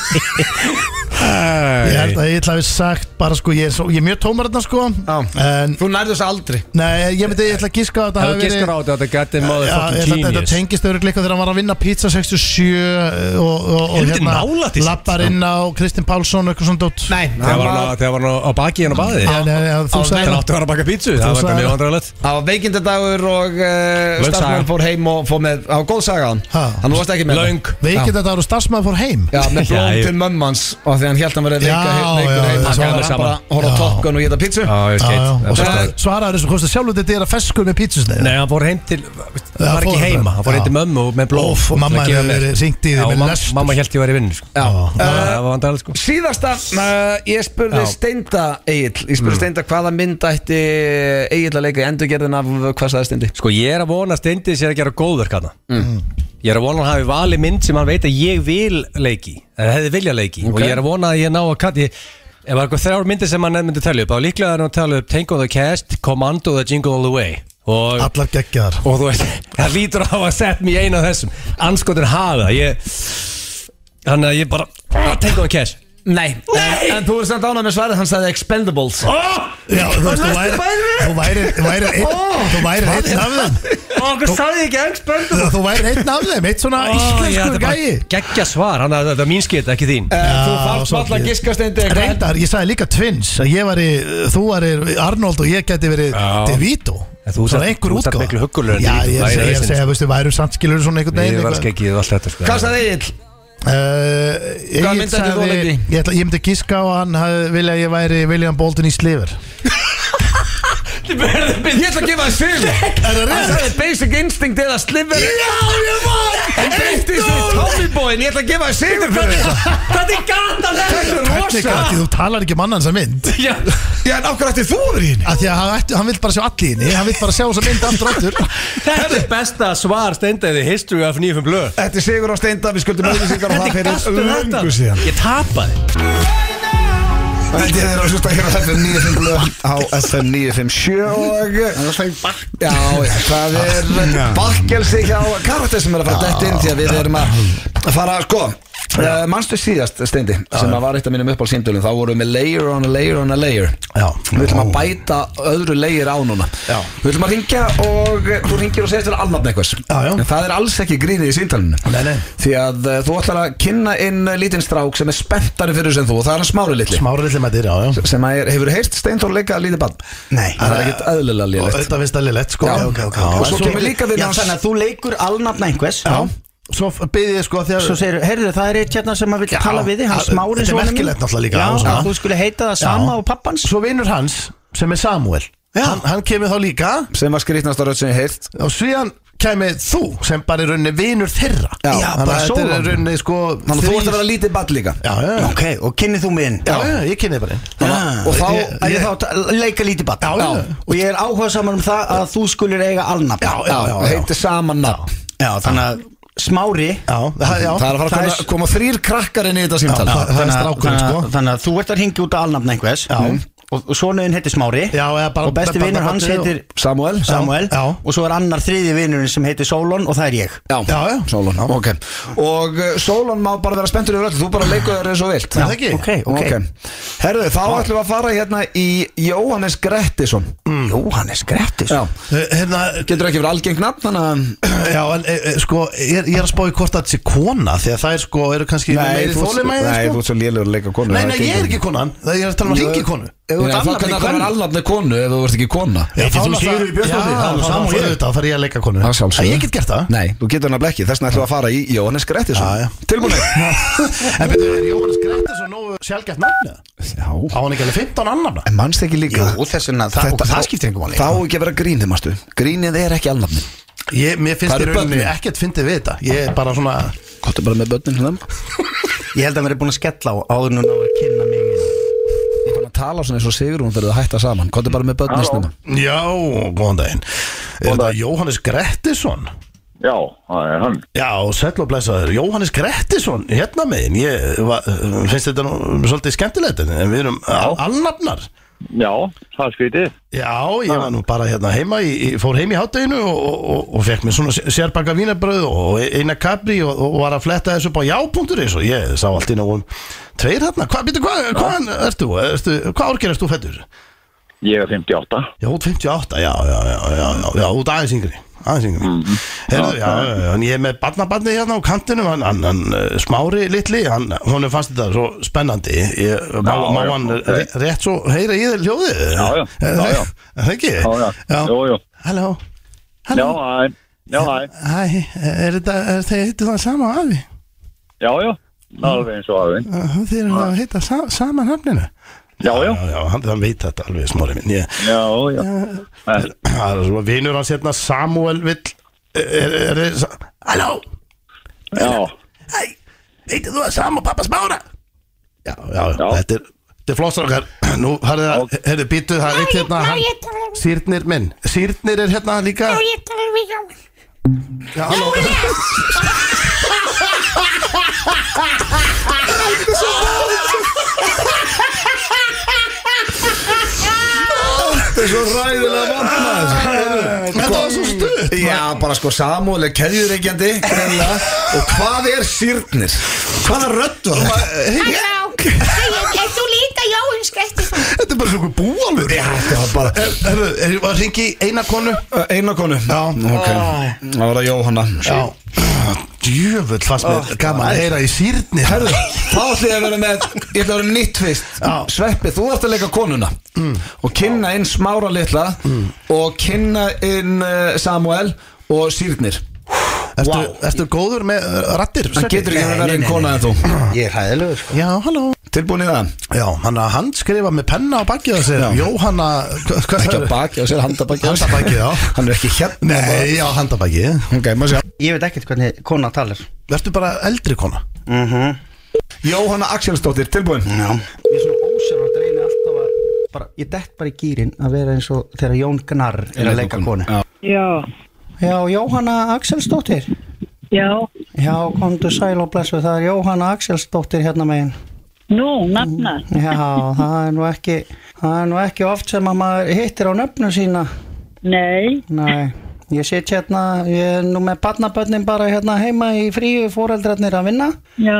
[SPEAKER 2] Ég held að Egil hafi sagt bara sko Ég er, svo, ég er mjög tómar þarna sko
[SPEAKER 1] Já.
[SPEAKER 2] En
[SPEAKER 1] Þú nærðu þessu aldrei
[SPEAKER 2] Nei, ég myndi, ég ætla að gíska að þetta
[SPEAKER 3] Það
[SPEAKER 2] hafi
[SPEAKER 3] var
[SPEAKER 2] verið
[SPEAKER 3] giskar á þetta, þetta gæti maður
[SPEAKER 2] Já, ég
[SPEAKER 3] fucking
[SPEAKER 2] ætla að þetta
[SPEAKER 3] genius
[SPEAKER 2] tengist örygglega eitthvað þegar hann var að vinna pizza 67 eh, og, og, og
[SPEAKER 3] Helviti nálægt í sitt.
[SPEAKER 2] lappar inn á Kristinn Pálsson og eitthvað svona dót
[SPEAKER 1] Nei,
[SPEAKER 3] Þegar
[SPEAKER 1] hann
[SPEAKER 3] var hann
[SPEAKER 1] var
[SPEAKER 3] á- þegar var hann á- á baki hérna á baði
[SPEAKER 2] Já, nei, já, þú
[SPEAKER 1] Á
[SPEAKER 2] sagði
[SPEAKER 3] Þegar
[SPEAKER 2] það.
[SPEAKER 3] áttu hann að baka pítsu Það var
[SPEAKER 2] sagðir
[SPEAKER 3] eitthvað mjög
[SPEAKER 2] það.
[SPEAKER 3] vandrarlegt
[SPEAKER 1] Það var veikindadagur og uh,
[SPEAKER 3] Löng
[SPEAKER 1] starfsmann
[SPEAKER 3] saga.
[SPEAKER 1] fór heim og fór með, það var góð saga hann
[SPEAKER 2] Ha.
[SPEAKER 1] Hann varst ekki með
[SPEAKER 3] Löng
[SPEAKER 2] Veikið þetta eru starfsmaður fór heim
[SPEAKER 1] það. Já, með
[SPEAKER 3] Já,
[SPEAKER 1] blóm
[SPEAKER 3] ég-
[SPEAKER 1] til mömmans og því hann held hann verið
[SPEAKER 2] Já,
[SPEAKER 1] veika he- veikur
[SPEAKER 2] já,
[SPEAKER 1] heim
[SPEAKER 2] já,
[SPEAKER 1] og svo
[SPEAKER 3] já.
[SPEAKER 1] var hann bara að horfa á
[SPEAKER 2] Já.
[SPEAKER 1] Top Gun og geta pítsu
[SPEAKER 3] Já, ég
[SPEAKER 2] Já, já, og
[SPEAKER 3] skeitt
[SPEAKER 2] svara, svaraður þessu kosti sjálfur þetta er að feskur með pítsusneið
[SPEAKER 3] Nei, hann fór heim til Það var
[SPEAKER 2] fór hann
[SPEAKER 3] ekki heima
[SPEAKER 2] bara.
[SPEAKER 3] Hann fór heim til
[SPEAKER 2] Já.
[SPEAKER 3] mömmu og með blóð
[SPEAKER 2] Óff, og
[SPEAKER 3] til
[SPEAKER 2] mamma
[SPEAKER 3] að gefa
[SPEAKER 2] hefði
[SPEAKER 3] mér.
[SPEAKER 2] verið hringt í þig
[SPEAKER 3] Já,
[SPEAKER 2] með
[SPEAKER 3] mam-
[SPEAKER 2] lestur. Eh.
[SPEAKER 3] Mamma held ég væri vinn sko.
[SPEAKER 1] Já.
[SPEAKER 3] Það var vandrarlegt sko
[SPEAKER 1] Síðasta, uh, ég spurði
[SPEAKER 3] Já. Mm.
[SPEAKER 1] Steinda Egil Ég spurði Steinda hvaða mynd ætti Egil að leika í endurgerðin af hvað sagði Steindi
[SPEAKER 3] Sko, ég er að vona að Steindi sér að gera góðverk hana
[SPEAKER 2] Mm.
[SPEAKER 3] Ég er að vona að hann hafi valið mynd sem hann veit að ég vil leiki eða hefði vilja leiki og ég er að vona að ég ná að kalla ég Ef það er eitthvað þrjár myndir sem hann myndi telja upp þá líklega er hann að tala upp Tango the Cast, Commando the Jingle All the Way og,
[SPEAKER 2] Allar geggjaðar
[SPEAKER 3] og þú veist, það lítur á að setja mig í eina af þessum anskotin hafa ég, Þannig að ég bara ah, Tango the Cast
[SPEAKER 1] Nei, Nei. En, en þú verður samt ánað með svarið, hann sagði Expendables
[SPEAKER 3] oh,
[SPEAKER 2] Já, þú veist, þú
[SPEAKER 3] Næstu
[SPEAKER 2] væri
[SPEAKER 3] bæði við.
[SPEAKER 2] Þú væri, þú væri einn Þú væri einn af þeim
[SPEAKER 3] Okkur sagði ég ekki Expendables
[SPEAKER 2] Þú væri einn af þeim, eitt svona íslenskur gæi
[SPEAKER 3] Geggja svar, hann að þetta er mín skita, ekki þín
[SPEAKER 1] uh, Þú
[SPEAKER 2] Já,
[SPEAKER 1] þarft
[SPEAKER 2] svolítið.
[SPEAKER 1] valla að giska Steindi hvað held-
[SPEAKER 2] Reyndar, ég sagði líka Twins að ég væri, þú væri Arnold og ég geti verið
[SPEAKER 3] Já.
[SPEAKER 2] DeVito
[SPEAKER 3] En þú
[SPEAKER 2] Svona
[SPEAKER 3] ert-
[SPEAKER 2] einhver
[SPEAKER 3] þú ert
[SPEAKER 2] útgáfa.
[SPEAKER 3] miklu huggulegur en
[SPEAKER 2] Já,
[SPEAKER 3] DeVito,
[SPEAKER 2] ég
[SPEAKER 3] það er
[SPEAKER 2] segi, ég
[SPEAKER 3] aðeins.
[SPEAKER 2] segi, veistu, værum samskilur svona einhvern
[SPEAKER 3] Ég
[SPEAKER 2] veginn
[SPEAKER 3] var
[SPEAKER 2] eitthvað.
[SPEAKER 3] skeggið og allt þetta sko
[SPEAKER 1] Hvað sagði Egil?
[SPEAKER 2] Uh, ég,
[SPEAKER 1] Hvaða mynd ættir þú að
[SPEAKER 2] sagði-
[SPEAKER 1] leika í?
[SPEAKER 2] ég, ætla- ég myndi giska á að hann hafði vilja að ég væri William Bolton í Sliver
[SPEAKER 1] Ég ætla að gefa það svil
[SPEAKER 2] Er það
[SPEAKER 1] Hann sagði Basic Instinct eða Sliver Já, ég var En beittist því Tommy Boyin Ég ætla að gefa það svil fyrir þetta
[SPEAKER 3] Hvernig gata
[SPEAKER 1] Þetta er
[SPEAKER 2] Hvernig gæti
[SPEAKER 1] rosa
[SPEAKER 2] þú talar ekki um annan sem mynd
[SPEAKER 3] Já,
[SPEAKER 1] Já, en okkur ætti þú verið henni
[SPEAKER 2] að Því að hann, ætti- hann vill bara sjá allir í henni Hann vill bara sjá þessa mynd aftur og aftur
[SPEAKER 3] Þetta er besta svar steindaði History of 95 blöð
[SPEAKER 1] Þetta er Sigur á Steinda Við skuldum auðvisingar og það fyrir löngu síðan
[SPEAKER 3] Ég tapaði
[SPEAKER 1] Þetta er að hlusta hér á hérna. FM 957 Á FM 957 og
[SPEAKER 5] Það er alltaf í bakk
[SPEAKER 1] Já, já, það er bakkelsi hjá karakter sem er að fara dætt inn því að við erum að að fara að sko Uh, manstu síðast, Steindi, sem að var eitt af mínum uppáld símdölum, þá vorum við með layer on a layer on a layer
[SPEAKER 2] Já,
[SPEAKER 1] Við ætlum að bæta öðru leir á núna já. Við ætlum að ringja og eh, þú ringir og segist þér alnafn einhvers
[SPEAKER 2] Já, já.
[SPEAKER 1] En það er alls ekki grínið í síntalinu
[SPEAKER 2] Nei, nei.
[SPEAKER 1] Því að eh, þú ætlar að kynna inn eh, lítinn strák sem er spenntari fyrir þessu en þú Og það er hann smári litli
[SPEAKER 2] Smári lillum að dyr, já, já
[SPEAKER 1] Sem að er, hefur heyrt Steintor leika að lítið bann
[SPEAKER 5] Nei.
[SPEAKER 1] Það er ekkert eðlilega
[SPEAKER 2] Og
[SPEAKER 1] lélegt
[SPEAKER 2] þetta finnst að lillett, sko
[SPEAKER 1] Já,
[SPEAKER 2] Já,
[SPEAKER 1] ok, ok, ok.
[SPEAKER 2] já,
[SPEAKER 1] Og svo
[SPEAKER 2] en
[SPEAKER 1] kemur líka við
[SPEAKER 5] Já,
[SPEAKER 1] hans-
[SPEAKER 5] þannig að þú leikur alnafna einhvers
[SPEAKER 2] Já, svo byggði ég sko
[SPEAKER 5] Svo
[SPEAKER 2] þegar
[SPEAKER 5] segir, heyrðu, það er eitt hérna sem að vilja tala við þig, hann
[SPEAKER 2] það-
[SPEAKER 5] smári
[SPEAKER 2] þetta er merkilegt náttúrulega líka, og
[SPEAKER 5] Já,
[SPEAKER 2] svona.
[SPEAKER 5] að þú skulle heita það sama
[SPEAKER 2] Já.
[SPEAKER 5] og pappans
[SPEAKER 2] Svo vinnur hans, sem er Samuel hann, hann kemur þá líka
[SPEAKER 1] Sem var skrýtnast á rödd sem ég heyrt
[SPEAKER 2] Og síðan kemur þú, sem bara er rauninni vinnur þeirra
[SPEAKER 1] Já,
[SPEAKER 2] Þannig að
[SPEAKER 5] bara
[SPEAKER 2] þetta er
[SPEAKER 5] sólan.
[SPEAKER 2] rauninni sko
[SPEAKER 1] Þannig að þú
[SPEAKER 2] þrír-
[SPEAKER 1] ætlar að vera lítið bann líka
[SPEAKER 2] Já, já, já
[SPEAKER 5] Ok, og kynni þú mig inn
[SPEAKER 2] Já, já, ég kynni þið bara inn
[SPEAKER 5] Þannig að
[SPEAKER 1] og þá
[SPEAKER 5] Ég, ég,
[SPEAKER 1] ég-
[SPEAKER 5] ég þá að leika lítið bann
[SPEAKER 2] Já, já.
[SPEAKER 5] Og ég er áhuga saman um það að þú skulir eiga alnafn
[SPEAKER 2] Já, já, já, já.
[SPEAKER 1] heitir saman nafn
[SPEAKER 5] já Þannig að smári
[SPEAKER 2] Já, það, já,
[SPEAKER 1] það er að fara að
[SPEAKER 5] það
[SPEAKER 1] koma,
[SPEAKER 5] er-
[SPEAKER 1] koma þrýr krakkar inn í þetta símtal
[SPEAKER 2] Já, það-
[SPEAKER 5] þannig,
[SPEAKER 2] er
[SPEAKER 5] að-
[SPEAKER 2] strákurinn,
[SPEAKER 5] þannig, að-
[SPEAKER 2] sko.
[SPEAKER 5] þannig að þú ert að hingja út að alnafn einhvers og, og sonuðin heitir Smári
[SPEAKER 2] Já, eða bara-
[SPEAKER 5] og besti
[SPEAKER 2] bara-
[SPEAKER 5] vinnur
[SPEAKER 2] bara-
[SPEAKER 5] hans heitir
[SPEAKER 1] Samuel
[SPEAKER 5] Samuel
[SPEAKER 2] Já.
[SPEAKER 5] og svo er annar þriði vinnurinn sem heitir Solon og það er ég
[SPEAKER 1] Já,
[SPEAKER 2] Já, já.
[SPEAKER 1] Solon, ok Og uh, Solon má bara vera spenntur yfir öllu, þú bara leikur þér eins og vilt
[SPEAKER 2] Er það ekki?
[SPEAKER 5] ok, ok,
[SPEAKER 1] Herðu, þá ætlum við að fara hérna í Jóhannes Grettisson
[SPEAKER 2] Mm.
[SPEAKER 5] Jóhannes Grettis
[SPEAKER 1] Já,
[SPEAKER 2] Eh, Hérna,
[SPEAKER 1] getur ekki verið algeng nafn, þannig að
[SPEAKER 2] já, en e, e, sko, ég, er- ég er að spá í hvort að þetta sé kona Því að það er sko, eru kannski meiri
[SPEAKER 1] þú ert-
[SPEAKER 2] þólimæði
[SPEAKER 1] nei, þú
[SPEAKER 2] sko.
[SPEAKER 1] ert svo lélegur að leika konu
[SPEAKER 2] Nei, nei, ég er ekki konan Það ég er að tala um að ringi konu
[SPEAKER 1] Þú ert
[SPEAKER 5] alnafni
[SPEAKER 1] alnafni konu
[SPEAKER 5] konu.
[SPEAKER 1] alnafni konu ef þú ert ekki kona
[SPEAKER 2] Heitir
[SPEAKER 5] þú Sigríður Björnsdóttir?
[SPEAKER 2] Já,
[SPEAKER 5] Það er nú
[SPEAKER 2] þá
[SPEAKER 5] sama og
[SPEAKER 2] fór
[SPEAKER 5] ég.
[SPEAKER 2] auðvitað, þá fer ég að leika konu
[SPEAKER 1] Að sjálfsögðu.
[SPEAKER 2] En Ég get gert það
[SPEAKER 1] Nei, þú getur nafnilega ekki, þess vegna ætlum við að fara í Jóhannes
[SPEAKER 2] Já, já.
[SPEAKER 1] Grettisson Tilbúinni
[SPEAKER 2] En betur, er Jóhannes Grettis og nógu sjálfgætt nafni?
[SPEAKER 1] Já
[SPEAKER 2] Á hann ekki alveg 15 annan
[SPEAKER 1] En mannst ekki líka
[SPEAKER 5] Jú, þess vegna, það- og það skiptir engu máli.
[SPEAKER 1] Þá á ekki að vera grínið, mástu Grínið er ekki alnafni
[SPEAKER 2] ég, Mér finnst
[SPEAKER 1] Það
[SPEAKER 2] í
[SPEAKER 1] eru
[SPEAKER 2] rauninni
[SPEAKER 1] börnin.
[SPEAKER 2] ekkert fyndið við þetta Ég er bara svona
[SPEAKER 1] Kottu bara með börnin hérna
[SPEAKER 5] Ég held að mér er búin að skella á áður núna að kynna mig
[SPEAKER 1] Ég fann að tala svona eins og Sigrún fyrir að hætta saman Kottu bara með börnin hérna. snemma
[SPEAKER 2] Já, góðan daginn Er það Jóhannes Grettisson?
[SPEAKER 6] Já, það er hann.
[SPEAKER 2] Já, sæll og blessaður Jóhannes Grettisson, hérna megin Ég va, finnst þetta nú svolítið skemmtilegt En við erum alnafnar
[SPEAKER 6] Já, það er skrítið.
[SPEAKER 2] Já, ég var nú bara hérna heima í, í- Fór heim í hátteginu og, og, og, og fekk mér svona sér- sérbaka vínabröð og eina kabri og, og var að fletta þessu upp á já.is og ég sá allt í náum tveir hérna, hvað, býttu, hvað, hvaðan ertu, ertu hvað árgerð ertu fættur?
[SPEAKER 6] Ég er 58.
[SPEAKER 2] Já, út 58, já, já, já, já, já, já út aðeins yngri, aðeins yngri
[SPEAKER 6] Mhm.
[SPEAKER 2] Herðu, já, já, já, en ég er með barnabarni hérna á kantinum, hann, hann, hann eh, smári litli, hann, honum fannst þetta svo spennandi, ég, má,
[SPEAKER 6] Já,
[SPEAKER 2] má
[SPEAKER 6] já,
[SPEAKER 2] hann
[SPEAKER 6] ok.
[SPEAKER 2] ré- rétt svo heyra í þér hljóðið
[SPEAKER 6] Já, já,
[SPEAKER 2] Er
[SPEAKER 6] já,
[SPEAKER 2] það-
[SPEAKER 6] já.
[SPEAKER 2] er Það ekki?
[SPEAKER 6] Já, já. Jú, jú.
[SPEAKER 2] Halló,
[SPEAKER 6] Já,
[SPEAKER 2] halló
[SPEAKER 6] hæ. Já, hæ.
[SPEAKER 2] Hæ, er þetta, er þið heitir það sama og afi?
[SPEAKER 6] Já, já. Það er alveg eins og aðeins.
[SPEAKER 2] Uh, Þið eru það að heita sa, sama nafninu?
[SPEAKER 6] Já, já.
[SPEAKER 2] Já, já, hann, hann veit þetta alveg, smári minn ég,
[SPEAKER 6] Já, já. Eh,
[SPEAKER 2] Það er svona vinur hans hérna Samuel vill er, er, er, sa- Halló,
[SPEAKER 6] Já,
[SPEAKER 2] hei, heitir þú að Samu pappa smára? Já, já, já, þetta er Þetta er flossrakar, nú harðið að, herðu býtu, það er eitt hérna,
[SPEAKER 7] má ég tala
[SPEAKER 2] hann, sírnir minn, sírnir er hérna líka,
[SPEAKER 7] Má ég tala við Jóhann?
[SPEAKER 2] já, halló,
[SPEAKER 1] Þetta er svo ræðilega vantnað
[SPEAKER 2] þetta var svo stutt,
[SPEAKER 1] Já, bara sko Samuel er keðjureikjandi greinilega. Og hvað er sýrnir? Hvaða rödd var þetta?
[SPEAKER 7] Halló, Hæ, er þú líka Jóhann Skrettisson?
[SPEAKER 2] þetta er bara svona búalur,
[SPEAKER 1] Já, þetta var bara
[SPEAKER 2] herðu, herðu, er það að ringi eina konu?
[SPEAKER 1] Einar konu
[SPEAKER 2] Já.
[SPEAKER 1] ok Það var að Jóhanna
[SPEAKER 2] Já, djöfull fast með gaman að heyra í sírnir
[SPEAKER 1] Herðu, þá ætlum ég að vera með Ég ætla að vera með nýtt fyrst
[SPEAKER 2] Já.
[SPEAKER 1] Sveppi, þú ert að leika konuna
[SPEAKER 5] Mm.
[SPEAKER 1] Og kynna inn Smára litla Og kynna inn eh, Samuel Og sýrnir
[SPEAKER 2] Ertu, ertu góður með uh, rattir?
[SPEAKER 1] Hann getur ekki verið einn kona en þú
[SPEAKER 5] Ég er hæðilegur sko
[SPEAKER 2] Já, halló
[SPEAKER 1] Tilbúin í það?
[SPEAKER 2] Já, hann að hann skrifa með penna á bakið á sér Jóhanna hva- hvað
[SPEAKER 1] Ekki
[SPEAKER 2] sagðirðu?
[SPEAKER 1] að baki á sér, handabaki á sér
[SPEAKER 2] Handabakið, já.
[SPEAKER 1] Hann er ekki hérna
[SPEAKER 2] Nei, já, handabakið
[SPEAKER 1] Ok, maður sé
[SPEAKER 5] Ég veit ekkert hvernig kona talar
[SPEAKER 2] Ertu bara eldri kona?
[SPEAKER 1] Jóhanna Axelsdóttir, tilbúin
[SPEAKER 5] Já Ég er svona ósjálfrátt reyni alltaf að bara, Ég dett bara í gýrin að vera eins og þegar Jón Gnarr er að leika konu Já,
[SPEAKER 8] Já,
[SPEAKER 5] Jóhanna Axelsdóttir
[SPEAKER 8] já,
[SPEAKER 5] Já, komdu sæl og blessu, það er Jóhanna Axelsdóttir hérna megin
[SPEAKER 8] nú, nafna
[SPEAKER 5] Já, það er nú ekki það er nú ekki oft sem að maður hittir á nöfnum sína
[SPEAKER 8] Nei,
[SPEAKER 5] Nei, ég sit hérna ég er nú með barnabönnin bara hérna heima í fríu fóreldrarnir að vinna
[SPEAKER 8] já,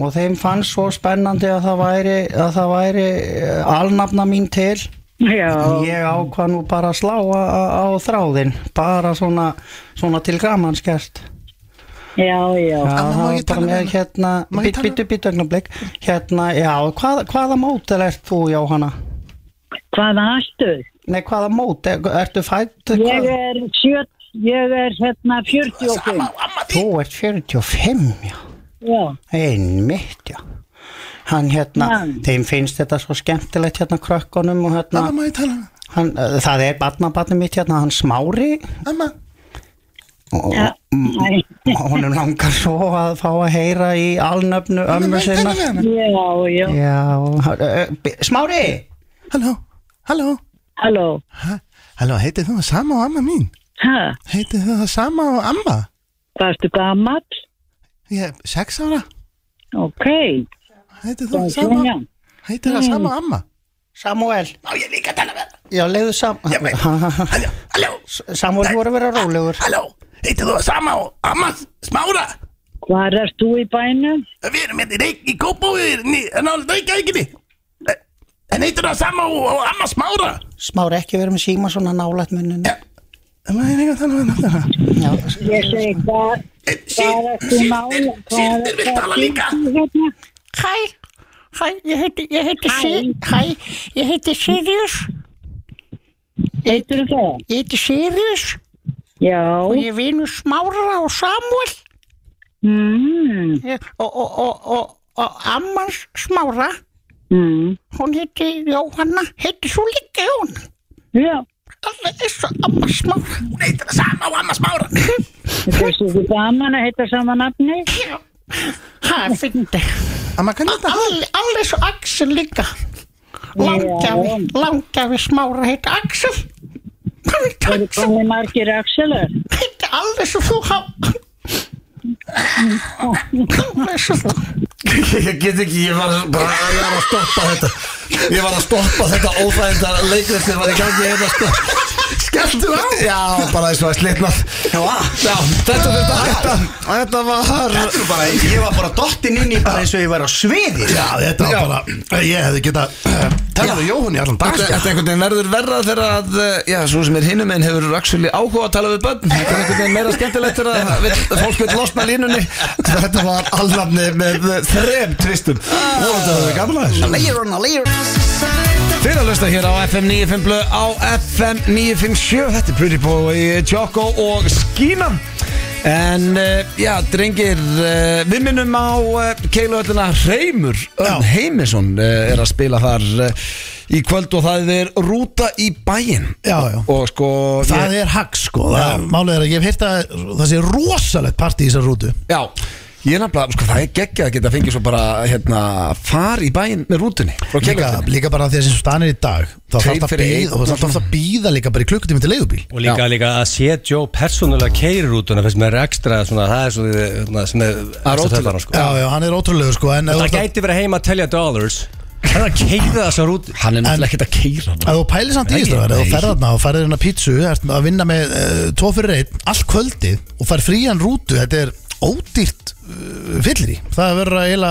[SPEAKER 5] og þeim fannst svo spennandi að það væri, að það væri eh, alnafna mín til
[SPEAKER 8] já,
[SPEAKER 5] ég ákvað nú bara að slá á, á þráðin bara svona, svona til gamanskert
[SPEAKER 8] já, já,
[SPEAKER 5] Já,
[SPEAKER 2] Amma, má
[SPEAKER 5] það
[SPEAKER 2] ég
[SPEAKER 5] var bara
[SPEAKER 2] tala við
[SPEAKER 5] með
[SPEAKER 2] hana?
[SPEAKER 5] hérna
[SPEAKER 2] Má ég
[SPEAKER 5] bit,
[SPEAKER 2] tala?
[SPEAKER 5] bitu, bitu ögnablik hérna, já, hvað, hvaða mótel ert þú Jóhanna?
[SPEAKER 8] hvað aðstuð?
[SPEAKER 5] Nei, hvaða mót, er, ertu fætt?
[SPEAKER 8] Ég er sjött, ég er hérna 45,
[SPEAKER 5] Þú ert 45, já.
[SPEAKER 8] já,
[SPEAKER 5] Einmitt, já. Hann hérna,
[SPEAKER 8] Já.
[SPEAKER 5] þeim finnst þetta svo skemmtilegt hérna krökkunum og
[SPEAKER 2] Ah.
[SPEAKER 5] hérna,
[SPEAKER 2] Amma, má ég tala?
[SPEAKER 5] hann, uh, það er barnabarni mitt hérna, hann smári,
[SPEAKER 2] Amma
[SPEAKER 5] og
[SPEAKER 8] Ja, nei.
[SPEAKER 5] honum langar svo að fá að heyra í alnöfnu ömmu sinna
[SPEAKER 8] Já, já,
[SPEAKER 5] Já, eh, eh, Smári
[SPEAKER 2] Halló, halló
[SPEAKER 8] halló
[SPEAKER 2] Ha- Halló, heitir þú það sama og amma mín?
[SPEAKER 8] Hæ,
[SPEAKER 2] Heitir þú það sama og amma?
[SPEAKER 8] varstu gamall?
[SPEAKER 2] Ég er sex ára
[SPEAKER 8] Ok,
[SPEAKER 2] Heitir þú
[SPEAKER 8] það
[SPEAKER 2] það
[SPEAKER 8] er
[SPEAKER 2] sama?
[SPEAKER 8] svona
[SPEAKER 2] Heitir það sama og amma?
[SPEAKER 5] Samuel Má ég líka tala með Já, leiðu saman Halló, halló Samuel, þú voru að vera rólegur
[SPEAKER 2] Halló, heitir þú það sama og amma smára?
[SPEAKER 8] Hvar erst þú í bænum?
[SPEAKER 2] Við erum hérna í reik í kópóið Nálega reikavíkinni
[SPEAKER 3] Eh,
[SPEAKER 2] En heitir það sama og, og amma smára?
[SPEAKER 5] Smári, ekki vera með síma svona nálægt munnin
[SPEAKER 3] Eh,
[SPEAKER 5] Já,
[SPEAKER 2] Það er eitthvað þannig að nálega
[SPEAKER 8] Ég segi hvað
[SPEAKER 3] eh,
[SPEAKER 8] Hvað er þú mála? Sýndir vil tala líka hérna?
[SPEAKER 9] Hæ, hæ, ég heiti, ég heiti, hæ. hæ, ég heiti Sirius,
[SPEAKER 8] Heitur það?
[SPEAKER 9] ég heiti Sirius
[SPEAKER 8] Já
[SPEAKER 9] og ég vinu Smára og Samuel
[SPEAKER 8] mm,
[SPEAKER 9] Ég- og, og, og, og, og amman Smára,
[SPEAKER 8] mm,
[SPEAKER 9] hún heiti Jóhanna, heiti svo líka Jón,
[SPEAKER 8] Já
[SPEAKER 9] alveg eins og amma Smára. Hún heitir það sama og amma Smára.
[SPEAKER 8] Þetta er svo gaman að heita sama nafni
[SPEAKER 9] Hæ, fyndi,
[SPEAKER 2] Amma, hvernig er þetta?
[SPEAKER 9] alveg alveg eins og Axel líka, langjafi, langjafi Smára heiti Axel. Hann heiti
[SPEAKER 8] Eru
[SPEAKER 9] Axel.
[SPEAKER 8] komið margir axelar?
[SPEAKER 9] Þetta er alveg svo þú hafa Alveg svo þú
[SPEAKER 1] Ég get ekki, ég var bara ég var að stoppa þetta Ég var að stoppa þetta óþægindar leikrið sem var í gangi hérna sko. Skelltu á? Já, bara eins og að slitnað Já, þetta þetta þetta, þetta var
[SPEAKER 5] Þetta er bara, ég var bara dottin inn í bara eins og ég var á sviði
[SPEAKER 2] Já, þetta var bara, Eh, ég hefði getað uh, Telur Jóhann í allan dag
[SPEAKER 1] Þetta þetta einhvern veginn verður verra þegar að eh, Já, svo sem er hinum en hefur actually áhuga að tala við börn Þetta er einhvern veginn meira skemmtilegt þegar að vill- fólk vil losna línunni Þetta var alnafni með eh, þrem tvistum Þetta var gamla þessu
[SPEAKER 5] Layer on a layer
[SPEAKER 1] Þeir að hlusta hér á FM 95 blöð á FM 957 Þetta er Pretty Boy, Choco og Skína En uh, já, drengir, uh, við minnum á uh, keiluöllina Hreimur Örn Heimisson uh, er að spila þar uh, í kvöld og það er rúta í bæinn
[SPEAKER 2] Já, já
[SPEAKER 1] Og sko,
[SPEAKER 2] Það er hagg sko, það, málið er að ég hef heyrt að það sé rosalegt part í þessar rútu
[SPEAKER 1] já, ég er nefnilega, sko það er geggjað að geta fengið svo bara hérna, far í bæinn með rútunni frá
[SPEAKER 2] líka,
[SPEAKER 1] Keilöhöllinni.
[SPEAKER 2] líka bara því að sem stanir í dag þá
[SPEAKER 1] Tveir
[SPEAKER 2] þarf það
[SPEAKER 1] fyrir einn
[SPEAKER 2] býð og það
[SPEAKER 1] og
[SPEAKER 2] þarf það býða líka bara í klukkutími til leigubíl
[SPEAKER 3] Og líka, líka að sé Joe persónulega keirir út finnst mér ekstra svona, það er svona, svona sem er
[SPEAKER 1] er
[SPEAKER 3] ekstra
[SPEAKER 1] ótrúlegt.
[SPEAKER 3] töffara, sko.
[SPEAKER 2] Já, já, hann er ótrúlega sko en ef
[SPEAKER 3] Það
[SPEAKER 2] þú ert að-
[SPEAKER 3] gæti verið heima að telja dollars Það er að keira þessa rútu
[SPEAKER 1] Hann er
[SPEAKER 2] En-
[SPEAKER 1] náttúrulega ekkert að keira
[SPEAKER 2] ef þú pælir samt í
[SPEAKER 3] Nei,
[SPEAKER 2] þessu ef þú
[SPEAKER 3] nei.
[SPEAKER 2] ferð þarna og ferðir hérna pítsu ert að vinna með uh, tvo fyrir einn allt kvöldið og fær frían rútu þetta er ódýrt uh, fyllir í það verður að eila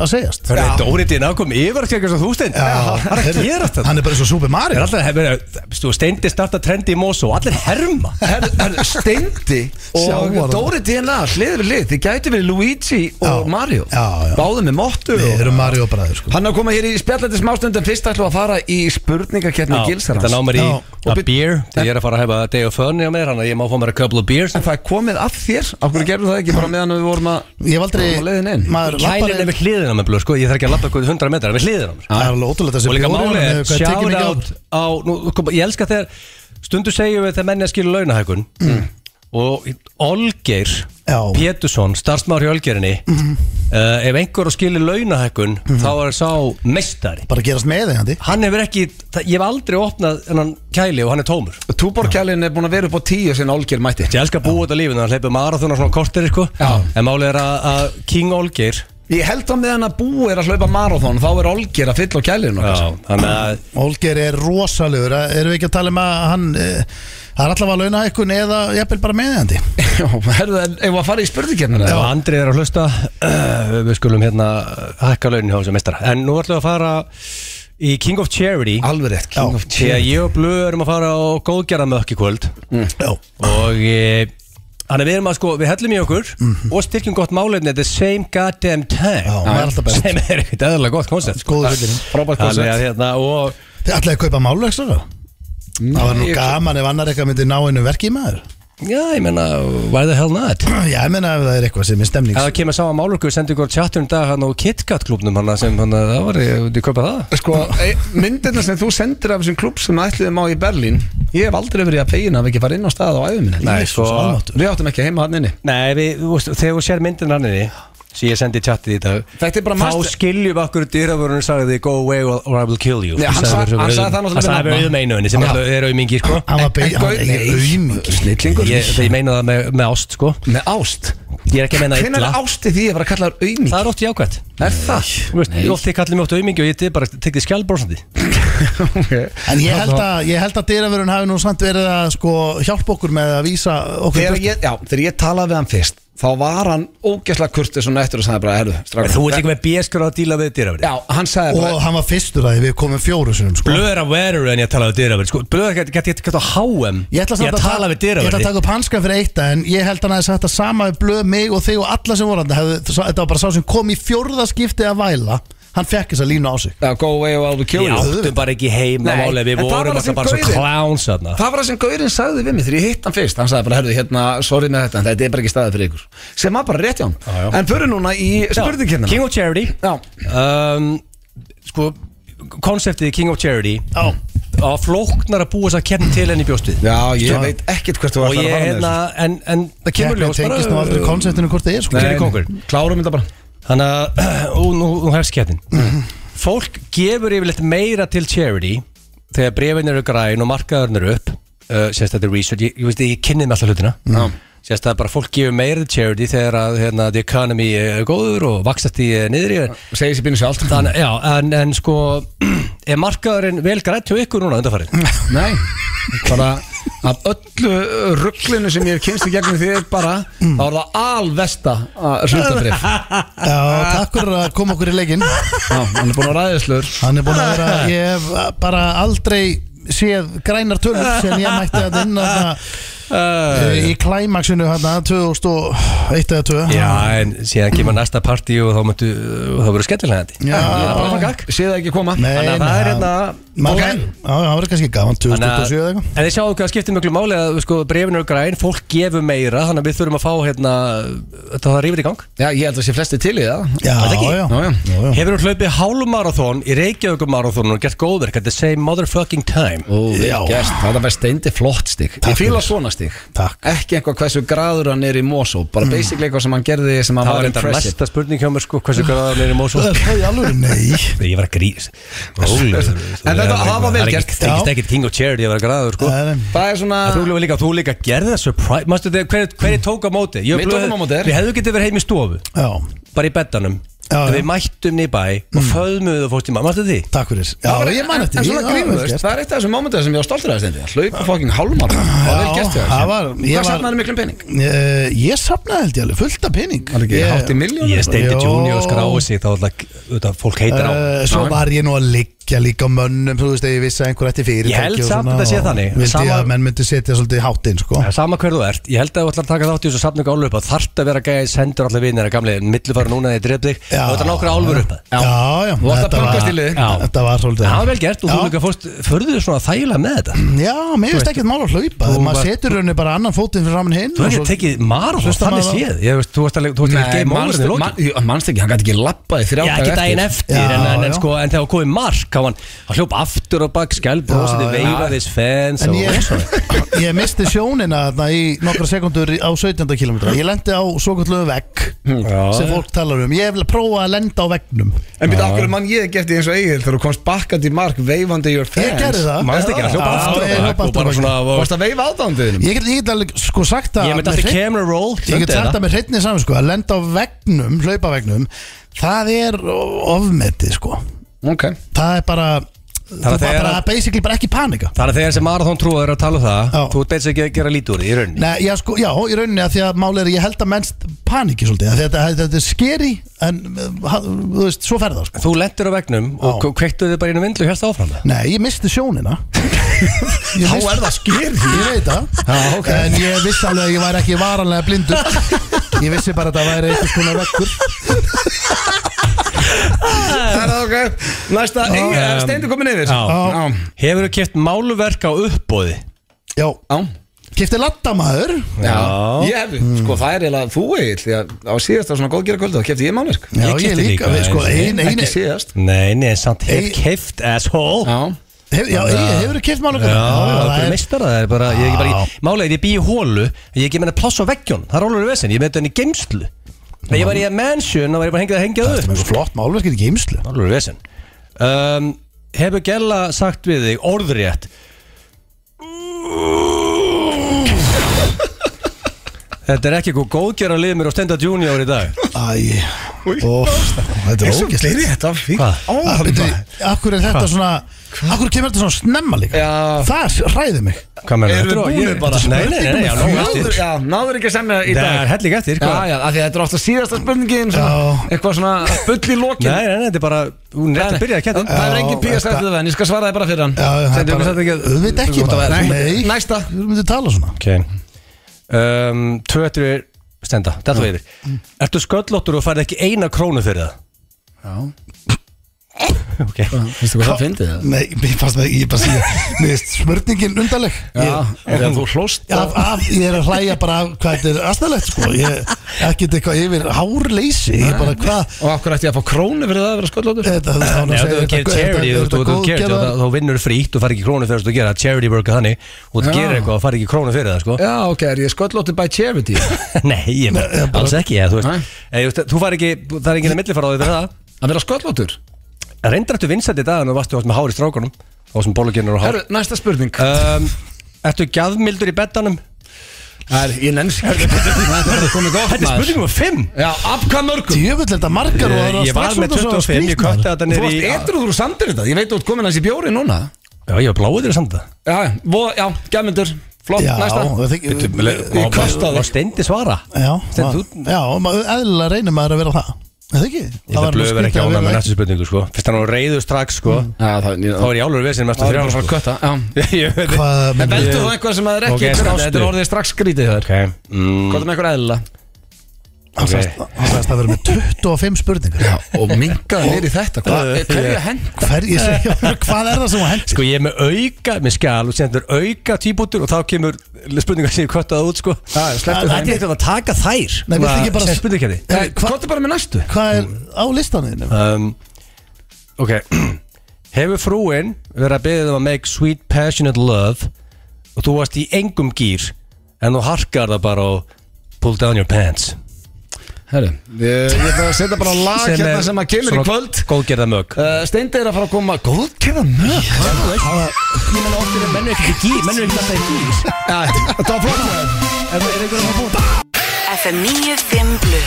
[SPEAKER 2] að segjast
[SPEAKER 3] Það er dóriðin ákom yfir að kekja svo þústinn Það er að gera þetta
[SPEAKER 2] hann er bara svo Super
[SPEAKER 3] Það
[SPEAKER 2] Mario
[SPEAKER 3] er alltaf, hef- þú steindi starta trendi í Mosó og allir herma
[SPEAKER 1] Her, her, Steindi og
[SPEAKER 2] Sjávarðan.
[SPEAKER 1] Dóri DNA hlið við hlið, þið gæti verið Luigi og
[SPEAKER 2] Já.
[SPEAKER 1] Mario
[SPEAKER 2] Já, já.
[SPEAKER 1] báðu með mottu
[SPEAKER 2] við
[SPEAKER 1] og...
[SPEAKER 2] erum Mario bræður sko
[SPEAKER 1] hann er að koma hér í spjallandi smástundum fyrst ætlum við að fara í spurningakeppni
[SPEAKER 3] Þetta
[SPEAKER 1] gilsarans
[SPEAKER 3] ná mér í
[SPEAKER 2] Já.
[SPEAKER 3] a beer Þegar ég er að fara að hefa day of fun hjá mér Þannig að ég má fá mér a couple of beers
[SPEAKER 1] en það er komið að þér, af hverju gerðu það ekki bara meðan við vorum að
[SPEAKER 2] ég hef
[SPEAKER 1] Á leiðin inn.
[SPEAKER 2] aldrei maður lappar
[SPEAKER 3] Kælin er
[SPEAKER 2] er-
[SPEAKER 3] við hliðina á mér blöð, sko Ég þarf ekki að labba eitthvað 100 metrar, við hliðina á mér sko.
[SPEAKER 2] það er alveg ótrúlega þessi
[SPEAKER 3] og líka
[SPEAKER 2] bjóri,
[SPEAKER 3] málið
[SPEAKER 2] hann
[SPEAKER 3] er
[SPEAKER 2] hefur hvað tekið
[SPEAKER 3] shout
[SPEAKER 2] mikið á-
[SPEAKER 3] out á, nú, kom, ég elska þegar stundu segjum við þegar menni að skilja launahækun og Olgeir
[SPEAKER 2] Já.
[SPEAKER 3] Pétursson, starfsmáður hjá Olgeirinni uh, ef einhver á skilja launahækun þá er sá meistari
[SPEAKER 2] bara gerast með þeim
[SPEAKER 3] hann hefur ekki, það, ég hef aldrei opnað hennan kæli og hann er tómur
[SPEAKER 1] túborkjælin er búin að vera upp á tíu sinna Olgir mætti
[SPEAKER 3] ég elska að búa þetta lífið, hann hleypum marathon og svona kortir sko. en málið er að, að King Olgeir
[SPEAKER 1] ég held að meðan að bú er að hlaupa marathon þá er Olgir að fylla á kælinu
[SPEAKER 3] já, þannig að
[SPEAKER 2] Olger er rosalegur eh, erum við ekki að tala um að hann eh, það er allavega launa eitthvað eða jafnvel bara meðjandi
[SPEAKER 1] já, herðu, en eigum við að fara í spurningakeppnina
[SPEAKER 3] Ef Andri er að hlusta uh, Við skulum hérna uh, hækka launin hjá þessu mestara En nú ætlum við að fara í King of Charity
[SPEAKER 1] alveg rétt,
[SPEAKER 3] Já,
[SPEAKER 1] King of
[SPEAKER 3] Því að
[SPEAKER 1] Cheer
[SPEAKER 3] ég og Blöð erum að fara á góðgerðamökk í kvöld
[SPEAKER 2] Já.
[SPEAKER 3] Og eh, Þannig að við erum að sko, við hellum í okkur Og styrkjum gott málefni at the same goddamn
[SPEAKER 2] Mhm.
[SPEAKER 3] time
[SPEAKER 2] Já, það er alltaf best.
[SPEAKER 3] Sem er ekkert eðalega gott koncept sko.
[SPEAKER 2] góðu fyllir
[SPEAKER 1] frábært
[SPEAKER 3] Þannig að
[SPEAKER 1] koncept
[SPEAKER 3] hérna og
[SPEAKER 2] Þið ætlaði að kaupa málvextur þá? Það var nú
[SPEAKER 1] ég-
[SPEAKER 2] gaman ef annar eitthvað myndi ná einu verki í maður
[SPEAKER 3] Já, ég menna, why the hell not?
[SPEAKER 10] Já, ég menna ef það er eitthvað sem er stemning
[SPEAKER 3] Ef það kemur sá að málurku, sendi ykkur tjattur um dag hann á KitKat klubnum hann sem hann að það var, ég veit ég kaupa það
[SPEAKER 1] Sko, e, myndirna sem þú sendir af þessum klubb sem ætliðum á í Berlín Ég hef aldrei verið að fegin að við ekki fara inn á stað á æfum minni
[SPEAKER 3] Nei, sko-
[SPEAKER 1] Við áttum ekki heima hann inni
[SPEAKER 3] Nei, við, þú veist, þegar þú sér myndin hann inni sem ég sendi í tjattið í dag
[SPEAKER 1] Þetta er bara
[SPEAKER 3] Þá
[SPEAKER 1] master-
[SPEAKER 3] skiljum við okkur dýravörunum sagði go away or or I will kill you
[SPEAKER 1] Nei, hann sa-
[SPEAKER 3] sagði við-
[SPEAKER 1] hann sagði það náttúrulega
[SPEAKER 3] Hann sagði
[SPEAKER 1] við
[SPEAKER 3] við auðum einu henni sem
[SPEAKER 10] Já.
[SPEAKER 3] alltaf er auðmingi sko
[SPEAKER 10] Hann var
[SPEAKER 1] En
[SPEAKER 10] beig- hann
[SPEAKER 1] gau-
[SPEAKER 10] var ekki
[SPEAKER 1] nei.
[SPEAKER 10] aumingi
[SPEAKER 1] Snillingur
[SPEAKER 3] Ég, þegar ég meina það með, með ást sko
[SPEAKER 1] Með ást
[SPEAKER 3] Ég er ekki að meina
[SPEAKER 1] Hvernig
[SPEAKER 3] illa
[SPEAKER 1] er ásti því að fara að kalla þér auðmík?
[SPEAKER 3] Það er ótt jákvæmt
[SPEAKER 1] Er það?
[SPEAKER 3] Þú veist, Ótt ég kallir mig ótt auðmingi og ég er bara tekið skjálbrósandi
[SPEAKER 10] En ég held að, ég held að dyravörun hafi nú samt verið að sko, hjálpa okkur með að vísa okkur
[SPEAKER 1] Þegar ég, já, þegar ég talaði við hann fyrst Þá var hann ógæslega kurtið svona eftir og sagði bara Herðu, strákur
[SPEAKER 3] Þú ert ekki með bíeskur að díla við dýravörun
[SPEAKER 1] Já, hann sagði bara
[SPEAKER 10] Og hann var fyrstur að því, við komum fjóru sinum sko.
[SPEAKER 3] Blöð er að veru en ég talaði við dyravörð sko, Blöð er ekki að geta geta á HM
[SPEAKER 10] Ég ætla samt
[SPEAKER 3] að tala við
[SPEAKER 10] Ég ætla að
[SPEAKER 3] dyravörð
[SPEAKER 10] taka upp hanskan fyrir eitt En ég held hann að þetta sama við blöð mig og þig og alla sem voru hann Þetta var bara sá sem kom í fjórða skipti að væla Hann fekk þess að línu á sig
[SPEAKER 1] Já, go away og I'll kill
[SPEAKER 3] Við
[SPEAKER 1] you
[SPEAKER 3] áttum bara ekki heima
[SPEAKER 1] Nei,
[SPEAKER 3] máli Við
[SPEAKER 1] en það var
[SPEAKER 3] vorum
[SPEAKER 1] það sem
[SPEAKER 3] alltaf bara svo
[SPEAKER 1] gaurinn-
[SPEAKER 3] kláns þarna
[SPEAKER 1] Það var það sem Gaurinn sagði við mig þegar ég hitt hann fyrst Hann sagði bara, herðu, hérna, sorry með þetta en Þetta er bara ekki staðið fyrir ykkur Sem var bara rétt hjá
[SPEAKER 3] já.
[SPEAKER 1] hann En fyrir núna í spurningkennina
[SPEAKER 3] King of Charity
[SPEAKER 1] Já.
[SPEAKER 3] um, Sko Konseptið King of Charity
[SPEAKER 10] Já.
[SPEAKER 3] Á flóknar að búa þess að kemna til enn í bjóstið
[SPEAKER 1] Já, ég veit ekkert hvert þú
[SPEAKER 3] Og
[SPEAKER 1] ætlar
[SPEAKER 3] ég
[SPEAKER 1] að fara með
[SPEAKER 3] hérna
[SPEAKER 1] þessu
[SPEAKER 3] En, en það kemur
[SPEAKER 10] Keppni
[SPEAKER 3] ljós bara
[SPEAKER 10] tengist nú aldrei konseptinu hvort þið er sko
[SPEAKER 3] Nei. kóngur.
[SPEAKER 1] Klárum þetta bara
[SPEAKER 3] Þannig að Ú, nú, nú hefst kettin Fólk gefur yfirleitt meira til charity Þegar brefin eru græn og markaðurinn eru upp uh, Sérst þetta er research Ég, ég veist að ég kynnið með alltaf hlutina
[SPEAKER 1] Já.
[SPEAKER 3] Sérst að bara fólk gefur meira til charity Þegar að hérna, the economy er góður Og vaksast í uh, niðri en-
[SPEAKER 1] Segir sér býnir sér allt
[SPEAKER 3] Þannig, já, en, en sko Er markaðurinn vel grænt hjá ykkur núna undanfarið?
[SPEAKER 1] Nei, bara af öllu uh, rugglinu sem ég hef kynst í gegnum því er bara
[SPEAKER 3] Mm.
[SPEAKER 1] þá er það alvesta hlutabrif
[SPEAKER 10] Já, takk fyrir að koma okkur í leikinn
[SPEAKER 1] Já, hann er búin að ræðislur
[SPEAKER 10] Hann er búin að vera Ég hef bara aldrei séð grænar tölur sem ég mætti að inn uh, í klæmaksinu hérna 2001 eða 2
[SPEAKER 3] Já, en síðan kemur næsta partí og þá möntu, þá verður skellilega þetta
[SPEAKER 10] Já.
[SPEAKER 1] Sé það ekki koma
[SPEAKER 10] Nei,
[SPEAKER 1] Þannig að það er
[SPEAKER 10] nei,
[SPEAKER 1] hérna
[SPEAKER 10] Maður,
[SPEAKER 1] Ok.
[SPEAKER 10] Já, það var kannski gaman 2007 eða
[SPEAKER 3] En
[SPEAKER 10] eitthvað
[SPEAKER 3] þið sjáu hvað skiptir mjög máli að sko, brefin eru græn, fólk gefur meira þannig að við þurfum að fá hérna þetta það rífur í gang.
[SPEAKER 1] Já, ég held að sé flesti til í það
[SPEAKER 10] Já,
[SPEAKER 1] Er það ekki?
[SPEAKER 10] já,
[SPEAKER 1] já, já.
[SPEAKER 10] já, já.
[SPEAKER 3] Hefur þú hlaupið hálfmarathon í Reykjavíkumarathon og gert góðverk at the same motherfucking time?
[SPEAKER 1] Ó, vel
[SPEAKER 10] Já.
[SPEAKER 1] gert, það er bara steindi flott stig
[SPEAKER 10] Takk
[SPEAKER 1] Ég fíla
[SPEAKER 10] fyrir.
[SPEAKER 1] svona stig
[SPEAKER 10] Takk. Mm.
[SPEAKER 1] Ekki eitthvað hversu graður hann er í Mosó Bara basically eitthvað sem hann gerði sem hann
[SPEAKER 3] Það
[SPEAKER 1] var
[SPEAKER 3] var þetta
[SPEAKER 1] impressive
[SPEAKER 3] næsta spurning hjá mér sko, hversu græðan er í Mosó?
[SPEAKER 10] Það er alveg nei
[SPEAKER 3] Ég var að grís. Rólegur.
[SPEAKER 1] En þetta- það var vel
[SPEAKER 3] er
[SPEAKER 1] gert.
[SPEAKER 3] ekki- Það er ekki king of charity að vera græður sko.
[SPEAKER 10] Það er-
[SPEAKER 1] Það er svona
[SPEAKER 3] Að Þú líka, þú líka gerði það surprise Mastu þegar, hver, hver tók á móti? Ég
[SPEAKER 1] Við
[SPEAKER 3] blöð-
[SPEAKER 1] tókum á móti þér.
[SPEAKER 3] Við hefðu getið verið heim í stofu
[SPEAKER 10] Já,
[SPEAKER 3] Bara í beddanum
[SPEAKER 10] Já,
[SPEAKER 3] En
[SPEAKER 10] Mm. já.
[SPEAKER 3] Við mættum niður í bæ Og föðmuðu og fórst í maður Mastu því?
[SPEAKER 10] takk fyrir Já,
[SPEAKER 1] Það var-
[SPEAKER 10] ég man
[SPEAKER 1] en-
[SPEAKER 10] eftir
[SPEAKER 1] En
[SPEAKER 10] því,
[SPEAKER 1] svona
[SPEAKER 10] já,
[SPEAKER 1] grínu,
[SPEAKER 10] vel
[SPEAKER 1] veist,
[SPEAKER 10] gert.
[SPEAKER 1] það er eitt af þessum mómentum sem ég var stoltur af þessi Hlaupa fokkin hálmar Það er vel
[SPEAKER 10] Já,
[SPEAKER 1] gert hjá þér.
[SPEAKER 10] það var- ég
[SPEAKER 1] Hvað
[SPEAKER 10] var-
[SPEAKER 1] safnaði miklum pening?
[SPEAKER 10] Eh, Ég safnaði held ég alveg fullt af pening
[SPEAKER 1] Það er ekki
[SPEAKER 10] Ég-
[SPEAKER 1] hátt í miljónum
[SPEAKER 3] Ég steindi
[SPEAKER 10] Jó.
[SPEAKER 3] junior skráði sig Þá alltaf fólk heitir á
[SPEAKER 10] Eh, Svo
[SPEAKER 1] Já.
[SPEAKER 10] var ég nú að liggja líka á mönnum Þú veist, ef ég vissi að einhver ætti fyrir
[SPEAKER 3] Ég held samt að það sé þannig.
[SPEAKER 10] Vildi ég
[SPEAKER 3] Sama-
[SPEAKER 10] að menn myndi setja svolítið hátt inn, sko
[SPEAKER 3] Það er Sama hver þú ert, ég held að þú ætlar að taka þátt í þessu safningu álur upp að þarft að vera gæði sendur allir vinnir að gamli millufara núna þegar ég dref þig
[SPEAKER 10] Já.
[SPEAKER 3] og þetta nokkra álfur upp að
[SPEAKER 10] Já, já
[SPEAKER 1] Þú átt að
[SPEAKER 10] þetta
[SPEAKER 1] pönkast
[SPEAKER 10] var-
[SPEAKER 1] í liðið.
[SPEAKER 3] Já.
[SPEAKER 10] Þetta var svolítið
[SPEAKER 3] Það var vel gert og þú
[SPEAKER 10] Já.
[SPEAKER 3] líka fórst, förðu þér svona þægilega með þetta
[SPEAKER 10] Já, mér finnst ekkert mál að hlaupa
[SPEAKER 3] þú
[SPEAKER 10] Maður
[SPEAKER 3] varst-
[SPEAKER 10] setur henni bara annan fótinn fyrir ramin hinn
[SPEAKER 3] Þú
[SPEAKER 10] og
[SPEAKER 3] hefði
[SPEAKER 10] svo-
[SPEAKER 3] tekið marathon,
[SPEAKER 10] Hlusta
[SPEAKER 3] þannig
[SPEAKER 10] maður á-
[SPEAKER 3] séð Ég veist, Þú varst alveg- þú varst ekki game over
[SPEAKER 1] manstu-
[SPEAKER 3] í lokin.
[SPEAKER 1] man- jú, manstu ekki, hann gæti ekki labbaði þrjá
[SPEAKER 3] Já, ekki
[SPEAKER 1] daga
[SPEAKER 3] daginn eftir,
[SPEAKER 10] Já,
[SPEAKER 3] en, en, en,
[SPEAKER 10] já.
[SPEAKER 3] sko, en þegar komið mark hann, hann hljóp aftur og bak skjálf brosandi
[SPEAKER 10] Já, já.
[SPEAKER 3] veifaðis fans
[SPEAKER 10] En
[SPEAKER 3] og
[SPEAKER 10] ég, ég misti sjónina þarna í nokkra sekundur á 17. kilometra Ég lendi á svokallu vegg
[SPEAKER 3] Já.
[SPEAKER 10] sem fólk talar um Ég vil prófa að lenda á veggnum
[SPEAKER 1] En býta, okkur mann ég ekki eftir eins og eigin Þegar þú komst bakkandi í mark veifandi your fans
[SPEAKER 10] Ég gerði það
[SPEAKER 3] Manstu ekki, hann hljóp
[SPEAKER 10] Já,
[SPEAKER 3] aftur
[SPEAKER 10] ég
[SPEAKER 3] og bak
[SPEAKER 10] hljóp
[SPEAKER 3] og
[SPEAKER 10] aftur á
[SPEAKER 3] bara
[SPEAKER 10] bak.
[SPEAKER 3] svona
[SPEAKER 1] Varst að veifa aðdándiðinum
[SPEAKER 10] Ég get, ég get alveg sko sagt að
[SPEAKER 3] Ég myndi aftur camera roll
[SPEAKER 10] Ég get
[SPEAKER 3] sömdu
[SPEAKER 10] sagt
[SPEAKER 3] þetta.
[SPEAKER 10] að með hreinni saman sko að lenda á veggnum, hlaupa veggnum Það er ofmetið sko
[SPEAKER 1] Ok
[SPEAKER 10] Það er bara Það er
[SPEAKER 3] þegar
[SPEAKER 10] bara
[SPEAKER 3] að-
[SPEAKER 10] basically bara ekki panika
[SPEAKER 3] Þannig að þegar sem marathon trúar er að tala um það
[SPEAKER 10] Já.
[SPEAKER 3] Þú ert beins ekki að gera lítið úr því í rauninni
[SPEAKER 10] Nei, já, sko, já, í rauninni að því að máli er að ég held að mennst paniki svolítið að þetta, þetta er skeri en uh, ha- þú veist, svo ferða sko.
[SPEAKER 3] Þú lendir á vegnum og
[SPEAKER 10] Já.
[SPEAKER 3] kveiktu þig bara inn á vindlu og hérst áfram það
[SPEAKER 10] Nei, ég misti sjónina Þá er það skeri Ég veit það
[SPEAKER 1] Já, ok.
[SPEAKER 10] En ég vissi alveg að ég væri ekki varanlega blindur Ég vissi bara að það væri eitthvað skona vekkur
[SPEAKER 1] Það er ok Næsta,
[SPEAKER 3] um,
[SPEAKER 1] um, steindu komin yfir
[SPEAKER 3] Já.
[SPEAKER 1] Já.
[SPEAKER 3] Hefur þú keft máluverk á uppbóði
[SPEAKER 10] Já,
[SPEAKER 1] Já
[SPEAKER 10] kipti laddamaður
[SPEAKER 1] Já. Ég hef, sko það er eiginlega þú eigin Því að á síðasta svona góðgera kvöldu þá kefti ég mánverk
[SPEAKER 10] Já,
[SPEAKER 3] Ég
[SPEAKER 10] ég
[SPEAKER 3] keypti
[SPEAKER 10] líka,
[SPEAKER 3] líka
[SPEAKER 10] við, sko,
[SPEAKER 3] einu
[SPEAKER 10] ein, ein,
[SPEAKER 1] Ekki síðast
[SPEAKER 3] Nei, nei, samt hef
[SPEAKER 10] Ei-
[SPEAKER 3] keift asshole
[SPEAKER 1] Já,
[SPEAKER 10] hef, Já, hefur þú kipt málugum?
[SPEAKER 3] Já, það er
[SPEAKER 10] það er
[SPEAKER 3] meistara það er bara, ég er ekki bara,
[SPEAKER 10] Já.
[SPEAKER 3] málega er ég bý í hólu ég er ekki meina pláss á veggjón, það er alveg vesinn ég meina þetta henni í geimslu þegar ég var í að mansion, þá var ég bara hengið að hengja
[SPEAKER 10] Þetta er
[SPEAKER 3] það
[SPEAKER 10] mjög
[SPEAKER 3] upp
[SPEAKER 10] svo flott málverk í geimslu
[SPEAKER 3] alveg vesinn um, hefur Gella sagt við þig orðrétt þetta er ekki eitthvað góðgjara lið mér á Stenda Junior í dag
[SPEAKER 10] Æ, óf, þetta er ógæslega
[SPEAKER 1] þetta fík
[SPEAKER 3] hvað?
[SPEAKER 10] Akkur er þetta svona Akkur kemur þetta svona snemma líka
[SPEAKER 1] Já.
[SPEAKER 10] Það ræði mig
[SPEAKER 3] hvað meina
[SPEAKER 1] Erum við
[SPEAKER 3] Þetta er-
[SPEAKER 1] búinir
[SPEAKER 3] ég-
[SPEAKER 1] bara?
[SPEAKER 3] nei, nei, nei, nei, já, nóg
[SPEAKER 1] Náður,
[SPEAKER 3] eftir
[SPEAKER 1] já, náður ekki að semja í
[SPEAKER 3] það
[SPEAKER 1] dag
[SPEAKER 3] er helling
[SPEAKER 1] Já,
[SPEAKER 3] eftir, sko.
[SPEAKER 10] sko-
[SPEAKER 3] hvað?
[SPEAKER 1] já, af því að þetta er ofta síðasta spurningin svona, Eitthvað svona bull í lokin
[SPEAKER 3] Nei, nei, nei, þetta er bara, hún er rétt að byrja að kæta
[SPEAKER 1] Það er engin píast
[SPEAKER 10] þetta-
[SPEAKER 1] eftir það en ég skal svara það bara fyrir hann
[SPEAKER 10] Já, það er
[SPEAKER 1] Sendu
[SPEAKER 10] bara-
[SPEAKER 1] okkur þetta ekki-
[SPEAKER 10] Þú veit ekki
[SPEAKER 1] Þú-
[SPEAKER 10] bara,
[SPEAKER 1] Nei.
[SPEAKER 10] nei.
[SPEAKER 1] Næsta
[SPEAKER 10] Þú myndir tala svona
[SPEAKER 3] Ok um, Tvö eftir er stenda, þetta var yfir Ertu sköllóttur og færði ekki eina krónu fyrir það? Já Ok
[SPEAKER 1] Vistu hvað það fyndið það?
[SPEAKER 10] Nei, mér fannst það, ég bara segja Mér finnst spurningin undarleg
[SPEAKER 1] Já,
[SPEAKER 10] Ég-
[SPEAKER 1] þegar þú hlóst
[SPEAKER 10] Af, af, ég er að hlæja bara af hvað þetta er aðstæðlegt sko. ég, ekkert eitthvað yfir hárleysi ég bara hvað
[SPEAKER 1] Og af hverju ætti ég að fá krónu fyrir það að vera sköllóttur?
[SPEAKER 10] þetta, þetta,
[SPEAKER 3] Nei, ef þú gerir charity, þú- þú- þú gerir þetta, þá vinnur frítt og fær ekki krónu fyrir það sem þú gera charity work þannig og þú
[SPEAKER 1] Já.
[SPEAKER 3] gerir eitthvað og fær ekki krónu fyrir það sko.
[SPEAKER 1] Já, ok, er ég sköllóttur by charity?
[SPEAKER 3] Nei, ég meina, alls ekki eða, þú,
[SPEAKER 1] Nei.
[SPEAKER 3] veist, eða, þú, veist, þú fær ekki, það er ekki að millifara á því fyrir það
[SPEAKER 1] Að vera sköllóttur?
[SPEAKER 3] Reyndar eftir vinsætt í dagann og varstu átt með hári strákunum og sem bóluginnur og hár
[SPEAKER 1] Herru, næsta spurning
[SPEAKER 3] um, Ertu gæðmildur í beddanum?
[SPEAKER 1] Það er, ég nenns ekki Þetta er komið gott
[SPEAKER 3] Þetta er
[SPEAKER 1] maður.
[SPEAKER 3] spurningum um fimm Eh,
[SPEAKER 1] Já, af hvað mörgum?
[SPEAKER 10] djöfull er þetta margar og það
[SPEAKER 3] Ég
[SPEAKER 10] er
[SPEAKER 3] ég var
[SPEAKER 10] strax
[SPEAKER 3] með
[SPEAKER 10] út og svo
[SPEAKER 3] 25, ég kötti
[SPEAKER 10] skrýtnar.
[SPEAKER 3] þetta
[SPEAKER 1] Þú
[SPEAKER 3] niður í
[SPEAKER 1] varst eitthvað og þú samdir þetta Ég veit að þú ert komin hans í bjóri núna
[SPEAKER 3] Já, ég var bláður þér samt það
[SPEAKER 1] Já, já, vo- já, gæmyndur Flott,
[SPEAKER 10] já,
[SPEAKER 1] næsta
[SPEAKER 10] það þykir
[SPEAKER 1] Ég kasta
[SPEAKER 3] Og steindi svara
[SPEAKER 10] já,
[SPEAKER 3] Stendur
[SPEAKER 10] maður- já, maður- eðlilega reynir maður að vera það Er það ekki
[SPEAKER 3] Ég ætla
[SPEAKER 10] var
[SPEAKER 3] blöðu verið ekki
[SPEAKER 10] skrýtið að
[SPEAKER 3] ánað með
[SPEAKER 10] vera
[SPEAKER 3] næstu spurningu sko Fyrst hann var reyður strax sko
[SPEAKER 1] Já, það
[SPEAKER 3] Þá er ég álur vesinn mestu
[SPEAKER 1] Mm. Það er
[SPEAKER 3] þrjá
[SPEAKER 1] bara að
[SPEAKER 3] sko
[SPEAKER 1] kötta já.
[SPEAKER 3] Ég veit þið.
[SPEAKER 10] Hvað
[SPEAKER 1] En
[SPEAKER 10] myndir
[SPEAKER 1] veldu þú eitthvað sem það er
[SPEAKER 3] Ok,
[SPEAKER 1] ekki okay,
[SPEAKER 3] sástu.
[SPEAKER 1] Þetta er orðið strax skrítið þar
[SPEAKER 3] Ok mm,
[SPEAKER 1] Hvað er með eitthvað eðla?
[SPEAKER 10] Hann sagðist- hann sagðist að vera með 25 spurningar
[SPEAKER 1] Og mingaði neyri þetta Hvað er hverja hend?
[SPEAKER 10] Hver, ég segja, hvað er það sem að hendi
[SPEAKER 3] Sko ég er með auka, með skjál og sendur auka tíbútur og þá kemur spurningar sem ég köttaði út sko
[SPEAKER 1] Já, slepptu
[SPEAKER 3] Það
[SPEAKER 1] þeim.
[SPEAKER 3] er ekki eitthvað að taka þær
[SPEAKER 10] Nei, viltu ekki bara-
[SPEAKER 3] Spurningkefni
[SPEAKER 1] Eh, Hvað er bara með næstu?
[SPEAKER 10] hvað er á listaninu
[SPEAKER 3] um, Ok Hefur frúin verið að beðið um að make sweet passionate love og þú varst í engum gýr en þú harkar það bara og pull down your pants
[SPEAKER 1] Herru, ég Eh, ég ætla að setja bara lag hérna sem að kemur í kvöld
[SPEAKER 3] Góðgerða mög
[SPEAKER 1] uh, Steindi er að fara að koma Góðkjöða mjög
[SPEAKER 3] Ég menna oftir er mennur ekkert í gýr Mennur ekkert alltaf í gýr
[SPEAKER 1] Þetta var flott maður.
[SPEAKER 3] Er það einhverjum að búta?
[SPEAKER 8] FM 95 Blu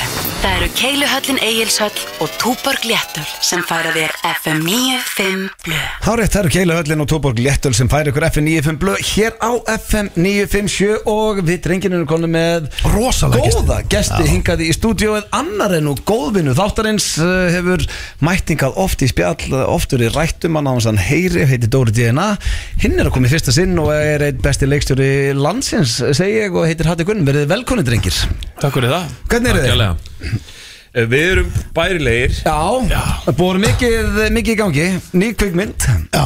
[SPEAKER 8] Það eru Keiluhöllin Egilshöll og Túborg Léttul sem færa þér FM 95 Blu
[SPEAKER 1] Hárétt, það eru Keila Höllin og Tóborg Léttöl sem færi ykkur FM 95 blöð hér á FM 957 og við drenginu erum konum með
[SPEAKER 10] Rosalega gesti.
[SPEAKER 1] góða gesti hingaði í stúdíóið annar en og góðvinnu þáttarins uh, hefur mættingað oft í spjall uh, oftur í rættum hann á hans hann heyri heiti Dóri DNA, hinn er að koma í fyrsta sinn og er einn besti leikstjóri landsins segi ég og heitir Hatti Gunn, verið velkonni drengir
[SPEAKER 11] Takk fyrir það
[SPEAKER 1] Hvernig eru þið?
[SPEAKER 11] þið? Eh, Við erum bærilegir
[SPEAKER 1] Já, það búið mikið, mikið í gangi ný kvikmynd
[SPEAKER 10] já,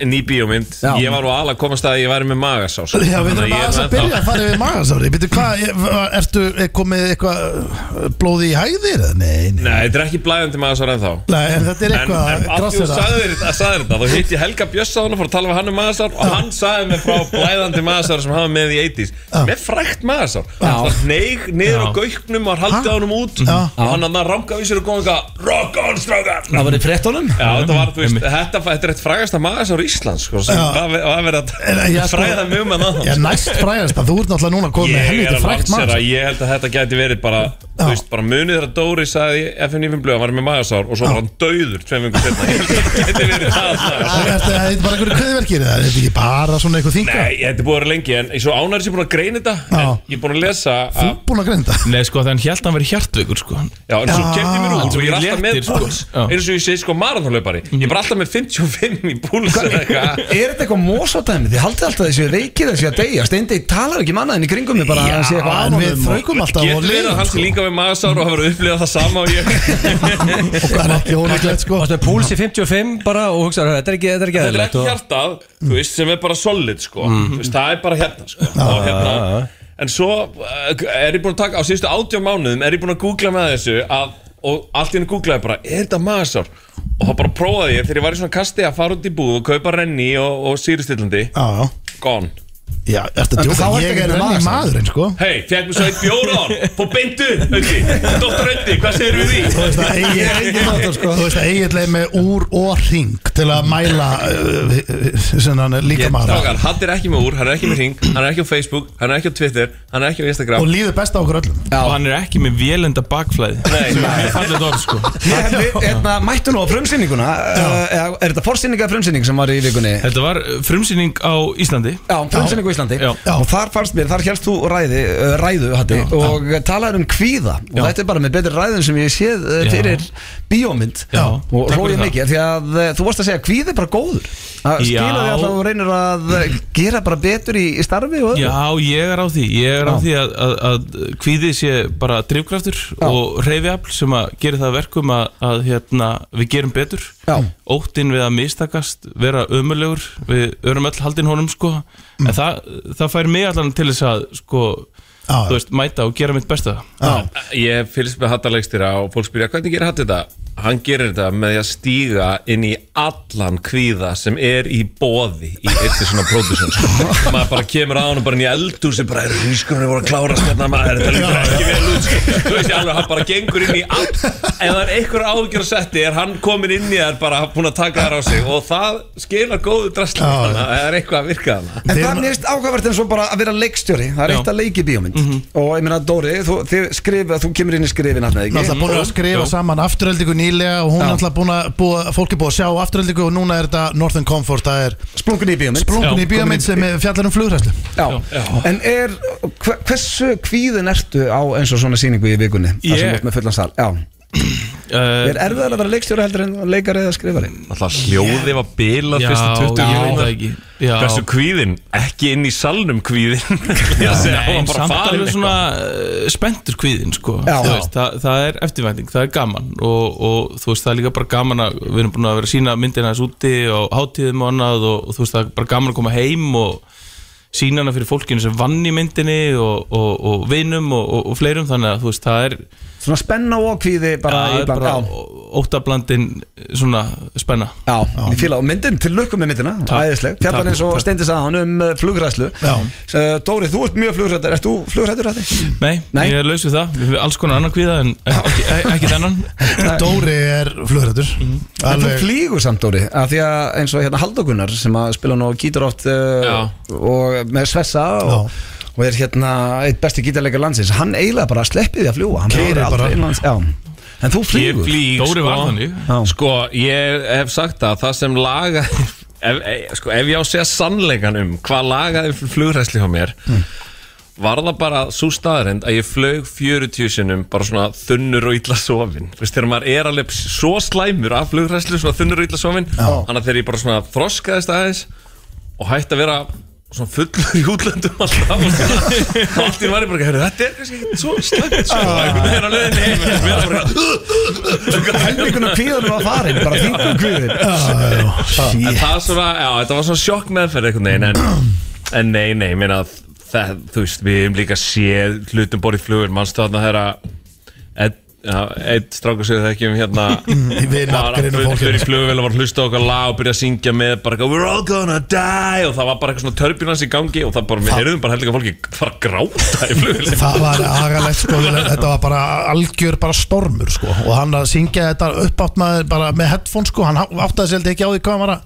[SPEAKER 11] Ný bíómynd
[SPEAKER 1] Já.
[SPEAKER 11] Ég var á ala að komast að ég væri með magasás
[SPEAKER 10] já við
[SPEAKER 11] Þannig ég
[SPEAKER 10] erum aðeins að
[SPEAKER 11] ennþá-
[SPEAKER 10] byrja að fara yfir magasári Býttu, hvað, er- ertu er komið eitthvað uh, blóði í hæðir? eða? Nei, nei,
[SPEAKER 11] Nei, þetta er ekki blæðandi magasár ennþá
[SPEAKER 10] nei en þetta er
[SPEAKER 11] En,
[SPEAKER 10] eitthvað
[SPEAKER 11] en að því þú
[SPEAKER 10] grassera.
[SPEAKER 11] sagðir þetta, sagðir þetta Þá hitt ég Helga Bjössa hann og fór að tala við hann um magasár Og hann sagði mig frá blæðandi magasár sem hafa með í 80s Með frækt magasár Það var hneig niður á gauknum Var haldið
[SPEAKER 10] Ha?
[SPEAKER 11] á honum út
[SPEAKER 10] Já.
[SPEAKER 11] Og hann að rangaði sér og góði eitthvað Rock on strákar
[SPEAKER 1] Það var í frettunum
[SPEAKER 11] Já, þetta var, þú veist, þetta, þetta er eitt frægasta magasár Íslands, sko, sem
[SPEAKER 10] Já.
[SPEAKER 11] það var verið
[SPEAKER 10] En, en, já,
[SPEAKER 11] að
[SPEAKER 10] sko-
[SPEAKER 11] fræða um mjög með það.
[SPEAKER 10] Já, næst frægast að þú ert náttúrulega núna komið
[SPEAKER 11] sko. Ég
[SPEAKER 10] með
[SPEAKER 11] er
[SPEAKER 10] helviti
[SPEAKER 11] að
[SPEAKER 10] frægt
[SPEAKER 11] lansera,
[SPEAKER 10] magasár
[SPEAKER 11] ég held að þetta gæti verið bara, þú veist, bara munið þegar Dóri sagði FN95 blöð, hann var með magasár og svo var hann dauður tveim vingur setna. Ég held að þetta gæti verið það. sko.
[SPEAKER 10] Það
[SPEAKER 11] magasár.
[SPEAKER 10] er þetta er þetta bara einhverju kveðverkir eða? Er þetta ekki bara svona eitthvað þingar?
[SPEAKER 11] Nei, þetta er búið að vera lengi, en ég er svo ánægður sem ég er búin að greina þetta,
[SPEAKER 10] Já.
[SPEAKER 11] en ég er búin að lesa
[SPEAKER 10] Þú
[SPEAKER 11] að,
[SPEAKER 10] ert búin að greinda
[SPEAKER 11] Nei, sko, þannig held hann verið hjartveikur, sko. Já, en svo
[SPEAKER 10] Já.
[SPEAKER 11] kemdi mér út og ég er
[SPEAKER 10] Hann
[SPEAKER 11] alltaf
[SPEAKER 10] léttir,
[SPEAKER 11] með
[SPEAKER 10] sko.
[SPEAKER 11] búls,
[SPEAKER 10] Já.
[SPEAKER 11] eins og ég segi, sko, marathonlaupari. Ég er bara alltaf með 55 í búls eða eitthvað.
[SPEAKER 1] Er þetta eitthvað mósotæmi? Þið haldið alltaf þessu veikið þessu að deyja Steindi talar ekki mannaðin um í kringum mig bara að hann sé eitthvað
[SPEAKER 10] En við
[SPEAKER 1] ánum
[SPEAKER 10] þraukum alltaf og
[SPEAKER 11] Getur verið að
[SPEAKER 10] leiðum
[SPEAKER 11] hans
[SPEAKER 10] sko.
[SPEAKER 11] líka við
[SPEAKER 3] með magasár og hefur upplifað það sama og ég
[SPEAKER 10] Það er ekki ólíklegt sko
[SPEAKER 12] Varstu með púls í 55 bara og hugsaður Þetta er ekki, þetta er ekki
[SPEAKER 3] Þetta er
[SPEAKER 12] eðlilegt
[SPEAKER 3] ekki
[SPEAKER 12] og-
[SPEAKER 3] hjartað, þú veist, sem er bara solid sko.
[SPEAKER 12] Mhm.
[SPEAKER 3] Þú veist, Það er bara hérna, sko. og, hérna. En svo eh, er ég búin að taka Á síðustu átjá mánuðum er ég búin að googla með þessu að, Og allt í henni googlaði bara Er þetta magasár? Og þá bara prófaði ég þegar ég var í svona kasti að fara út í búð Og kaupa renni og, og sýristillandi
[SPEAKER 10] Já, já
[SPEAKER 3] Gone
[SPEAKER 10] Já, ertu að djóka, ég er enni maðurinn sko
[SPEAKER 3] Hei, fekk mér svo eitt bjóra á hann Fó beintu, Öndi, Dóttar Öndi, hvað segir við því?
[SPEAKER 10] Þú veist að Egill- Þú veist að eiginlega með úr og ring til að mæla uh, sem hann er líka maður
[SPEAKER 3] Strákar, hann er ekki með úr, hann er ekki með ring Hann er ekki á Facebook, hann er ekki á Twitter Hann er ekki á Instagram
[SPEAKER 10] og líður best á okkur öllum
[SPEAKER 8] Og hann er ekki með vélenda bakflæði
[SPEAKER 3] Nei,
[SPEAKER 8] nei Fallið orð sko
[SPEAKER 1] Ég hef, við- hérna, mættu nú á frumsýninguna uh, eða Er þetta forsýning eða frumsýning sem var í vikunni?
[SPEAKER 8] Þetta var uh, frumsýning á Íslandi
[SPEAKER 1] Já, frumsýning á Íslandi
[SPEAKER 8] Já.
[SPEAKER 1] Og þar fannst mér, þar hérst þú ræði, uh, ræðu hatti, Og talaði um kvíða Og
[SPEAKER 8] Já.
[SPEAKER 1] þetta er bara með betri ræðum sem ég séð uh,
[SPEAKER 8] Já.
[SPEAKER 1] fyrir bíómynd
[SPEAKER 8] Já.
[SPEAKER 1] Og
[SPEAKER 8] Takk fyrir
[SPEAKER 1] hlóið
[SPEAKER 8] það.
[SPEAKER 1] mikið Því að uh, þú varst að segja kvíði er bara góður Það
[SPEAKER 8] Já.
[SPEAKER 1] skilur því að þú reynir að uh, gera bara betur í, í starfi og öðru
[SPEAKER 8] Já, ég er á því Ég er á því að, að, að kvíði sé bara drifkraftur og reyfiafl sem að gera það að verkum að, að hérna, við gerum betur
[SPEAKER 1] Já.
[SPEAKER 8] Óttinn við að mistakast vera ömulegur, við örum öll haldin honum sko,
[SPEAKER 10] Mm.
[SPEAKER 8] en það, það fær mig allan til þess að sko þú veist, mæta og gera mitt besta
[SPEAKER 3] Ég fylgst með hattalegstýra og fólk spyrja hvernig gerir hatt þetta? Hann gerir þetta með því að stíga inn í allan kvíða sem er í boði í eittir svona pródusjón sko. maður bara kemur á hann og bara inn í eldur sem bara er hískunni voru að klára stjarnar maður þetta lítur ekki vel út sko. þú veist ég alveg hann bara gengur inn í all ef það er einhver ágjör að setti er hann komin inn í þær bara búin að taka þær á sig og það skilar góðu drastli þannig að það er eitthvað að virka þannig
[SPEAKER 1] En það er ákvæmvert eins og bara að vera leikstjóri Það er
[SPEAKER 3] Já.
[SPEAKER 1] eitt að leiki bíómynd
[SPEAKER 8] Mhm.
[SPEAKER 1] Og ég meina Dóri, þú, þið skrifa, þú kemur inn í skrifin hann, ekki?
[SPEAKER 10] Náttúrulega búin að skrifa saman afturöldingu nýlega og hún er náttúrulega búin að búa, fólk er búið að sjá afturöldingu og núna er þetta Northern Comfort, það er
[SPEAKER 1] Splungun í bíómynd
[SPEAKER 10] Splungun í
[SPEAKER 1] Já, komin
[SPEAKER 10] bíómynd
[SPEAKER 1] í-
[SPEAKER 10] sem er fjallar um flugræslu
[SPEAKER 1] Já. En er, hve- hversu kvíðin ertu á eins og svona síningu í vikunni? Það sem
[SPEAKER 8] Ég? Eh.
[SPEAKER 1] þú ert með fullan sal Já
[SPEAKER 8] Er
[SPEAKER 1] erfiðar að vera leikstjóri heldur en leikari eða skrifari?
[SPEAKER 3] Alltaf hljóði var bilað
[SPEAKER 8] Já,
[SPEAKER 3] fyrstu 20
[SPEAKER 8] ég veit
[SPEAKER 3] mínúturnar.
[SPEAKER 8] það ekki. Já.
[SPEAKER 3] Hversu kvíðin? Ekki inn í salnum kvíðin
[SPEAKER 8] Já,
[SPEAKER 3] Ég segi, hann
[SPEAKER 8] nei,
[SPEAKER 3] var bara
[SPEAKER 8] samt
[SPEAKER 3] farinn
[SPEAKER 8] alveg
[SPEAKER 3] eitthvað.
[SPEAKER 8] svona uh, spenntur kvíðin sko.
[SPEAKER 3] Já.
[SPEAKER 8] Þú veist, það, það er eftirvænting, það er gaman og, og þú veist það er líka bara gaman að við erum búin að vera að sína myndina þess úti og hátíðum og annað og, og þú veist það er bara gaman að koma heim og sína hana fyrir fólkinu sem vann í myndinni og, og, og vinum og, og, og fleirum þannig að þú veist það er
[SPEAKER 1] Svona spenna og kvíði bara
[SPEAKER 8] ja,
[SPEAKER 1] í bland-
[SPEAKER 8] bara
[SPEAKER 1] já.
[SPEAKER 8] óttablandin svona spenna
[SPEAKER 1] Já, Ég fíla á myndin, til lukkum með myndina
[SPEAKER 8] Takk.
[SPEAKER 1] Æðisleg, fjallar
[SPEAKER 8] Takk.
[SPEAKER 1] eins og steindi saðan um uh, flugræslu uh, Dóri, þú ert mjög flugrættur, ert þú flugrættur að þig?
[SPEAKER 8] Nei, ég er laus við það, við alls konar annan kvíða en ekki, ekki þennan Mhm.
[SPEAKER 10] Dóri er flugrættur
[SPEAKER 1] En þú
[SPEAKER 10] Alveg-
[SPEAKER 1] flýgur samt, Dóri, af því að eins og hérna Haldokunar sem að spila nú gítar oft uh, og með Svessa og, og er hérna eitt besti gítarleikar landsins, hann eiginlega bara sleppið því að fljúa, hann
[SPEAKER 3] Keyrir
[SPEAKER 1] keyrir
[SPEAKER 3] bara.
[SPEAKER 1] aldrei innlands Já, en þú flýgur
[SPEAKER 3] Ég flýg
[SPEAKER 1] Dóri var þannig.
[SPEAKER 3] sko, sko, ég hef sagt það Það sem laga ef, e- sko, ef ég á að segja sannleikan um Hvað lagaði flugræsli hjá mér Var það bara svo staðarind Að ég flög 40 sinnum Bara svona þunnur og illa sofin Þú veist, þegar maður er alveg svo slæmur Af flugræsli, svona þunnur og illa sofin Þannig að þegar ég bara svona þroskaðist aðeins Og hætti að vera svona fullur í útlöndum alltaf og svona- og allt í einu var ég bara, "Heyrðu, þetta er kannski ekkert svo slæmt sko, Og einhvern
[SPEAKER 10] Ah,
[SPEAKER 3] veginn á leiðinni heim er bara eitthvað,
[SPEAKER 1] Helminguna kvíðanum var farin, bara þingum kvíðin
[SPEAKER 3] En það var svona, já, þetta var svona sjokk meðferð einhvern veginn En, en nei, nei, ég meina það, Þú veist, við hefum líka séð hlutum borið flugur Manstu þarna þegar að Ed- já, Einn strákur segir það ekki um hérna
[SPEAKER 10] Við nafngreinum fólkið.
[SPEAKER 3] Fyrir flugvél og var að hlusta á okkar lag og byrja að syngja með bara eitthvað We're all gonna die og það var bara eitthvað svona turbulence í gangi og það bara, við heyrðum bara heldur fólki fara að gráta í flugvél
[SPEAKER 10] Það var agalegt sko, þetta var bara algjör bara stormur sko og hann að syngja þetta uppátt maður bara með headphone sko, hann áttaði sér heldur ekki á því hvað hann var að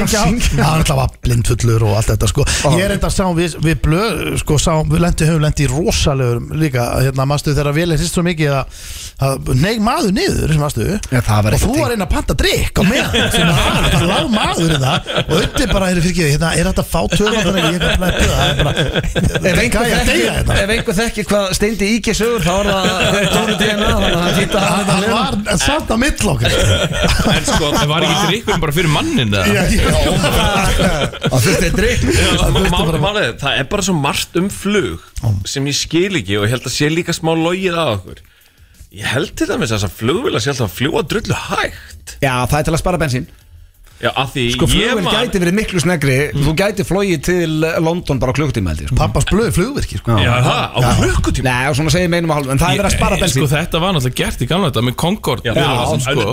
[SPEAKER 10] syngja á, hann alltaf var blindfullur og allt þetta sko Ég er þetta sá, við, við blöð, sko sá, við lendi, höfum lendi í rosalegum líka, hérna maðurstu þegar vel er sýst svo mikið að, að neig maður niður, maðurstu
[SPEAKER 1] Já, það var
[SPEAKER 10] og þú
[SPEAKER 1] ekkert
[SPEAKER 10] var einn að panta drikk á meðan sem að hann bara lág maður í það og auðvitað bara er fyrir ekki, hérna, er þetta að fá töfandan ég er bara að byrja, það er bara
[SPEAKER 1] Ef einhver
[SPEAKER 10] Gæja, deyja
[SPEAKER 1] þekki- ef einhver þekki hvað steindi íkja sögur þá er það eh, Dóri DNA þannig að það er fínt að hafa
[SPEAKER 10] Hann hérna
[SPEAKER 1] þetta með.
[SPEAKER 10] var samt á millokkar
[SPEAKER 8] En sko, það var ekki drikkurinn bara fyrir mannin það
[SPEAKER 10] Já, já.
[SPEAKER 1] Það þurfti drikk
[SPEAKER 3] Málið, það er bara svo margt um flug sem ég skil ekki og ég held að sé líka smá logið að okkur Ég held til dæmis að þessar flugvila sé alltaf að fljúa drullu hægt
[SPEAKER 1] Já, það er til að spara bensín
[SPEAKER 3] Já, af því
[SPEAKER 1] Sko flugvél
[SPEAKER 3] ég man
[SPEAKER 1] gæti verið miklu snegri Þú gæti flogið til eh, London bara á klukkutíma held ég, sko.
[SPEAKER 10] Pappas blöði flugvirki sko.
[SPEAKER 3] Já, það, á
[SPEAKER 1] klukkutíma Nei, og svona segir meinum að hálf En það er verið að spara bensín
[SPEAKER 9] Sko þetta var náttúrulega gert í gamla þetta með Concorde
[SPEAKER 3] Já,
[SPEAKER 9] flugvélum,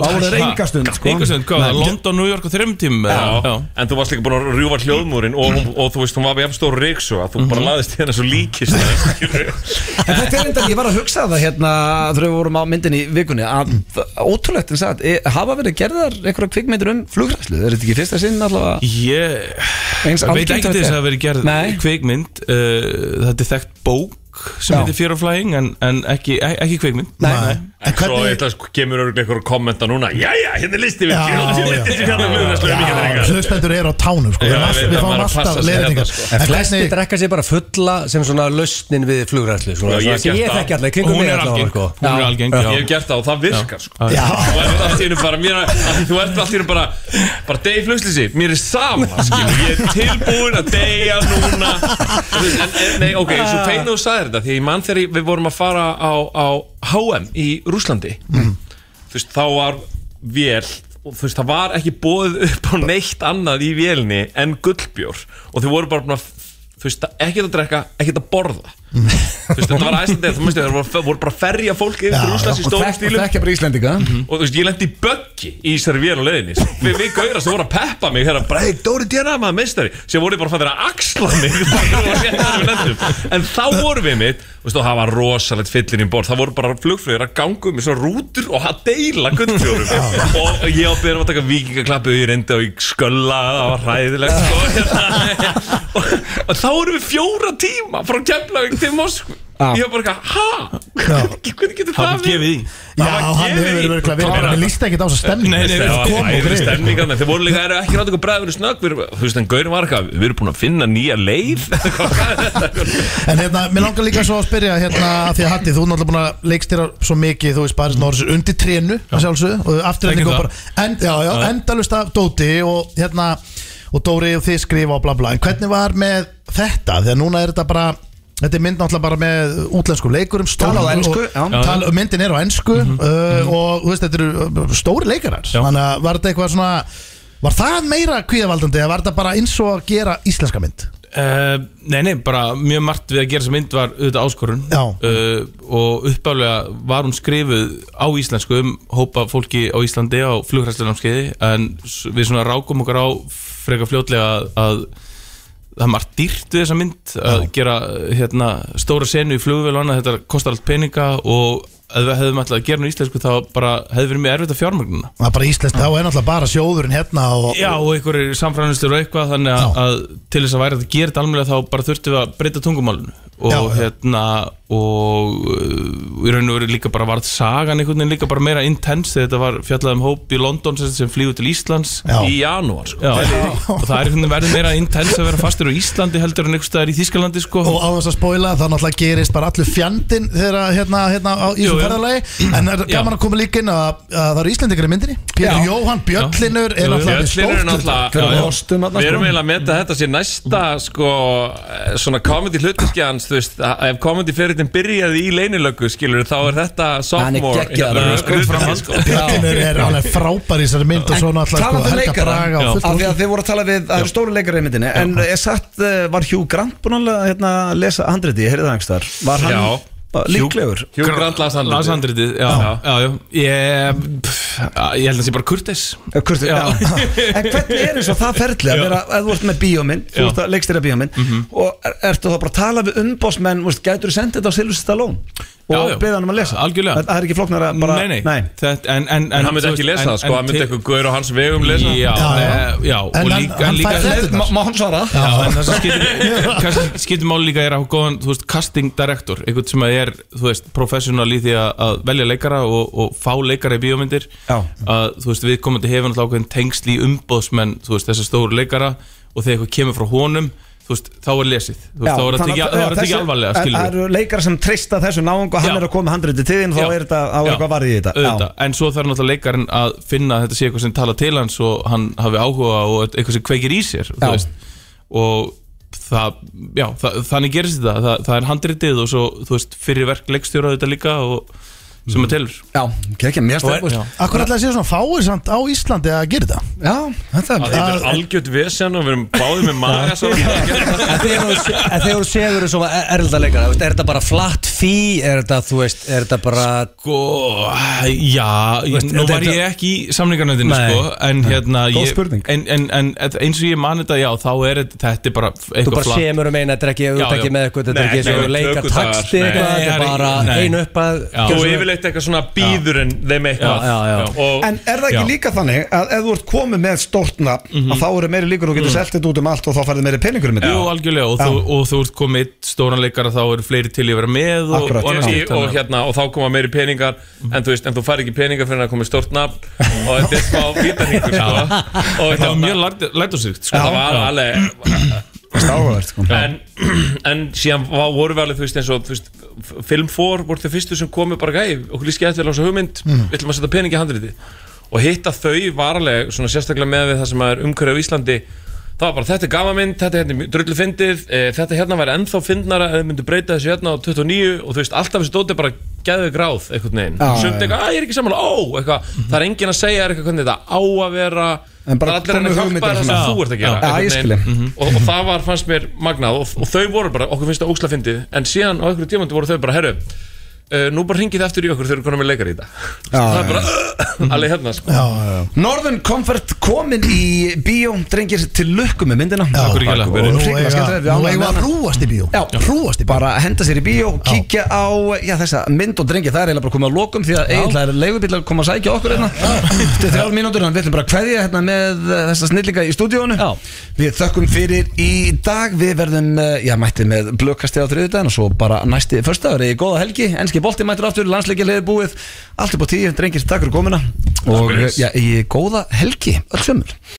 [SPEAKER 3] já, þá voru þeir enga stund, sko.
[SPEAKER 9] sko. Enga stund, hvað,
[SPEAKER 3] Nei.
[SPEAKER 9] það London, New York og þreim tíma
[SPEAKER 3] Já, en þú varst líka búin að rjúfa hljóðmúrin og, og, þú veist, hún var við efstóru reyksu að þú bara
[SPEAKER 9] Mhm.
[SPEAKER 3] laðist hérna svo líkist sko.
[SPEAKER 1] En þetta er enda, ég var að hugsa það hérna þegar við vorum á myndinni í vikunni að ótrúlegt en sagt, e- hafa verið gerðar einhverja kvikmyndir um flugræslu er þetta ekki í fyrsta sinn allavega?
[SPEAKER 9] Ég
[SPEAKER 1] Eins
[SPEAKER 9] Ég veit
[SPEAKER 1] algengt
[SPEAKER 9] ekki
[SPEAKER 1] og
[SPEAKER 9] til
[SPEAKER 1] þetta
[SPEAKER 9] þess að
[SPEAKER 1] er.
[SPEAKER 9] það veri gerð
[SPEAKER 1] Nei.
[SPEAKER 9] kveikmynd uh, Þetta er þekkt bók sem
[SPEAKER 1] Já.
[SPEAKER 9] heitir Fear of Flying en, en ekki, e- ekki kveikmynd
[SPEAKER 3] En svo eitthvað sko, kemur örgulega einhver að kommenta núna Jæja, hérna er listi við
[SPEAKER 10] Já,
[SPEAKER 3] Hérna er listi sem hérna flugræslu um hérna
[SPEAKER 10] Já,
[SPEAKER 3] engar.
[SPEAKER 10] Hlustendur eru á tánum sko.
[SPEAKER 3] Já,
[SPEAKER 10] við,
[SPEAKER 3] ég veit
[SPEAKER 10] við, við
[SPEAKER 3] að
[SPEAKER 10] fáum
[SPEAKER 3] maður passa
[SPEAKER 10] alltaf
[SPEAKER 3] sig hérna,
[SPEAKER 10] leiðingar
[SPEAKER 3] sko.
[SPEAKER 13] En flesti drekka sér bara fulla sem svona lausnin við flugræðslu
[SPEAKER 3] Já,
[SPEAKER 13] svona, svona
[SPEAKER 3] ég hef
[SPEAKER 13] sem
[SPEAKER 3] gert
[SPEAKER 13] ég
[SPEAKER 3] það.
[SPEAKER 13] þekki allir, kringum
[SPEAKER 3] Hún
[SPEAKER 13] mig
[SPEAKER 3] er
[SPEAKER 13] allavega
[SPEAKER 3] algeng.
[SPEAKER 13] sko.
[SPEAKER 3] Hún er
[SPEAKER 13] Já.
[SPEAKER 3] algeng, já. Ég hef gert það og það virkar sko.
[SPEAKER 9] Já.
[SPEAKER 3] Þú ert allt í einu bara, mér, að, að því þú ert allt í einu bara bara degi flugslýsi, mér er sama skil. ég er tilbúin að deyja núna Þú veist, en, en nei, ok, svo feinu þú sagðir þetta því ég mann þegar ég- við vorum að fara á, á HM í Rúslandi þú veist, þá var vél og þú veist, það var ekki bóðið upp á neitt annað í vélni en gullbjór og þau voru bara búin að þú veist, ekkert að drekka, ekkert að borða þú veist, þetta var æslandið þú veist, það voru bara að ferja fólk yfir til Rúslands í
[SPEAKER 1] og
[SPEAKER 3] stórum
[SPEAKER 1] þekk- og
[SPEAKER 3] stílum
[SPEAKER 1] þekkja bara Íslendinga
[SPEAKER 3] og þú veist, ég lendi í böggi í þessari vél á leiðinni við, við gauðra sem voru að peppa mig hérna, bara, hei, Dóri Djana, maður meistari sem voru bara að fara að axla mig bara þegar við lendum- við lendum. en þá vorum við mitt veist, og það var rosalegt fyllir í borð það voru bara flugflögur að ganga um í svona rútur og að deila gullfjórum og ég á byrjum að taka vikingaklappu og ég reyndi á í skölla, það var hræðilegt sko, hérna, og, og þá vorum við fjóra tíma frá Keflavík til Moskvu
[SPEAKER 10] Já.
[SPEAKER 3] ég var bara, eitthvað, ha? hvernig getur það
[SPEAKER 9] Hann gefið í
[SPEAKER 10] Já, hann hefur verið verið verið bara með lísta ekkert á þessa stemning
[SPEAKER 3] Nei, nei,
[SPEAKER 10] Þetta
[SPEAKER 3] það
[SPEAKER 10] kom
[SPEAKER 3] var
[SPEAKER 10] og
[SPEAKER 3] æri
[SPEAKER 10] greið. sko.
[SPEAKER 3] stemningarna Þeir voru líka, það eru ekki rátt eitthvað bræðinu snögg við erum- Þú veist, en Gaurin var eitthvað, við erum búin að finna nýja leið
[SPEAKER 10] En hérna, mér langar líka svo að spyrja hérna að Því að Hatti, þú er náttúrulega búin að leikstýra svo mikið Þú veist bara svona orðsir undir trénu að sjálfsögðu, Og afturhending
[SPEAKER 9] Þekkjum
[SPEAKER 10] og
[SPEAKER 9] það.
[SPEAKER 10] bara end, Já, já,
[SPEAKER 9] Já.
[SPEAKER 10] endalust af Dóti og hérna Og Dóri og þið skrifa og bla bla En hvernig var með þetta? Þegar núna er þetta bara Þetta er mynd náttúrulega bara með útlenskum leikurum
[SPEAKER 1] Tala á
[SPEAKER 10] stórum-
[SPEAKER 1] ensku,
[SPEAKER 10] og-
[SPEAKER 1] já.
[SPEAKER 10] tal, og Myndin er á ensku
[SPEAKER 9] Mhm.
[SPEAKER 10] uh, Og þú veist, þetta eru uh, stóri leikarar Þannig að var þetta eitthvað svona Var það meira kvíðavaldandi eða var þetta bara eins og að gera íslenska mynd?
[SPEAKER 9] Uh, nei, nei, bara mjög margt við að gera þessa mynd var auðvitað áskorun uh, og uppálega var hún skrifuð á íslensku um hópa fólki á Íslandi á flugræslunámskeiði en s- við svona rákum okkur á frekar fljótlega að, að það er margt dýrt við þessa mynd að gera hérna, stóra senu í flugvél og annað, þetta kostar allt peninga og ef við hefðum alltaf að gera hún í íslensku þá bara hefði verið mjög erfitt að fjármagnuna
[SPEAKER 10] Það er bara íslenskt, þá er náttúrulega bara sjóðurinn hérna og
[SPEAKER 9] Já og einhverjir samfræðanustur og eitthvað þannig að, að til þess að væri þetta gerð almennilega þá bara þurftum við að breyta tungumálinu og
[SPEAKER 10] Já, já.
[SPEAKER 9] hérna og uh, í raun og veru líka bara varð sagan einhvern veginn líka bara meira intense þegar þetta var fjallað um hóp í London sem, sem flýgur til Íslands
[SPEAKER 10] Já.
[SPEAKER 3] Í janúar sko.
[SPEAKER 9] Já, og það er einhvern veginn verið meira intense að vera fastur á Íslandi heldur en einhvers staðar í Þískalandi sko
[SPEAKER 10] og á þess að spoila þá náttúrulega gerist bara allur fjandinn þegar að, hérna, hérna á
[SPEAKER 9] Jú,
[SPEAKER 10] Ísum
[SPEAKER 9] jú.
[SPEAKER 10] ferðalagi en er
[SPEAKER 9] Já.
[SPEAKER 10] gaman að koma líka inn að, að það eru Íslendingar í myndinni Pétur Jóhann Bjöllinur er náttúrulega með
[SPEAKER 3] Bjöllinur er
[SPEAKER 10] stórt
[SPEAKER 3] náttúrulega já,
[SPEAKER 10] hlutverk.
[SPEAKER 3] já. Við erum eiginlega að meta þetta sér næsta sko, eh, svona komedi hlutverki hans þú veist, að- ef komedi fyrirtin byrjaði í leynilöggu skilur þá er þetta sophomore
[SPEAKER 1] geggjaður,
[SPEAKER 3] hérna,
[SPEAKER 1] sko,
[SPEAKER 3] hlutverkið, sko.
[SPEAKER 10] Bjöllinur er alveg frábær í þessari mynd og svo náttúrulega
[SPEAKER 1] Talandi
[SPEAKER 10] sko,
[SPEAKER 1] um
[SPEAKER 10] Helga
[SPEAKER 1] leikara,
[SPEAKER 10] Braga og
[SPEAKER 1] af því
[SPEAKER 10] fullt
[SPEAKER 1] að þið voru að tala við Það eru stóru leikara í myndinni En ég satt, eh, var Hugh Grant búin að hérna, lesa handriti Ég heyrði það einhvers þar Var hann
[SPEAKER 3] Já.
[SPEAKER 1] ba- líklegur?
[SPEAKER 3] Hugh Grant las handritið.
[SPEAKER 9] Las handritið, já, já, já, Ég, pff, ég held að það sé bara Kurtis
[SPEAKER 1] Kurtis, já. En hvernig er eins og það ferli að vera, ef þú ert með bíómynd, þú
[SPEAKER 9] Já. Mhm.
[SPEAKER 1] ert að leikstýra bíómynd og er, ertu þá bara að tala við umbósmenn, veist, gætur þú sendið þetta á Silvus Stallone
[SPEAKER 9] Já,
[SPEAKER 1] og
[SPEAKER 9] já.
[SPEAKER 1] beða hann um að lesa?
[SPEAKER 9] Algjörlega.
[SPEAKER 1] Það er ekki flóknar að bara,
[SPEAKER 9] Nei, nei, Þetta, en, en,
[SPEAKER 3] En hann myndi ekki lesa það sko, hann myndi eitthvað gaur á hans vegum lesa
[SPEAKER 9] Já, já, já
[SPEAKER 3] En
[SPEAKER 9] og
[SPEAKER 3] hann-
[SPEAKER 9] líka,
[SPEAKER 3] hann
[SPEAKER 9] en líka
[SPEAKER 3] fær fréttirnar. Má- má hann svara?
[SPEAKER 9] Já,
[SPEAKER 3] Já.
[SPEAKER 9] en það sem skiptir kannski skiptir máli líka er að hafa góðan, þú veist, casting director einhvern sem að er, þú veist, professional í því að, að velja leikara og, og fá leikara í bíómyndir
[SPEAKER 1] Já.
[SPEAKER 9] að, þú veist, við komandi hefur náttúrulega ákveðin tengsl í umbóðsmenn, þú veist, þessar stóru leikara og þegar eitthvað kemur frá honum þú veist, þá er lesið, þú veist, þá er þetta
[SPEAKER 1] þannig
[SPEAKER 9] ekki,
[SPEAKER 1] að-
[SPEAKER 9] þá er þetta
[SPEAKER 1] þessi-
[SPEAKER 9] ekki alvarlega,
[SPEAKER 1] en
[SPEAKER 9] skilur
[SPEAKER 1] Það eru leikar sem treysta þessu náung og hann
[SPEAKER 9] Já.
[SPEAKER 1] er að koma handriti til þín þá
[SPEAKER 9] Já.
[SPEAKER 1] er þetta á
[SPEAKER 9] Já.
[SPEAKER 1] eitthvað varðið í þetta Já.
[SPEAKER 9] auðvitað, en svo þarf náttúrulega leikarinn að finna að þetta sé eitthvað sem tala til hans og hann hafi áhuga og eitthvað sem kveikir í sér þú
[SPEAKER 1] Já.
[SPEAKER 9] veist. og það, já, það, þannig gerist þetta það, það er handritið og svo þú veist, fyrir verk leikstjóra þetta líka og
[SPEAKER 14] sem að telur
[SPEAKER 1] Já, ekki, mér
[SPEAKER 14] Og er-
[SPEAKER 2] Mm. Akkur
[SPEAKER 14] já.
[SPEAKER 2] ætlaði að séu svona fáir samt á Íslandi að gera þetta
[SPEAKER 1] Já,
[SPEAKER 2] þetta
[SPEAKER 10] Þetta er algjört vesen og við erum báðið með maga
[SPEAKER 3] En þegar þú- en þegar þú segur þessum erlda leikara, þú veist, er þetta bara flatt fí, er þetta, þú veist, er þetta bara
[SPEAKER 14] Sko, já,
[SPEAKER 3] veist,
[SPEAKER 14] nú
[SPEAKER 3] þetta-
[SPEAKER 14] var ég ekki í samlingarnættinu
[SPEAKER 3] Nei.
[SPEAKER 14] sko, en
[SPEAKER 3] Nei.
[SPEAKER 14] hérna
[SPEAKER 3] Góð
[SPEAKER 14] ég,
[SPEAKER 3] spurning.
[SPEAKER 14] en, en, en eins og ég man þetta, já, þá er þetta- þetta er bara
[SPEAKER 3] Þú
[SPEAKER 14] eitthvað
[SPEAKER 3] bara semur um eina, þetta er ekki,
[SPEAKER 14] Já,
[SPEAKER 3] þú ert ekki
[SPEAKER 14] já.
[SPEAKER 3] með eitthvað, þetta er
[SPEAKER 14] Nei,
[SPEAKER 3] ekki eins
[SPEAKER 14] nei,
[SPEAKER 3] og þú leikar
[SPEAKER 14] tökudagar.
[SPEAKER 3] taksti
[SPEAKER 14] Nei.
[SPEAKER 3] eitthvað, þetta er
[SPEAKER 14] Nei,
[SPEAKER 3] bara
[SPEAKER 14] nei.
[SPEAKER 3] einu upp að
[SPEAKER 10] og yfirleitt eitthvað svona býður en þeim eitthvað
[SPEAKER 3] Já, já, já.
[SPEAKER 10] Og,
[SPEAKER 1] En er það ekki líka þannig að ef þú ert komið með stortna að þá eru meiri líkur og getur mm. seltið út um allt og þá færðu meiri peningur um þetta
[SPEAKER 14] Jú, algjörlega, og, þú, og þú ert komið eitt stóran leikara, þá eru fleiri til í að vera með og,
[SPEAKER 10] og,
[SPEAKER 14] annars slíkt,
[SPEAKER 10] og,
[SPEAKER 14] þannig að-
[SPEAKER 10] hérna, og þá koma meiri peningar en þú veist, en þú fari ekki peningar fyrir að koma í stort nafn og þetta er smá vítarhingur sko. og
[SPEAKER 14] Þetta var
[SPEAKER 10] hérna,
[SPEAKER 14] mjög lært- lærdómsríkt, sko.
[SPEAKER 10] það var
[SPEAKER 14] Já.
[SPEAKER 10] alveg
[SPEAKER 1] Stáðvært sko
[SPEAKER 10] en, en síðan var, voru við alveg þú veist eins og þú veist, f- Film 4 voru þau fyrstu sem komu bara gæði okkur líst gæði til á þessu hugmynd
[SPEAKER 14] Mm.
[SPEAKER 10] við ætlum að setja pening í handriti og hitta þau varlega svona sérstaklega með við það sem er umhverju á Íslandi það var bara þetta er gama mynd, þetta er hérna drullu fyndið e, þetta hérna væri ennþá fyndnara ef þau myndu breyta þessu hérna á 29 og þú veist alltaf þessi dóti bara gæðu gráð einhvern veginn
[SPEAKER 1] Já,
[SPEAKER 10] sumt
[SPEAKER 1] já.
[SPEAKER 10] eitthvað, að ég er ekki sammála, ó eitthvað, það er enginn að segja þér eitthvað hvernig þetta á að vera
[SPEAKER 1] En bara
[SPEAKER 10] Það er allir henni
[SPEAKER 1] komu
[SPEAKER 10] hjálpa
[SPEAKER 1] hugmyndir
[SPEAKER 10] þér það
[SPEAKER 1] svona.
[SPEAKER 10] sem þú ert að
[SPEAKER 1] Já, já,
[SPEAKER 10] gera
[SPEAKER 1] ég
[SPEAKER 10] einhvern
[SPEAKER 1] skil.
[SPEAKER 10] veginn. Mhm. og, og það var, fannst mér magnað og, og þau voru bara, okkur finnst það óksla fyndið en síðan á einhverju tímandu voru þau bara, herru uh, nú bara hringið eftir í okkur þegar konum við leikar í þetta
[SPEAKER 1] Já,
[SPEAKER 10] það er
[SPEAKER 1] já,
[SPEAKER 10] bara, alveg hérna sko.
[SPEAKER 1] Northern Comfort komin í bíó drengir til lukku með myndina
[SPEAKER 2] Takk fyrir kærlega.
[SPEAKER 1] Og
[SPEAKER 2] Nú
[SPEAKER 1] hrikalega
[SPEAKER 2] eiga-
[SPEAKER 1] skemmtilegt, við
[SPEAKER 2] nú
[SPEAKER 1] ánægðum
[SPEAKER 2] eiga
[SPEAKER 1] með
[SPEAKER 2] að
[SPEAKER 1] hana.
[SPEAKER 2] hrúast í bíó.
[SPEAKER 1] Já,
[SPEAKER 2] hrúast í bíó
[SPEAKER 1] bara henda sér í bíó og kíkja á já, þessa mynd og drengir, það er eiginlega bara komið að lokum því að eiginlega er leigubíl að koma að sækja okkur hérna til þrjár mínútur, þannig við ætlum bara að kveðja hérna með eh, þessa snillinga í stúdíónu já. við þökkum fyrir í dag við verðum, eh, já, mættið með blökkasti á þriðudaginn og svo bara næsti förstaður í góða helgi, enski bolti mættir aftur landsleikja leiði búið, allt upp á tíu, drengir, takk fyrir komuna og eh,
[SPEAKER 10] Takk fyrir.
[SPEAKER 1] já, í góða helgi, öll sömur